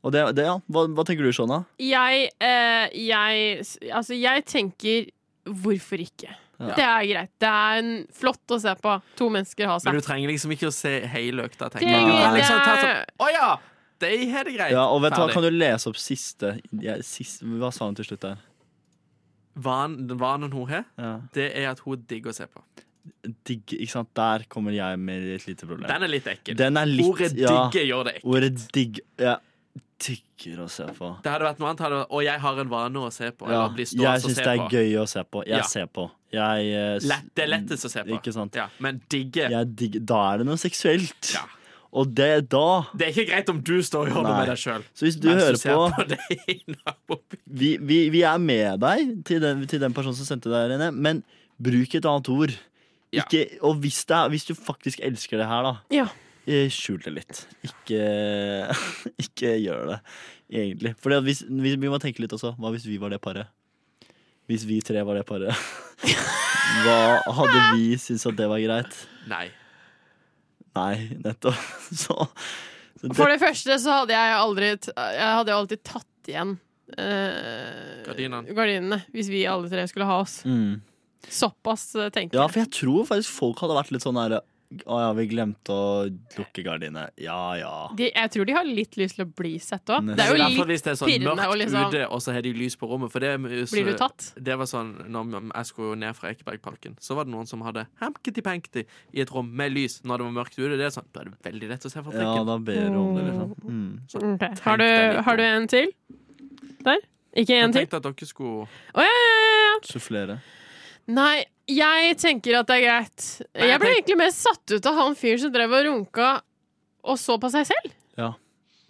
[SPEAKER 5] Og det, det ja. hva, hva tenker du, Shona?
[SPEAKER 4] Jeg, eh, jeg Altså, jeg tenker hvorfor ikke?
[SPEAKER 5] Ja.
[SPEAKER 4] Det er greit. Det er en, flott å se på. To mennesker ha
[SPEAKER 6] Men
[SPEAKER 4] seg.
[SPEAKER 6] du trenger liksom ikke å se hele økta. tenker
[SPEAKER 4] Det,
[SPEAKER 6] jeg. Du kan
[SPEAKER 4] det
[SPEAKER 6] liksom ta sånn,
[SPEAKER 4] er
[SPEAKER 6] Å ja! De har det greit.
[SPEAKER 5] Ja, og vet du hva,
[SPEAKER 6] Ferdig.
[SPEAKER 5] Kan du lese opp siste, ja, siste Hva sa hun til slutt der?
[SPEAKER 6] Van- Vanen hun har,
[SPEAKER 5] Ja.
[SPEAKER 6] det er at hun digger å se på.
[SPEAKER 5] Digg, ikke sant? Der kommer jeg med et lite problem.
[SPEAKER 6] Den er litt ekkel.
[SPEAKER 5] Den er litt-
[SPEAKER 6] Ordet
[SPEAKER 5] ja.
[SPEAKER 6] digge gjør det ekkelt.
[SPEAKER 5] Ordet digg Jeg digger å se på.
[SPEAKER 6] Det hadde vært noe annet. Hadde, vært, og jeg har en vane å se på.
[SPEAKER 5] Ja,
[SPEAKER 6] Eller bli
[SPEAKER 5] jeg
[SPEAKER 6] stående og
[SPEAKER 5] syns
[SPEAKER 6] se
[SPEAKER 5] det er
[SPEAKER 6] på.
[SPEAKER 5] gøy å se på. Jeg
[SPEAKER 6] Ja.
[SPEAKER 5] ser på. Jeg, eh, s-
[SPEAKER 6] Lett, det er lettest å se på.
[SPEAKER 5] Ikke sant?
[SPEAKER 6] Ja, men digge
[SPEAKER 5] Jeg digger, da er det noe seksuelt.
[SPEAKER 6] Ja.
[SPEAKER 5] Og det da
[SPEAKER 6] Det er ikke greit om du står og gjør noe
[SPEAKER 5] Nei.
[SPEAKER 6] med deg sjøl.
[SPEAKER 5] Så hvis du hører på,
[SPEAKER 6] på det i nabobygget.
[SPEAKER 5] vi, vi, vi er med deg til den, til den personen som sendte deg denne, men bruk et annet ord.
[SPEAKER 6] Ja.
[SPEAKER 5] Ikke, og hvis, det er, hvis du faktisk elsker det her, da,
[SPEAKER 4] Ja.
[SPEAKER 5] eh, skjul det litt. Ikke, ikke gjør det, egentlig. For hvis, hvis, vi må tenke litt også. Hva hvis vi var det paret? Hvis vi tre var det paret, hva hadde vi syntes at det var greit?
[SPEAKER 6] Nei.
[SPEAKER 5] Nei, nettopp. Så, så det,
[SPEAKER 4] For det første så hadde jeg aldri t- Jeg hadde jo alltid tatt igjen eh,
[SPEAKER 6] Gardinene.
[SPEAKER 4] gardinene. Hvis vi alle tre skulle ha oss.
[SPEAKER 5] mm.
[SPEAKER 4] Såpass eh, tenker
[SPEAKER 5] Ja,
[SPEAKER 4] jeg.
[SPEAKER 5] for jeg tror faktisk folk hadde vært litt sånn her Å ja, vi glemte å lukke gardinene. Ja ja.
[SPEAKER 4] De, jeg tror de har litt lyst til å bli sett òg.
[SPEAKER 5] Nesten.
[SPEAKER 4] Det er jo
[SPEAKER 6] Derfor
[SPEAKER 4] litt
[SPEAKER 6] hvis det er sånn
[SPEAKER 4] pirrende
[SPEAKER 6] mørkt
[SPEAKER 4] og liksom-
[SPEAKER 6] ute, og så har de lys på rommet. For det, er- så,
[SPEAKER 4] Blir du tatt?
[SPEAKER 6] Det var sånn, når jeg skulle ned fra Ekebergparken, så var det noen som hadde hemketi-penketi i et rom med lys når det var mørkt ute. Det er sånn, da er det veldig lett å se for
[SPEAKER 5] Ja,
[SPEAKER 6] trekken.
[SPEAKER 5] da ber du om det, liksom. Mm.
[SPEAKER 4] Ok. Har,
[SPEAKER 6] deg
[SPEAKER 4] du,
[SPEAKER 6] litt
[SPEAKER 4] har du
[SPEAKER 6] om.
[SPEAKER 4] en til? Der? Ikke en
[SPEAKER 6] jeg
[SPEAKER 4] til?
[SPEAKER 6] tenkte at dere skulle
[SPEAKER 4] Å, ja, ja, ja, ja.
[SPEAKER 5] Sufflere.
[SPEAKER 4] Nei, jeg tenker at det er greit.
[SPEAKER 6] Nei, jeg
[SPEAKER 4] Jeg ble
[SPEAKER 6] tenk-
[SPEAKER 4] egentlig mer satt ut av han fyren som drev og runka og så på seg selv.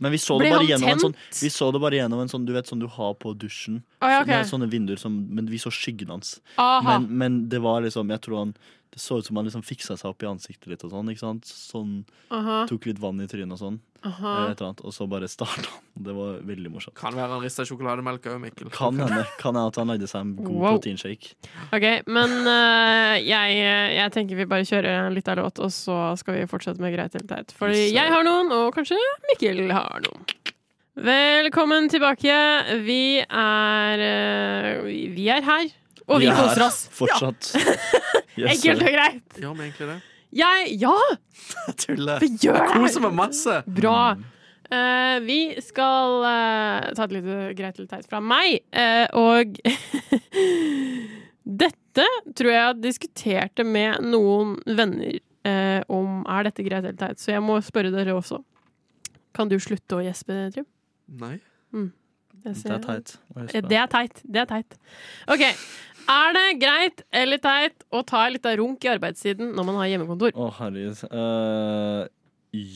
[SPEAKER 5] Men vi så
[SPEAKER 4] Ble
[SPEAKER 5] det bare
[SPEAKER 4] han
[SPEAKER 5] gjennom en sånn
[SPEAKER 4] tent?
[SPEAKER 5] Vi så det bare gjennom en sånn du vet sånn du har på dusjen.
[SPEAKER 4] Å, ja,
[SPEAKER 5] Det er
[SPEAKER 4] ok.
[SPEAKER 5] sånne vinduer som Men vi så skyggen hans.
[SPEAKER 4] Aha.
[SPEAKER 5] Men, men det var liksom Jeg tror han Det så ut som han liksom fiksa seg opp i ansiktet litt og sånn. ikke sant? Sånn
[SPEAKER 4] aha,
[SPEAKER 5] Tok litt vann i trynet og sånn.
[SPEAKER 4] aha.
[SPEAKER 5] eller Et eller annet. Og så bare starta han. Det var veldig morsomt.
[SPEAKER 6] Kan være han rista sjokolademelk òg, Mikkel.
[SPEAKER 5] Kan hende kan hende at han lagde seg en god
[SPEAKER 4] Wow.
[SPEAKER 5] proteinshake.
[SPEAKER 4] Ok, men eh, jeg, jeg tenker vi bare kjører en liten låt, og så skal vi fortsette med greit eller teit. For
[SPEAKER 5] Yes,
[SPEAKER 4] jeg har noen, og kanskje Mikkel har noen. Velkommen tilbake. Vi er eh, Vi vi er her, og vi
[SPEAKER 5] er
[SPEAKER 4] koser oss.
[SPEAKER 5] Fortsatt. Yes,
[SPEAKER 4] Enkelt og greit.
[SPEAKER 6] Gjør vi egentlig det?
[SPEAKER 4] Jeg Ja,
[SPEAKER 5] tulle.
[SPEAKER 4] vi gjør det!
[SPEAKER 6] Koser meg masse!
[SPEAKER 4] Bra.
[SPEAKER 5] Mm.
[SPEAKER 4] Eh, vi skal eh, ta et lite greit eller teit fra meg. Eh, og dette tror jeg jeg diskuterte med noen venner eh, om er dette greit eller teit, så jeg må spørre dere også. Kan du slutte å gjespe, Trym?
[SPEAKER 6] Nei.
[SPEAKER 4] Jeg
[SPEAKER 5] Det er
[SPEAKER 4] ser-
[SPEAKER 5] teit. Å,
[SPEAKER 4] Eh,
[SPEAKER 5] Jesper.
[SPEAKER 4] Det er teit. Det er teit. OK. Er det greit eller teit å ta litt av runk i arbeidstiden når man har hjemmekontor?
[SPEAKER 5] Å, herregud. Eh,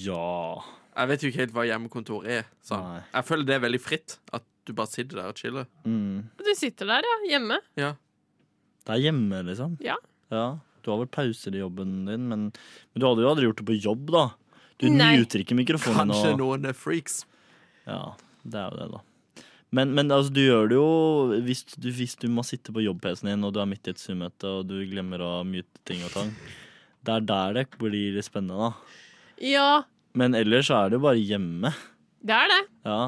[SPEAKER 5] ja
[SPEAKER 6] Jeg vet jo ikke helt hva hjemmekontor er. Sånn.
[SPEAKER 5] Nei.
[SPEAKER 6] Jeg føler det er veldig fritt. At du bare sitter der og chiller.
[SPEAKER 5] mm.
[SPEAKER 4] Du sitter der, ja. Hjemme.
[SPEAKER 6] Ja.
[SPEAKER 5] Det er hjemme, liksom?
[SPEAKER 4] Ja.
[SPEAKER 5] Ja. Du har vel pauser i jobben din, men, men du hadde jo aldri gjort det på jobb, da. Du
[SPEAKER 4] Nei.
[SPEAKER 5] nyter ikke mikrofonen
[SPEAKER 6] Kanskje
[SPEAKER 5] og
[SPEAKER 6] noen er freaks.
[SPEAKER 5] Ja, det er jo det, da. Men, men altså, du gjør det jo hvis du, hvis du må sitte på jobb-PC-en din og du er midt i et Zoom-møte og du glemmer å mute ting og tang. Det er der det blir litt spennende, da.
[SPEAKER 4] Ja,
[SPEAKER 5] Men ellers så er det jo bare hjemme.
[SPEAKER 4] det er det.
[SPEAKER 5] Ja.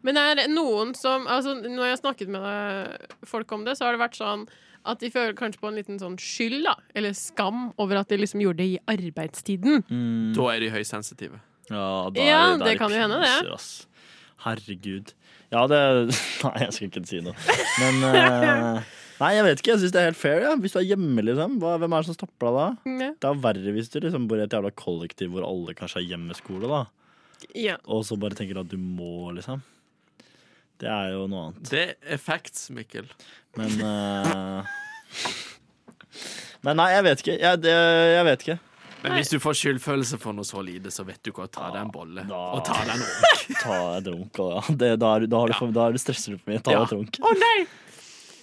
[SPEAKER 4] Men det er noen som altså, Når jeg har snakket med eh, folk om det, så har det vært sånn at de føler kanskje på en liten sånn skyld, da, eller skam, over at de liksom gjorde det i arbeidstiden.
[SPEAKER 5] Mm.
[SPEAKER 6] Da er de høysensitive.
[SPEAKER 5] Ja, da er
[SPEAKER 4] Ja,
[SPEAKER 5] da er
[SPEAKER 4] det kan jo hende, det.
[SPEAKER 5] pinser, ass. Herregud. Ja, det Nei, jeg skal ikke si noe. Men eh, Nei, jeg vet ikke. Jeg syns det er helt fair. Ja. Hvis du er hjemme, liksom. Hva, hvem er det som stopper deg
[SPEAKER 6] Mm.
[SPEAKER 5] da?
[SPEAKER 4] Ja.
[SPEAKER 5] Det er verre hvis du liksom bor i et jævla kollektiv hvor alle kanskje har hjemmeskole, da.
[SPEAKER 4] Ja.
[SPEAKER 5] Og så bare tenker at du må, liksom. Det er jo noe annet.
[SPEAKER 6] Det er facts, Mikkel.
[SPEAKER 5] Men eh, Men nei, jeg vet ikke. Jeg, det, jeg vet ikke.
[SPEAKER 6] Men hvis du får skyldfølelse for noe så lite, så vet du ikke å ta deg en bolle.
[SPEAKER 5] Da-
[SPEAKER 6] Og ta deg en runk.
[SPEAKER 5] Ta deg drunk, og ja. det, da, er, du- da, har du for, da er du stresser du for mye. Ta
[SPEAKER 6] Ja.
[SPEAKER 5] deg drunk.
[SPEAKER 4] Å nei!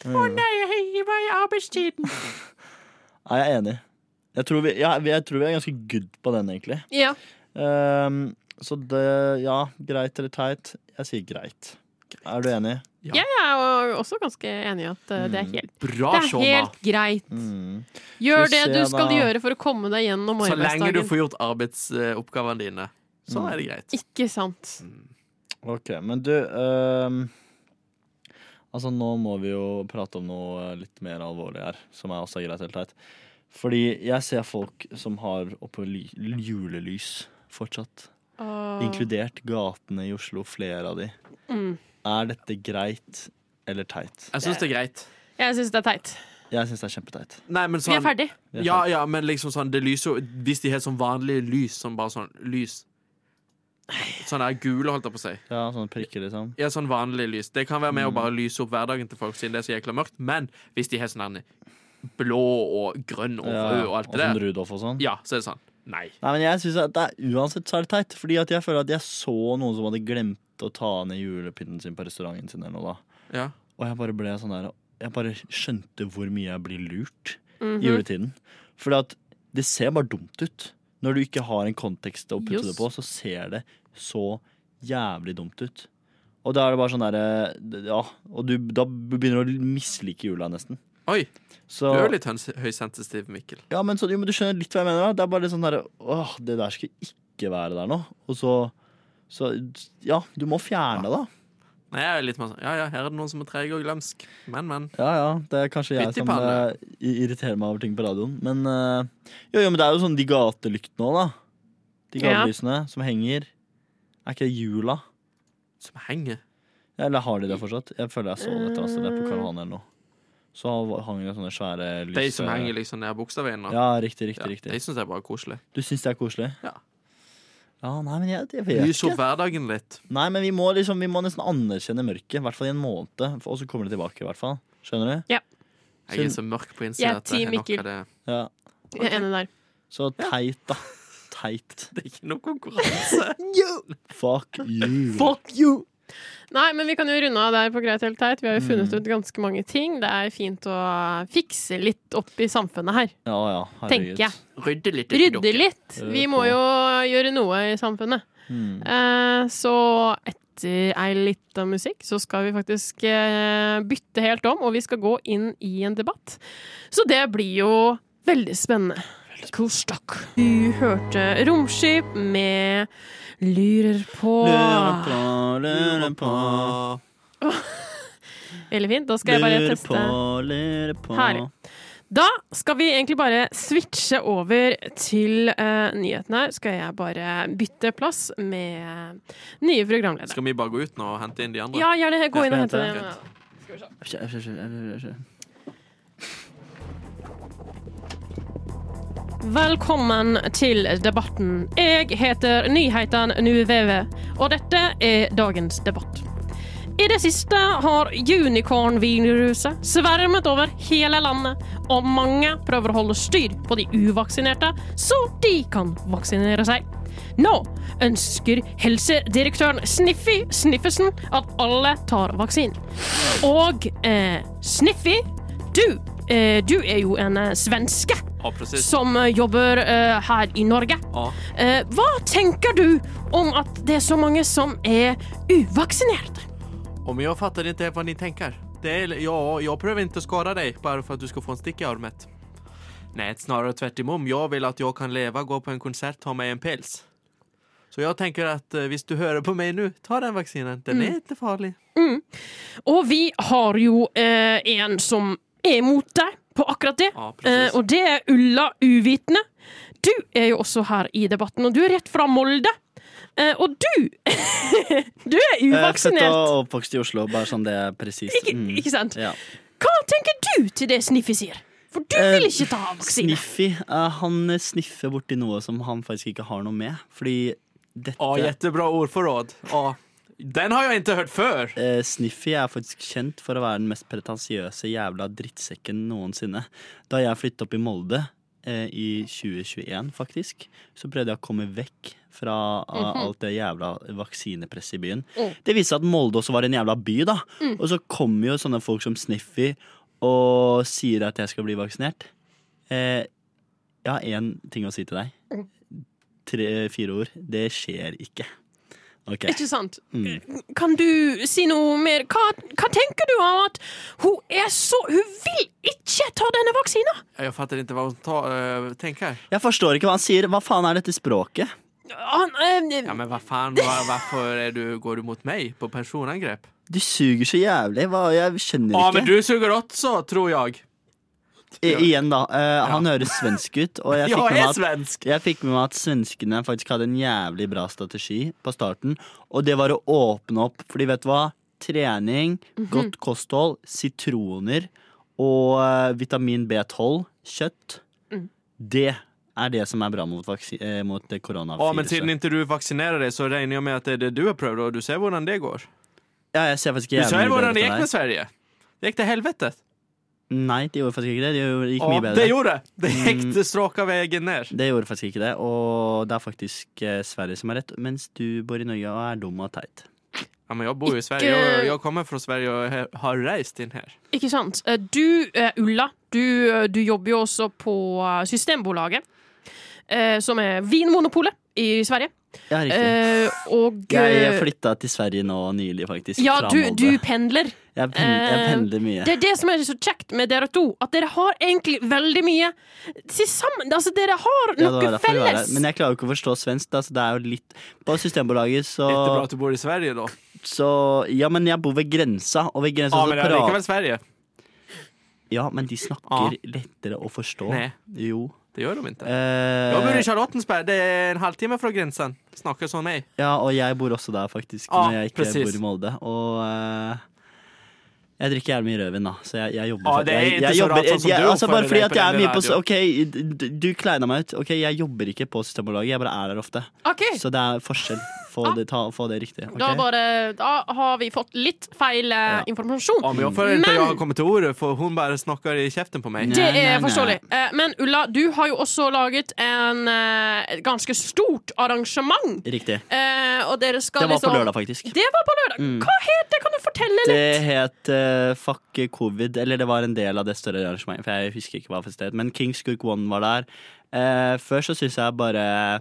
[SPEAKER 4] Å nei, jeg gir meg i arbeidstiden.
[SPEAKER 5] Nei, jeg er enig. Jeg tror, vi, ja, vi- jeg tror vi er ganske good på den, egentlig.
[SPEAKER 4] Ja.
[SPEAKER 5] Ehm, så det Ja, greit eller teit? Jeg sier greit. Er du enig?
[SPEAKER 6] Ja.
[SPEAKER 4] Jeg er jo også ganske enig i at eh,
[SPEAKER 6] Mm.
[SPEAKER 4] det er helt,
[SPEAKER 6] Bra,
[SPEAKER 4] det er
[SPEAKER 6] Shona!
[SPEAKER 4] helt greit.
[SPEAKER 5] Mm.
[SPEAKER 4] Gjør
[SPEAKER 5] Så
[SPEAKER 4] det
[SPEAKER 5] ser
[SPEAKER 4] du
[SPEAKER 5] jeg
[SPEAKER 4] skal
[SPEAKER 5] da-
[SPEAKER 4] gjøre for å komme deg gjennom
[SPEAKER 6] Så lenge du
[SPEAKER 4] arbeidsdagen.
[SPEAKER 6] får gjort arbeidsoppgavene dine. Så er det greit.
[SPEAKER 4] Ikke sant.
[SPEAKER 6] Mm.
[SPEAKER 5] Ok, men du ehm, Altså, nå må vi jo prate om noe eh, litt mer alvorlig her, som er også greit helt teit. Fordi jeg ser folk som har oppe ly julelys fortsatt,
[SPEAKER 4] Og,
[SPEAKER 5] inkludert gatene i Oslo, flere av de.
[SPEAKER 4] Mm.
[SPEAKER 5] Er dette greit eller teit?
[SPEAKER 6] Jeg syns det er greit.
[SPEAKER 4] jeg syns det er teit.
[SPEAKER 5] Jeg syns det er kjempeteit.
[SPEAKER 6] Nei, men
[SPEAKER 4] Vi er
[SPEAKER 6] sånn
[SPEAKER 4] ferdig.
[SPEAKER 5] Vi er
[SPEAKER 6] Ja, ja, men liksom sånn Det lyser jo Hvis de har sånn vanlig lys, sånn bare sånn lys Sånn der gule, holdt jeg på å si.
[SPEAKER 5] Ja, sånne prikker, liksom.
[SPEAKER 6] Ja, sånn vanlig lys. Det kan være med å bare lyse opp hverdagen til folk siden det er så jækla mørkt, men hvis de har sånn der blå og grønn og
[SPEAKER 5] Ja,
[SPEAKER 6] rød og
[SPEAKER 5] og
[SPEAKER 6] alt det
[SPEAKER 5] sånn
[SPEAKER 6] der,
[SPEAKER 5] Rudolf og sånn.
[SPEAKER 6] ja, så er det sånn. Nei.
[SPEAKER 5] Nei, men jeg synes at det er uansett så er det teit. Fordi at jeg føler at jeg så noen som hadde glemt å ta ned julepynten sin på restauranten sin. eller noe da.
[SPEAKER 6] Ja.
[SPEAKER 5] Og jeg bare ble sånn der Jeg bare skjønte hvor mye jeg blir lurt
[SPEAKER 6] Mhm.
[SPEAKER 5] i juletiden. Fordi at det ser bare dumt ut. Når du ikke har en kontekst å putte det
[SPEAKER 4] Just.
[SPEAKER 5] på, så ser det så jævlig dumt ut. Og da er det bare sånn derre Ja, og du, da begynner du å mislike jula nesten.
[SPEAKER 6] Oi, du
[SPEAKER 5] Så,
[SPEAKER 6] er jo litt høns- høysensitiv, Mikkel.
[SPEAKER 5] ja, men så, jo, men du skjønner litt hva jeg mener. Da. Det er bare litt sånn der, åh, det der skal ikke være der nå. Og så, så Ja, du må fjerne det, da.
[SPEAKER 6] Nei, jeg er litt mer sånn Ja, ja, her er det noen som er treige og glemsk. Men, men.
[SPEAKER 5] Ja, ja, det er kanskje jeg
[SPEAKER 6] Pytt i
[SPEAKER 5] som
[SPEAKER 6] panne.
[SPEAKER 5] eh, i- irriterer meg over ting på radioen. Men, eh, jo, jo, men det er jo sånn de gatelyktene òg, da. De
[SPEAKER 4] Ja.
[SPEAKER 5] gatelysene som henger. Er ikke det jula?
[SPEAKER 6] Som henger.
[SPEAKER 5] Eller har de det fortsatt? Jeg føler jeg så det et eller annet sted der på Karavanen eller noe. Så hang det sånne svære lys...
[SPEAKER 6] De som henger liksom ned bokstaven nå.
[SPEAKER 5] Ja, riktig, riktig.
[SPEAKER 6] Ja,
[SPEAKER 5] riktig
[SPEAKER 6] de syns jeg er bare koselig.
[SPEAKER 5] Du syns det er koselig?
[SPEAKER 6] Ja.
[SPEAKER 5] Ja, nei, men jeg, jeg vet
[SPEAKER 6] Lys
[SPEAKER 5] ikke.
[SPEAKER 6] opp hverdagen litt.
[SPEAKER 5] Nei, men vi må, liksom, vi må nesten anerkjenne mørket, i hvert fall i en måned. for- Og så kommer det tilbake, i hvert fall. Skjønner du?
[SPEAKER 6] Jeg er så mørk på
[SPEAKER 4] Jeg er
[SPEAKER 6] innsiden at det
[SPEAKER 4] team
[SPEAKER 6] er nok
[SPEAKER 4] Mikkel.
[SPEAKER 6] av det.
[SPEAKER 5] Ja.
[SPEAKER 4] Jeg er enig der.
[SPEAKER 5] Så teit, da. Teit.
[SPEAKER 6] Det er ikke noe konkurranse.
[SPEAKER 5] Fuck you.
[SPEAKER 4] Nei, men vi kan jo runde av der på Greit helt teit. Vi har jo
[SPEAKER 6] Mm.
[SPEAKER 4] funnet ut ganske mange ting. Det er fint å fikse litt opp i samfunnet her.
[SPEAKER 5] Ja, ja, herregud.
[SPEAKER 4] Tenker jeg.
[SPEAKER 6] Rydde litt. etter
[SPEAKER 4] Rydde
[SPEAKER 6] dere.
[SPEAKER 4] litt.
[SPEAKER 5] Hør
[SPEAKER 4] Vi
[SPEAKER 5] Eh, på.
[SPEAKER 4] må jo gjøre noe i samfunnet.
[SPEAKER 5] Mm.
[SPEAKER 4] Eh, så etter ei lita musikk så skal vi faktisk eh, bytte helt om, og vi skal gå inn i en debatt. Så det blir jo veldig spennende. Cool stock. Du hørte Romskip med Lurer på.
[SPEAKER 5] Lurer på, lurer på,
[SPEAKER 4] Veldig fint. Da skal jeg bare
[SPEAKER 5] lurer på,
[SPEAKER 4] teste.
[SPEAKER 5] lurer på.
[SPEAKER 4] Herlig. Da skal vi egentlig bare switche over til eh, nyhetene her. Skal jeg bare bytte plass med eh, nye programledere.
[SPEAKER 6] Skal vi bare gå ut nå og hente inn de andre?
[SPEAKER 4] Ja, gjerne gå inn og
[SPEAKER 5] Jeg
[SPEAKER 4] hente
[SPEAKER 5] skal
[SPEAKER 4] dem.
[SPEAKER 6] hente.
[SPEAKER 4] Velkommen til debatten. Jeg heter Nyhetene Nuveve, og dette er dagens debatt. I det siste har unicornviruset svermet over hele landet, og mange prøver å holde styr på de uvaksinerte, så de kan vaksinere seg. Nå ønsker helsedirektøren Sniffy Sniffesen at alle tar vaksinen. Og eh, Sniffy, du, eh, du er jo en eh, svenske
[SPEAKER 6] Ja, precis.
[SPEAKER 4] som eh, jobber eh, her i Norge.
[SPEAKER 6] Ja.
[SPEAKER 4] Eh, hva tenker du om at det er så mange som er uvaksinerte?
[SPEAKER 6] Om jag fattar inte vad ni tänker. Det är, ja, jag prövar inte skada dig bara för att du ska få en stick i armet. Nej, snarare tvärt emot. Jag vill att jag kan leva, gå på en konsert, ta mig en pils. Så jag tänker att eh, visst du hör på mig nu, ta den vaccinen. Den är inte farlig.
[SPEAKER 4] Og vi har jo eh, en som er mot deg på akkurat det,
[SPEAKER 6] Ja, precis.
[SPEAKER 4] eh, og det er Ulla Uvitende. Du er jo også her i debatten, og du er rett fra Molde. Eh, og du Du er
[SPEAKER 5] Eh, Født
[SPEAKER 4] uvaksinert.
[SPEAKER 5] og oppvokst i Oslo, bare sånn det er presist.
[SPEAKER 4] Ikke,
[SPEAKER 5] Mm.
[SPEAKER 4] ikke sant?
[SPEAKER 5] Ja.
[SPEAKER 4] Hva tenker du til det Sniffi sier? For du
[SPEAKER 5] Eh,
[SPEAKER 4] vil ikke ta vaksine.
[SPEAKER 5] Sniffy, eh, han sniffer borti noe som han faktisk ikke har noe med. Fordi dette
[SPEAKER 6] Ja, jättebra ordförråd. Ja. Den har jag inte hört för.
[SPEAKER 5] eh, Sniffy er faktisk kjent for å være den mest pretensiøse jævla drittsekken noensinne. Da jeg flyttet opp i Molde eh, i 2021, faktisk, så prøvde jeg å komme vekk fra ah, alt det jævla vaksinepresset i byen.
[SPEAKER 4] Mhm. Mm.
[SPEAKER 5] Det viste seg at Molde også var en jævla by, da. Og så kommer jo sånne folk som Sniffy og sier at jeg skal bli vaksinert. Eh, jeg
[SPEAKER 4] Mm.
[SPEAKER 5] har én ting å si til deg. Tre, fire ord. Det skjer ikke. Ok.
[SPEAKER 4] Ikke sant?
[SPEAKER 5] Mm.
[SPEAKER 4] Kan du si noe mer? Hva, hva tenker du om at hun er så Hun vil ikke ta denne vaksina!
[SPEAKER 6] Jeg fatter ikke hva hun tar, øh, tenker. jeg.
[SPEAKER 5] Jeg forstår ikke hva han sier. Hva faen er dette språket?
[SPEAKER 4] Han, eh,
[SPEAKER 6] Ja, men hva faen, hva, hvorfor er du, går du mot meg på personangrep?
[SPEAKER 5] Du suger så jævlig. Hva, jeg skjønner
[SPEAKER 6] Å,
[SPEAKER 5] ikke.
[SPEAKER 6] men du suger også, tror jeg.
[SPEAKER 5] I, igjen, da. eh, Han høres svensk ut, og jeg
[SPEAKER 6] Ja,
[SPEAKER 5] fikk, med
[SPEAKER 6] jeg er
[SPEAKER 5] meg at,
[SPEAKER 6] svensk.
[SPEAKER 5] jeg fikk med meg at svenskene faktisk hadde en jævlig bra strategi på starten, og det var å åpne opp, fordi vet du hva? Trening, godt kosthold, sitroner og eh, vitamin B12, kjøtt. Det er det som er bra mot, vaksi- eh, mot det
[SPEAKER 6] Å, men siden
[SPEAKER 5] koronaviruset.
[SPEAKER 6] ikke du vaksinerer deg, så regner jeg med at det er det du har prøvd, og du ser hvordan det går.
[SPEAKER 5] Ja, jeg ser faktisk
[SPEAKER 6] Du
[SPEAKER 5] ikke
[SPEAKER 6] ser
[SPEAKER 5] jævlig mye
[SPEAKER 6] hvordan det
[SPEAKER 5] bedre
[SPEAKER 6] gikk
[SPEAKER 5] ut
[SPEAKER 6] med Sverige. Det gikk til helvete.
[SPEAKER 5] Nei, det gjorde faktisk ikke det. Det gjorde- gikk
[SPEAKER 6] Å,
[SPEAKER 5] mye bedre.
[SPEAKER 6] det gjorde det. Det
[SPEAKER 5] Mm.
[SPEAKER 6] gikk til straka veien ned.
[SPEAKER 5] Det gjorde faktisk ikke det, og det er faktisk eh, Sverige som har rett, mens du bor i Norge og er dum og teit.
[SPEAKER 6] Ja, men jeg bor jo i Sverige, og jeg kommer fra Sverige og he- har reist inn her.
[SPEAKER 4] Ikke sant. Eh, Du, eh, Ulla, du, eh, du jobber jo også på eh, Systembolaget, eh, som er Vinmonopolet i Sverige.
[SPEAKER 5] Ja, riktig.
[SPEAKER 4] Eh, og
[SPEAKER 5] jeg
[SPEAKER 4] eh,
[SPEAKER 5] flytta til Sverige nå nylig, faktisk.
[SPEAKER 4] ja,
[SPEAKER 5] fra
[SPEAKER 4] du,
[SPEAKER 5] Molde.
[SPEAKER 4] du pendler.
[SPEAKER 5] jeg, pendler, jeg
[SPEAKER 4] eh,
[SPEAKER 5] pendler mye.
[SPEAKER 4] Det er det som er så kjekt med dere to, at dere har egentlig veldig mye til sammen. Altså, dere har
[SPEAKER 5] Ja, det var
[SPEAKER 4] noe
[SPEAKER 5] derfor jeg var her.
[SPEAKER 4] felles.
[SPEAKER 5] Men jeg klarer jo ikke å forstå svensk. Da, så det er jo litt På Systembolaget så,
[SPEAKER 6] Ikke bra at du bor i Sverige, da.
[SPEAKER 5] så Ja, men jeg bor ved grensa, og ved grensa
[SPEAKER 6] Ja,
[SPEAKER 5] så
[SPEAKER 6] Ah, men det er
[SPEAKER 5] prater-
[SPEAKER 6] likevel Sverige.
[SPEAKER 5] Ja, men de snakker lettere å forstå.
[SPEAKER 6] Nei.
[SPEAKER 5] Jo.
[SPEAKER 6] Det gjør de ikke.
[SPEAKER 5] Eh,
[SPEAKER 6] Jeg bor i Charlottenberg. Det er en halvtime fra grensen. Snakker som meg.
[SPEAKER 5] Ja, og jeg bor også der, faktisk,
[SPEAKER 6] Ja,
[SPEAKER 5] når jeg ikke
[SPEAKER 6] presis.
[SPEAKER 5] bor i Molde. Og eh, jeg drikker jævlig mye rødvin, da, så jeg, jeg jobber
[SPEAKER 6] Ja,
[SPEAKER 5] for-
[SPEAKER 6] Ah, det er
[SPEAKER 5] jeg,
[SPEAKER 6] ikke
[SPEAKER 5] jeg
[SPEAKER 6] så
[SPEAKER 5] jobber-
[SPEAKER 6] rart sånn som
[SPEAKER 5] jeg-
[SPEAKER 6] du
[SPEAKER 5] altså, Bare
[SPEAKER 6] oppfører
[SPEAKER 5] fordi
[SPEAKER 6] deg
[SPEAKER 5] at
[SPEAKER 6] på
[SPEAKER 5] jeg er
[SPEAKER 6] den
[SPEAKER 5] mye på
[SPEAKER 6] radioen.
[SPEAKER 5] OK, du, du kleina meg ut. OK, jeg jobber ikke på Systembolaget, jeg bare er der ofte.
[SPEAKER 4] Ok,
[SPEAKER 5] Så det er forskjell.
[SPEAKER 6] Ah.
[SPEAKER 5] Få det, ta, få det riktig. ok?
[SPEAKER 4] da, bare, da har vi fått litt feil eh, informasjon.
[SPEAKER 6] Ja, men jeg føler ikke
[SPEAKER 4] Men-
[SPEAKER 6] jeg har kommet til ordet, for hun bare snakker i kjeften på meg.
[SPEAKER 5] Nei,
[SPEAKER 4] Det
[SPEAKER 5] nei,
[SPEAKER 4] er
[SPEAKER 5] nei.
[SPEAKER 4] forståelig. Eh, Men Ulla, du har jo også laget en, eh, et ganske stort arrangement.
[SPEAKER 5] Riktig.
[SPEAKER 4] Eh, og dere skal
[SPEAKER 5] Det var på
[SPEAKER 4] liksom
[SPEAKER 5] lørdag, faktisk. Mm.
[SPEAKER 4] Det var på lørdag. Hva het det? Kan du fortelle litt?
[SPEAKER 5] Det het eh, Fuck covid, eller det var en del av det større arrangementet, for jeg husker ikke hva for sted, men Kings Cook One var der. Eh, før så syns jeg bare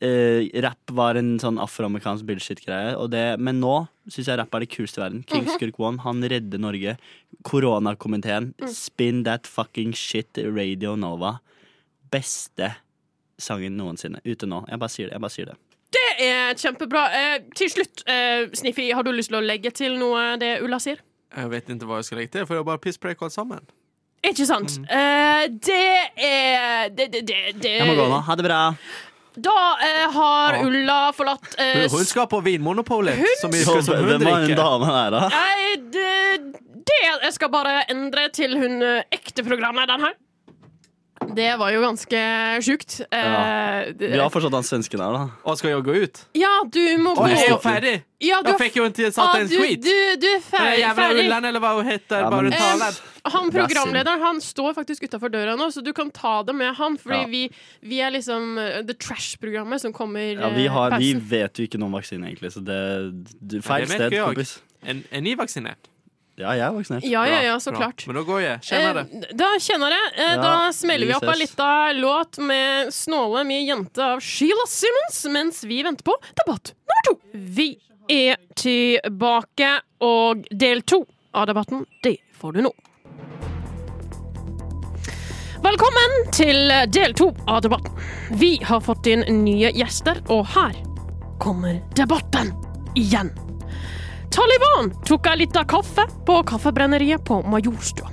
[SPEAKER 5] eh, rapp var en sånn afroamerikansk bullshit-greie, og det- men nå syns jeg rapp er det kuleste i verden. Kings Cook One, han redder Norge. Koronakomiteen, spin that fucking shit, Radio Nova. Beste sangen noensinne. Ute nå. Jeg bare sier det. Jeg bare sier det.
[SPEAKER 4] Det er kjempebra. Eh, til slutt, eh, Sniffi, har du lyst til å legge til noe det Ulla sier?
[SPEAKER 6] Jeg vet ikke hva jeg skal legge til, for jeg bare pisspreik alt sammen.
[SPEAKER 4] Ikke sant? Eh, det er det, det, det, det.
[SPEAKER 5] Mm. Jeg må gå nå. Ha det bra.
[SPEAKER 4] Da eh, har
[SPEAKER 6] Ja.
[SPEAKER 4] Ulla forlatt eh,
[SPEAKER 6] Hun skal på Vinmonopolet, som vi skal som hun
[SPEAKER 5] Hvem var hun
[SPEAKER 6] drikker.
[SPEAKER 5] dama der, da?
[SPEAKER 4] Nei, det, det Jeg skal bare endre til hun eh, ekte programlederen her. Det var jo ganske sjukt.
[SPEAKER 5] Ja.
[SPEAKER 4] Eh, det-
[SPEAKER 5] Vi har forstått han svensken her, da.
[SPEAKER 6] Og skal jeg gå ut?
[SPEAKER 4] ja, du må
[SPEAKER 6] Og
[SPEAKER 4] gå.
[SPEAKER 6] jeg er jo ferdig!
[SPEAKER 4] Ja, du, Ah,
[SPEAKER 6] Jeg fikk jo ikke satt en
[SPEAKER 4] du,
[SPEAKER 6] skit.
[SPEAKER 4] du, du er
[SPEAKER 6] Den
[SPEAKER 4] ferdig.
[SPEAKER 6] jævla
[SPEAKER 4] ferdig.
[SPEAKER 6] Ulland, eller hva hun heter,
[SPEAKER 5] Ja,
[SPEAKER 6] bare
[SPEAKER 5] men-
[SPEAKER 6] taler.
[SPEAKER 4] Han
[SPEAKER 5] Det er synd.
[SPEAKER 4] programlederen han står faktisk utafor døra nå, så du kan ta det med han. Fordi
[SPEAKER 5] Ja.
[SPEAKER 4] vi, vi er liksom eh, The Trash-programmet som kommer
[SPEAKER 5] Ja, vi,
[SPEAKER 4] eh,
[SPEAKER 5] har, vi
[SPEAKER 4] pausen.
[SPEAKER 5] vet jo ikke noe om vaksine, egentlig, så det du,
[SPEAKER 6] Ja,
[SPEAKER 5] Feil
[SPEAKER 6] det vet
[SPEAKER 5] sted,
[SPEAKER 6] ikke jeg.
[SPEAKER 5] kompis.
[SPEAKER 6] Er er ni vaksinert?
[SPEAKER 5] Ja, jeg er vaksinert.
[SPEAKER 4] Ja, ja,
[SPEAKER 6] Bra,
[SPEAKER 4] ja, så
[SPEAKER 6] bra.
[SPEAKER 4] klart.
[SPEAKER 6] Men da går jeg. Kjenner det.
[SPEAKER 4] Eh, Da kjenner jeg. Eh,
[SPEAKER 5] Ja,
[SPEAKER 4] da smeller vi
[SPEAKER 5] vi
[SPEAKER 4] opp av
[SPEAKER 5] ses.
[SPEAKER 4] litt av låt med 'Snåle mi jente' av Sheila Simmons, mens vi venter på debatt nummer to. Vi er tilbake, og del to av debatten, det får du nå. Velkommen til del to av debatten. Vi har fått inn nye gjester, og her kommer debatten igjen. Taliban tok ei lita kaffe på kaffebrenneriet på Majorstua.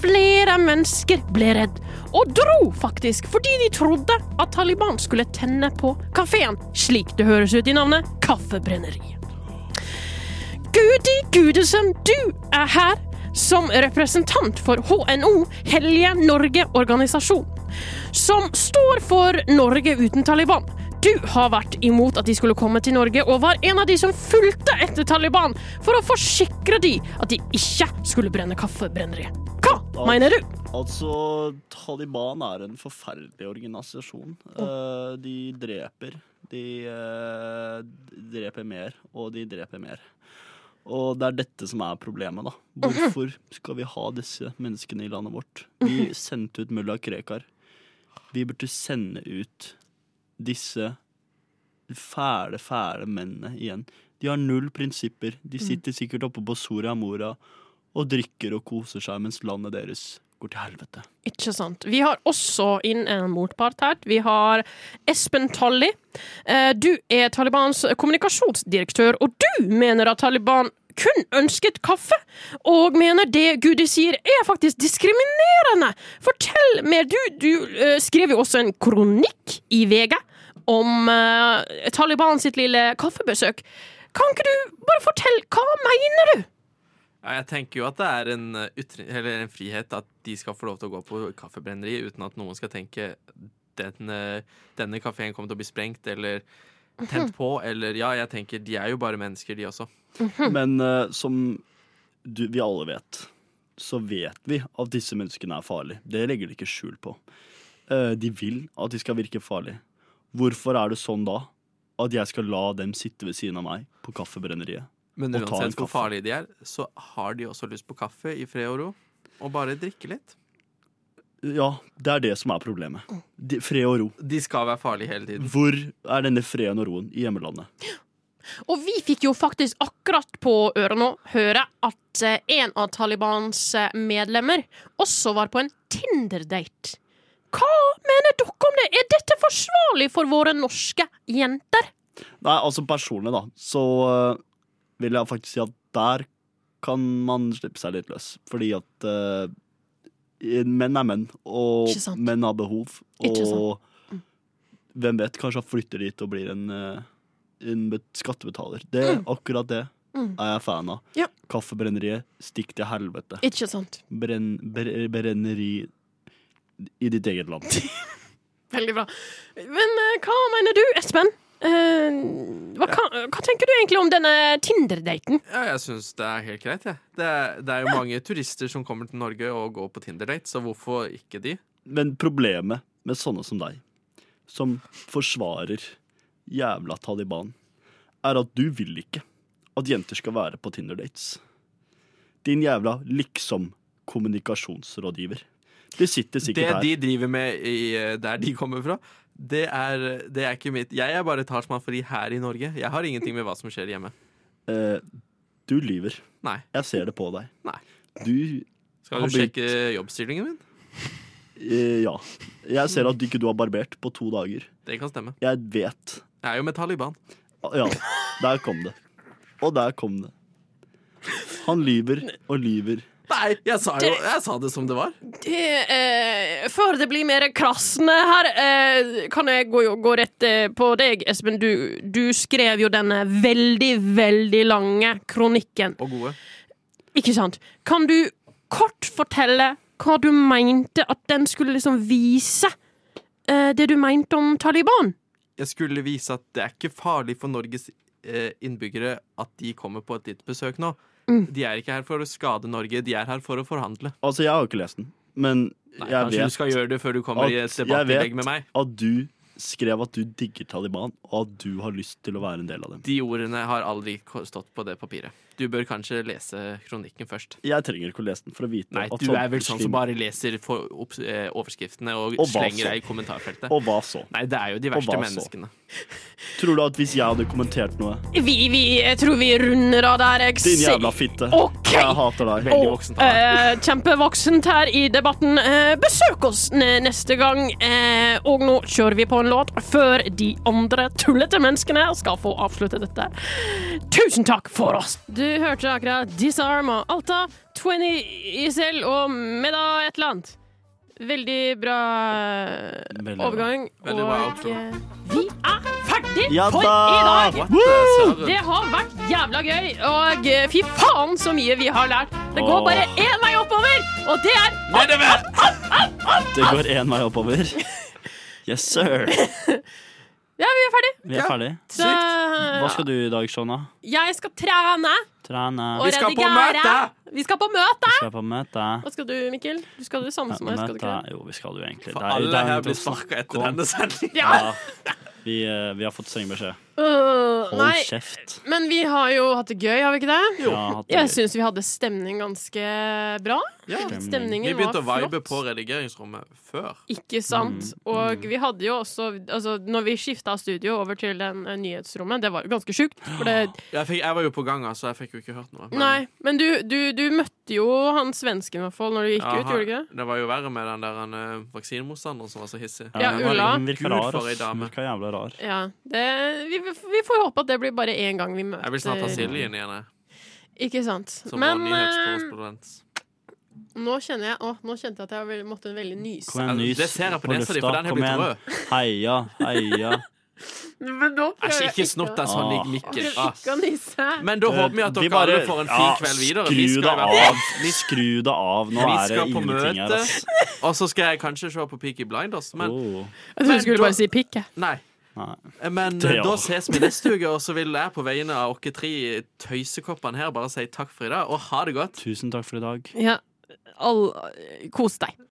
[SPEAKER 4] Flere mennesker ble redd, og dro faktisk fordi de trodde at Taliban skulle tenne på kafeen, slik det høres ut i navnet Kaffebrenneriet. Gudi Gudesen, du er her som representant for HNO, Hellige Norge organisasjon, som står for Norge uten Taliban. Du har vært imot at de skulle komme til Norge, og var en av de som fulgte etter Taliban for å forsikre de at de ikke skulle brenne kaffebrenneriet. Hva mener du?
[SPEAKER 5] Altså, Taliban er en forferdelig organisasjon. Eh, de dreper. De eh, d- dreper mer, og de dreper mer. Og det er dette som er problemet, da. Hvorfor skal vi ha disse menneskene i landet vårt? Vi sendte ut mulla Krekar. Vi burde sende ut disse fæle, fæle mennene igjen. De har null prinsipper. De sitter sikkert oppe på Soria Moria og drikker og koser seg mens landet deres går til helvete.
[SPEAKER 4] Ikke sant. Vi har også inn en motpart her. Vi har Espen Talli. Eh, Du er Talibans kommunikasjonsdirektør, og du mener at Taliban kun ønsket kaffe, og mener det Gudi sier er faktisk diskriminerende. Fortell mer. Du, du eh, skrev jo også en kronikk i VG om eh, Taliban sitt lille kaffebesøk. Kan ikke du bare fortelle Hva mener du?
[SPEAKER 6] Ja, jeg tenker jo at det er en, eh, ytring, eller en frihet at de skal få lov til å gå på kaffebrenneri uten at noen skal tenke denne, denne kafeen kommer til å bli sprengt eller tent på. Eller ja, jeg tenker de er jo bare mennesker, de også.
[SPEAKER 5] Men eh, som du, vi alle vet, så vet vi at disse menneskene er farlige. Det legger de ikke skjul på. Eh, de vil at de skal virke farlige. Hvorfor er det sånn da at jeg skal la dem sitte ved siden av meg på kaffebrenneriet?
[SPEAKER 6] Men
[SPEAKER 5] Og ta en
[SPEAKER 6] uansett hvor
[SPEAKER 5] kaffe.
[SPEAKER 6] farlige de er, så har de også lyst på kaffe i fred og ro. Og bare drikke litt.
[SPEAKER 5] Ja, det er det som er problemet. De, fred og ro.
[SPEAKER 6] De skal være farlige hele tiden.
[SPEAKER 5] Hvor er denne freden og roen i hjemlandet?
[SPEAKER 4] Og vi fikk jo faktisk akkurat på øret nå høre at eh, en av Talibans eh, medlemmer også var på en Tinder-date. Hva mener dere om det? Er dette forsvarlig for våre norske jenter?
[SPEAKER 5] Nei, altså personlig, da, så øh, vil jeg faktisk si at der kan man slippe seg litt løs. Fordi at øh, menn er menn, og
[SPEAKER 4] Ikke sant.
[SPEAKER 5] menn har behov.
[SPEAKER 4] Ikke
[SPEAKER 5] Og hvem vet, kanskje han flytter dit og blir en, øh, en bet- skattebetaler. Det, Akkurat det
[SPEAKER 4] Mm.
[SPEAKER 5] er jeg fan av.
[SPEAKER 4] Ja.
[SPEAKER 5] Kaffebrenneriet, stikk til helvete.
[SPEAKER 4] Ikke sant?
[SPEAKER 5] Brenn, bre, brenneri i ditt eget land.
[SPEAKER 4] Veldig bra. Men eh, hva mener du, Espen? Eh, hva, hva, hva tenker du egentlig om denne Tinder-daten?
[SPEAKER 6] Ja, jeg syns det er helt greit, jeg. Det, er- det er jo mange turister som kommer til Norge og går på Tinder-date, så hvorfor ikke de?
[SPEAKER 5] Men problemet med sånne som deg, som forsvarer jævla Taliban, er at du vil ikke at jenter skal være på Tinder-dates. Din jævla liksom-kommunikasjonsrådgiver. De sitter
[SPEAKER 6] Det
[SPEAKER 5] sikkert
[SPEAKER 6] de
[SPEAKER 5] her.
[SPEAKER 6] driver med i, eh, der de kommer fra, det er, det er ikke mitt. Jeg er bare talsmann for de her i Norge. Jeg har ingenting med hva som skjer hjemme.
[SPEAKER 5] Eh, du lyver.
[SPEAKER 6] Nei.
[SPEAKER 5] Jeg ser det på deg.
[SPEAKER 6] Nei.
[SPEAKER 5] Du
[SPEAKER 6] Skal
[SPEAKER 5] Har
[SPEAKER 6] du
[SPEAKER 5] begynt-
[SPEAKER 6] sjekke jobbstillingen min?
[SPEAKER 5] eh, Ja. Jeg ser at ikke du har barbert på to dager.
[SPEAKER 6] Det kan stemme.
[SPEAKER 5] Jeg vet
[SPEAKER 6] Jeg er jo med Taliban.
[SPEAKER 5] Ja, der kom det. Og der kom det. Han lyver og lyver.
[SPEAKER 6] Nei, jeg sa jo Jeg sa det som det var.
[SPEAKER 4] Det, eh, før det blir mer krassende her, eh, kan jeg gå, gå rett eh, på deg, Espen. Du, du skrev jo denne veldig, veldig lange kronikken.
[SPEAKER 6] Og gode.
[SPEAKER 4] Ikke sant? Kan du kort fortelle hva du mente at den skulle liksom vise? eh, Det du mente om Taliban?
[SPEAKER 6] Jeg skulle vise at det er ikke farlig for Norges eh, innbyggere at de kommer på et ditt besøk nå. De er ikke her for å skade Norge, de er her for å forhandle.
[SPEAKER 5] Altså, jeg har jo ikke lest den, men
[SPEAKER 6] Nei,
[SPEAKER 5] jeg
[SPEAKER 6] kanskje du
[SPEAKER 5] vet
[SPEAKER 6] skal gjøre det før du kommer
[SPEAKER 5] at-
[SPEAKER 6] i et
[SPEAKER 5] jeg
[SPEAKER 6] debattinnlegg
[SPEAKER 5] vet
[SPEAKER 6] med meg.
[SPEAKER 5] at du skrev at du digger Taliban, og at du har lyst til å være en del av dem.
[SPEAKER 6] De ordene har aldri ko- stått på det papiret. Du bør kanskje lese kronikken først.
[SPEAKER 5] Jeg trenger ikke å lese den for å vite
[SPEAKER 6] Nei,
[SPEAKER 5] at
[SPEAKER 6] du
[SPEAKER 5] sånt
[SPEAKER 6] er vel sånn som
[SPEAKER 5] forsvinner.
[SPEAKER 6] bare leser for opp, eh, overskriftene og,
[SPEAKER 5] Og hva så?
[SPEAKER 6] slenger deg i kommentarfeltet.
[SPEAKER 5] Og hva så?
[SPEAKER 6] Nei, det er jo de
[SPEAKER 5] Og
[SPEAKER 6] verste
[SPEAKER 5] hva så?
[SPEAKER 6] menneskene.
[SPEAKER 5] Tror du at hvis jeg hadde kommentert noe
[SPEAKER 4] Vi, vi, jeg tror vi runder av der. Jeg
[SPEAKER 5] Din
[SPEAKER 4] ser-
[SPEAKER 5] jævla fitte.
[SPEAKER 4] Ok.
[SPEAKER 5] Jeg hater deg.
[SPEAKER 6] Veldig
[SPEAKER 4] Og,
[SPEAKER 6] voksent av deg.
[SPEAKER 4] eh, kjempevoksent her i debatten. Eh, besøk oss ne- neste gang. Eh, og nå kjører vi på en låt før de andre tullete menneskene skal få avslutte dette. Tusen takk for oss! Du hørte akkurat Disarm og Alta, 20 ISL og Meda et eller annet. Veldig bra eh,
[SPEAKER 5] Veldig bra.
[SPEAKER 4] overgang.
[SPEAKER 6] Veldig bra
[SPEAKER 4] og
[SPEAKER 6] outro.
[SPEAKER 4] eh, vi er ferdig
[SPEAKER 5] Ja
[SPEAKER 4] for i
[SPEAKER 5] da!
[SPEAKER 4] dag!
[SPEAKER 6] What
[SPEAKER 5] Woo!
[SPEAKER 6] the-
[SPEAKER 4] Det har vært jævla gøy, og eh, fy faen så mye vi har lært. Det går
[SPEAKER 5] Åh.
[SPEAKER 4] bare én vei oppover, og det er
[SPEAKER 6] Nedover!
[SPEAKER 5] Det går én vei oppover. Yes, sir.
[SPEAKER 4] Ja, vi er ferdig.
[SPEAKER 5] Vi er ferdig.
[SPEAKER 4] Så,
[SPEAKER 5] Hva skal du i dag, Shona?
[SPEAKER 4] jeg skal trene og
[SPEAKER 5] Trene.
[SPEAKER 6] Vi skal på
[SPEAKER 4] redigere.
[SPEAKER 6] møte!
[SPEAKER 4] Vi skal på møte!
[SPEAKER 5] Skal på møte.
[SPEAKER 4] Hva skal du, Mikkel? Du skal det samme som meg. skal du ikke det?
[SPEAKER 5] Møte. Jo, vi skal jo egentlig
[SPEAKER 6] For
[SPEAKER 5] Det er- det
[SPEAKER 6] alle
[SPEAKER 5] er til
[SPEAKER 6] her
[SPEAKER 5] å
[SPEAKER 6] blir sparka
[SPEAKER 5] snakke
[SPEAKER 6] etter
[SPEAKER 5] om.
[SPEAKER 6] denne sendingen.
[SPEAKER 4] Ja.
[SPEAKER 5] Ja. Vi, eh, vi har fått streng beskjed.
[SPEAKER 4] Øh,
[SPEAKER 5] Hold
[SPEAKER 4] nei,
[SPEAKER 5] kjeft.
[SPEAKER 4] men vi har jo hatt det gøy, har vi ikke det?
[SPEAKER 5] Ja, hatt det
[SPEAKER 4] Jeg
[SPEAKER 5] gøy.
[SPEAKER 4] syns vi hadde stemning ganske bra.
[SPEAKER 6] Ja.
[SPEAKER 5] Stemning.
[SPEAKER 6] Vi
[SPEAKER 4] Stemningen var
[SPEAKER 6] begynte å vibe
[SPEAKER 4] flott.
[SPEAKER 6] på redigeringsrommet før.
[SPEAKER 4] Ikke sant.
[SPEAKER 6] Mm.
[SPEAKER 4] Og vi hadde jo også altså, Når vi skifta studio over til den eh, nyhetsrommet, det var jo ganske sjukt. For det,
[SPEAKER 6] Jeg, fikk, jeg var jo på ganga, så jeg fikk jo ikke hørt noe. men-
[SPEAKER 4] nei, men du, du, du møtte jo han svensken i hvert fall når du gikk
[SPEAKER 6] Ja,
[SPEAKER 4] ut, gjorde du ikke det?
[SPEAKER 6] han- Det var jo verre med den der han, eh, vaksinemotstanderen som var så hissig.
[SPEAKER 4] Ja,
[SPEAKER 5] hun var-
[SPEAKER 4] Ulla.
[SPEAKER 5] Hun virka
[SPEAKER 6] Gud,
[SPEAKER 5] rar.
[SPEAKER 6] for ei
[SPEAKER 5] ass.
[SPEAKER 6] dame.
[SPEAKER 5] Hun virka jævla rar.
[SPEAKER 4] Ja, det, vi, vi får håpe at det blir bare én gang vi møter
[SPEAKER 6] Jeg vil snart ha Silje inn igjen, jeg,
[SPEAKER 4] Ikke sant.
[SPEAKER 6] som
[SPEAKER 4] Men
[SPEAKER 6] var
[SPEAKER 4] eh,
[SPEAKER 6] nyhetskorrespondent.
[SPEAKER 4] nå kjenner jeg Å, nå kjente jeg at jeg vel- måtte veldig nyse.
[SPEAKER 5] Kom igjen,
[SPEAKER 6] Altså,
[SPEAKER 5] nys
[SPEAKER 6] det ser jeg på nesa di,
[SPEAKER 5] lufta.
[SPEAKER 6] for den har
[SPEAKER 5] Kom
[SPEAKER 6] blitt
[SPEAKER 5] igjen.
[SPEAKER 6] rød.
[SPEAKER 5] Heia, heia.
[SPEAKER 4] Men nå
[SPEAKER 6] Æsj, ikke snott deg sånn i mikken.
[SPEAKER 4] Prøver ikke å
[SPEAKER 6] ass.
[SPEAKER 4] nyse.
[SPEAKER 6] Men da håper vi at
[SPEAKER 5] Vi
[SPEAKER 6] dere
[SPEAKER 5] bare-
[SPEAKER 6] alle får en fin
[SPEAKER 5] ja,
[SPEAKER 6] kveld videre. Vi
[SPEAKER 5] Skru
[SPEAKER 6] skal
[SPEAKER 5] det
[SPEAKER 6] i hvert fall-
[SPEAKER 5] av. Skru det av. Nå
[SPEAKER 6] Vi
[SPEAKER 5] er det
[SPEAKER 6] skal på
[SPEAKER 5] ingenting her,
[SPEAKER 6] møte.
[SPEAKER 5] ass.
[SPEAKER 6] Og så skal jeg kanskje se på Peaky Blinders, men
[SPEAKER 5] Oh,
[SPEAKER 4] Jeg trodde du skulle
[SPEAKER 6] da-
[SPEAKER 4] bare si pikk, jeg.
[SPEAKER 6] nei.
[SPEAKER 5] nei.
[SPEAKER 6] Men
[SPEAKER 5] Det,
[SPEAKER 6] eh,
[SPEAKER 5] ja.
[SPEAKER 6] da ses vi neste uke, og så vil jeg på vegne av dere tre tøysekoppene her bare si takk for i dag, og ha det godt.
[SPEAKER 5] Tusen takk for i dag.
[SPEAKER 4] Ja. All, kos deg.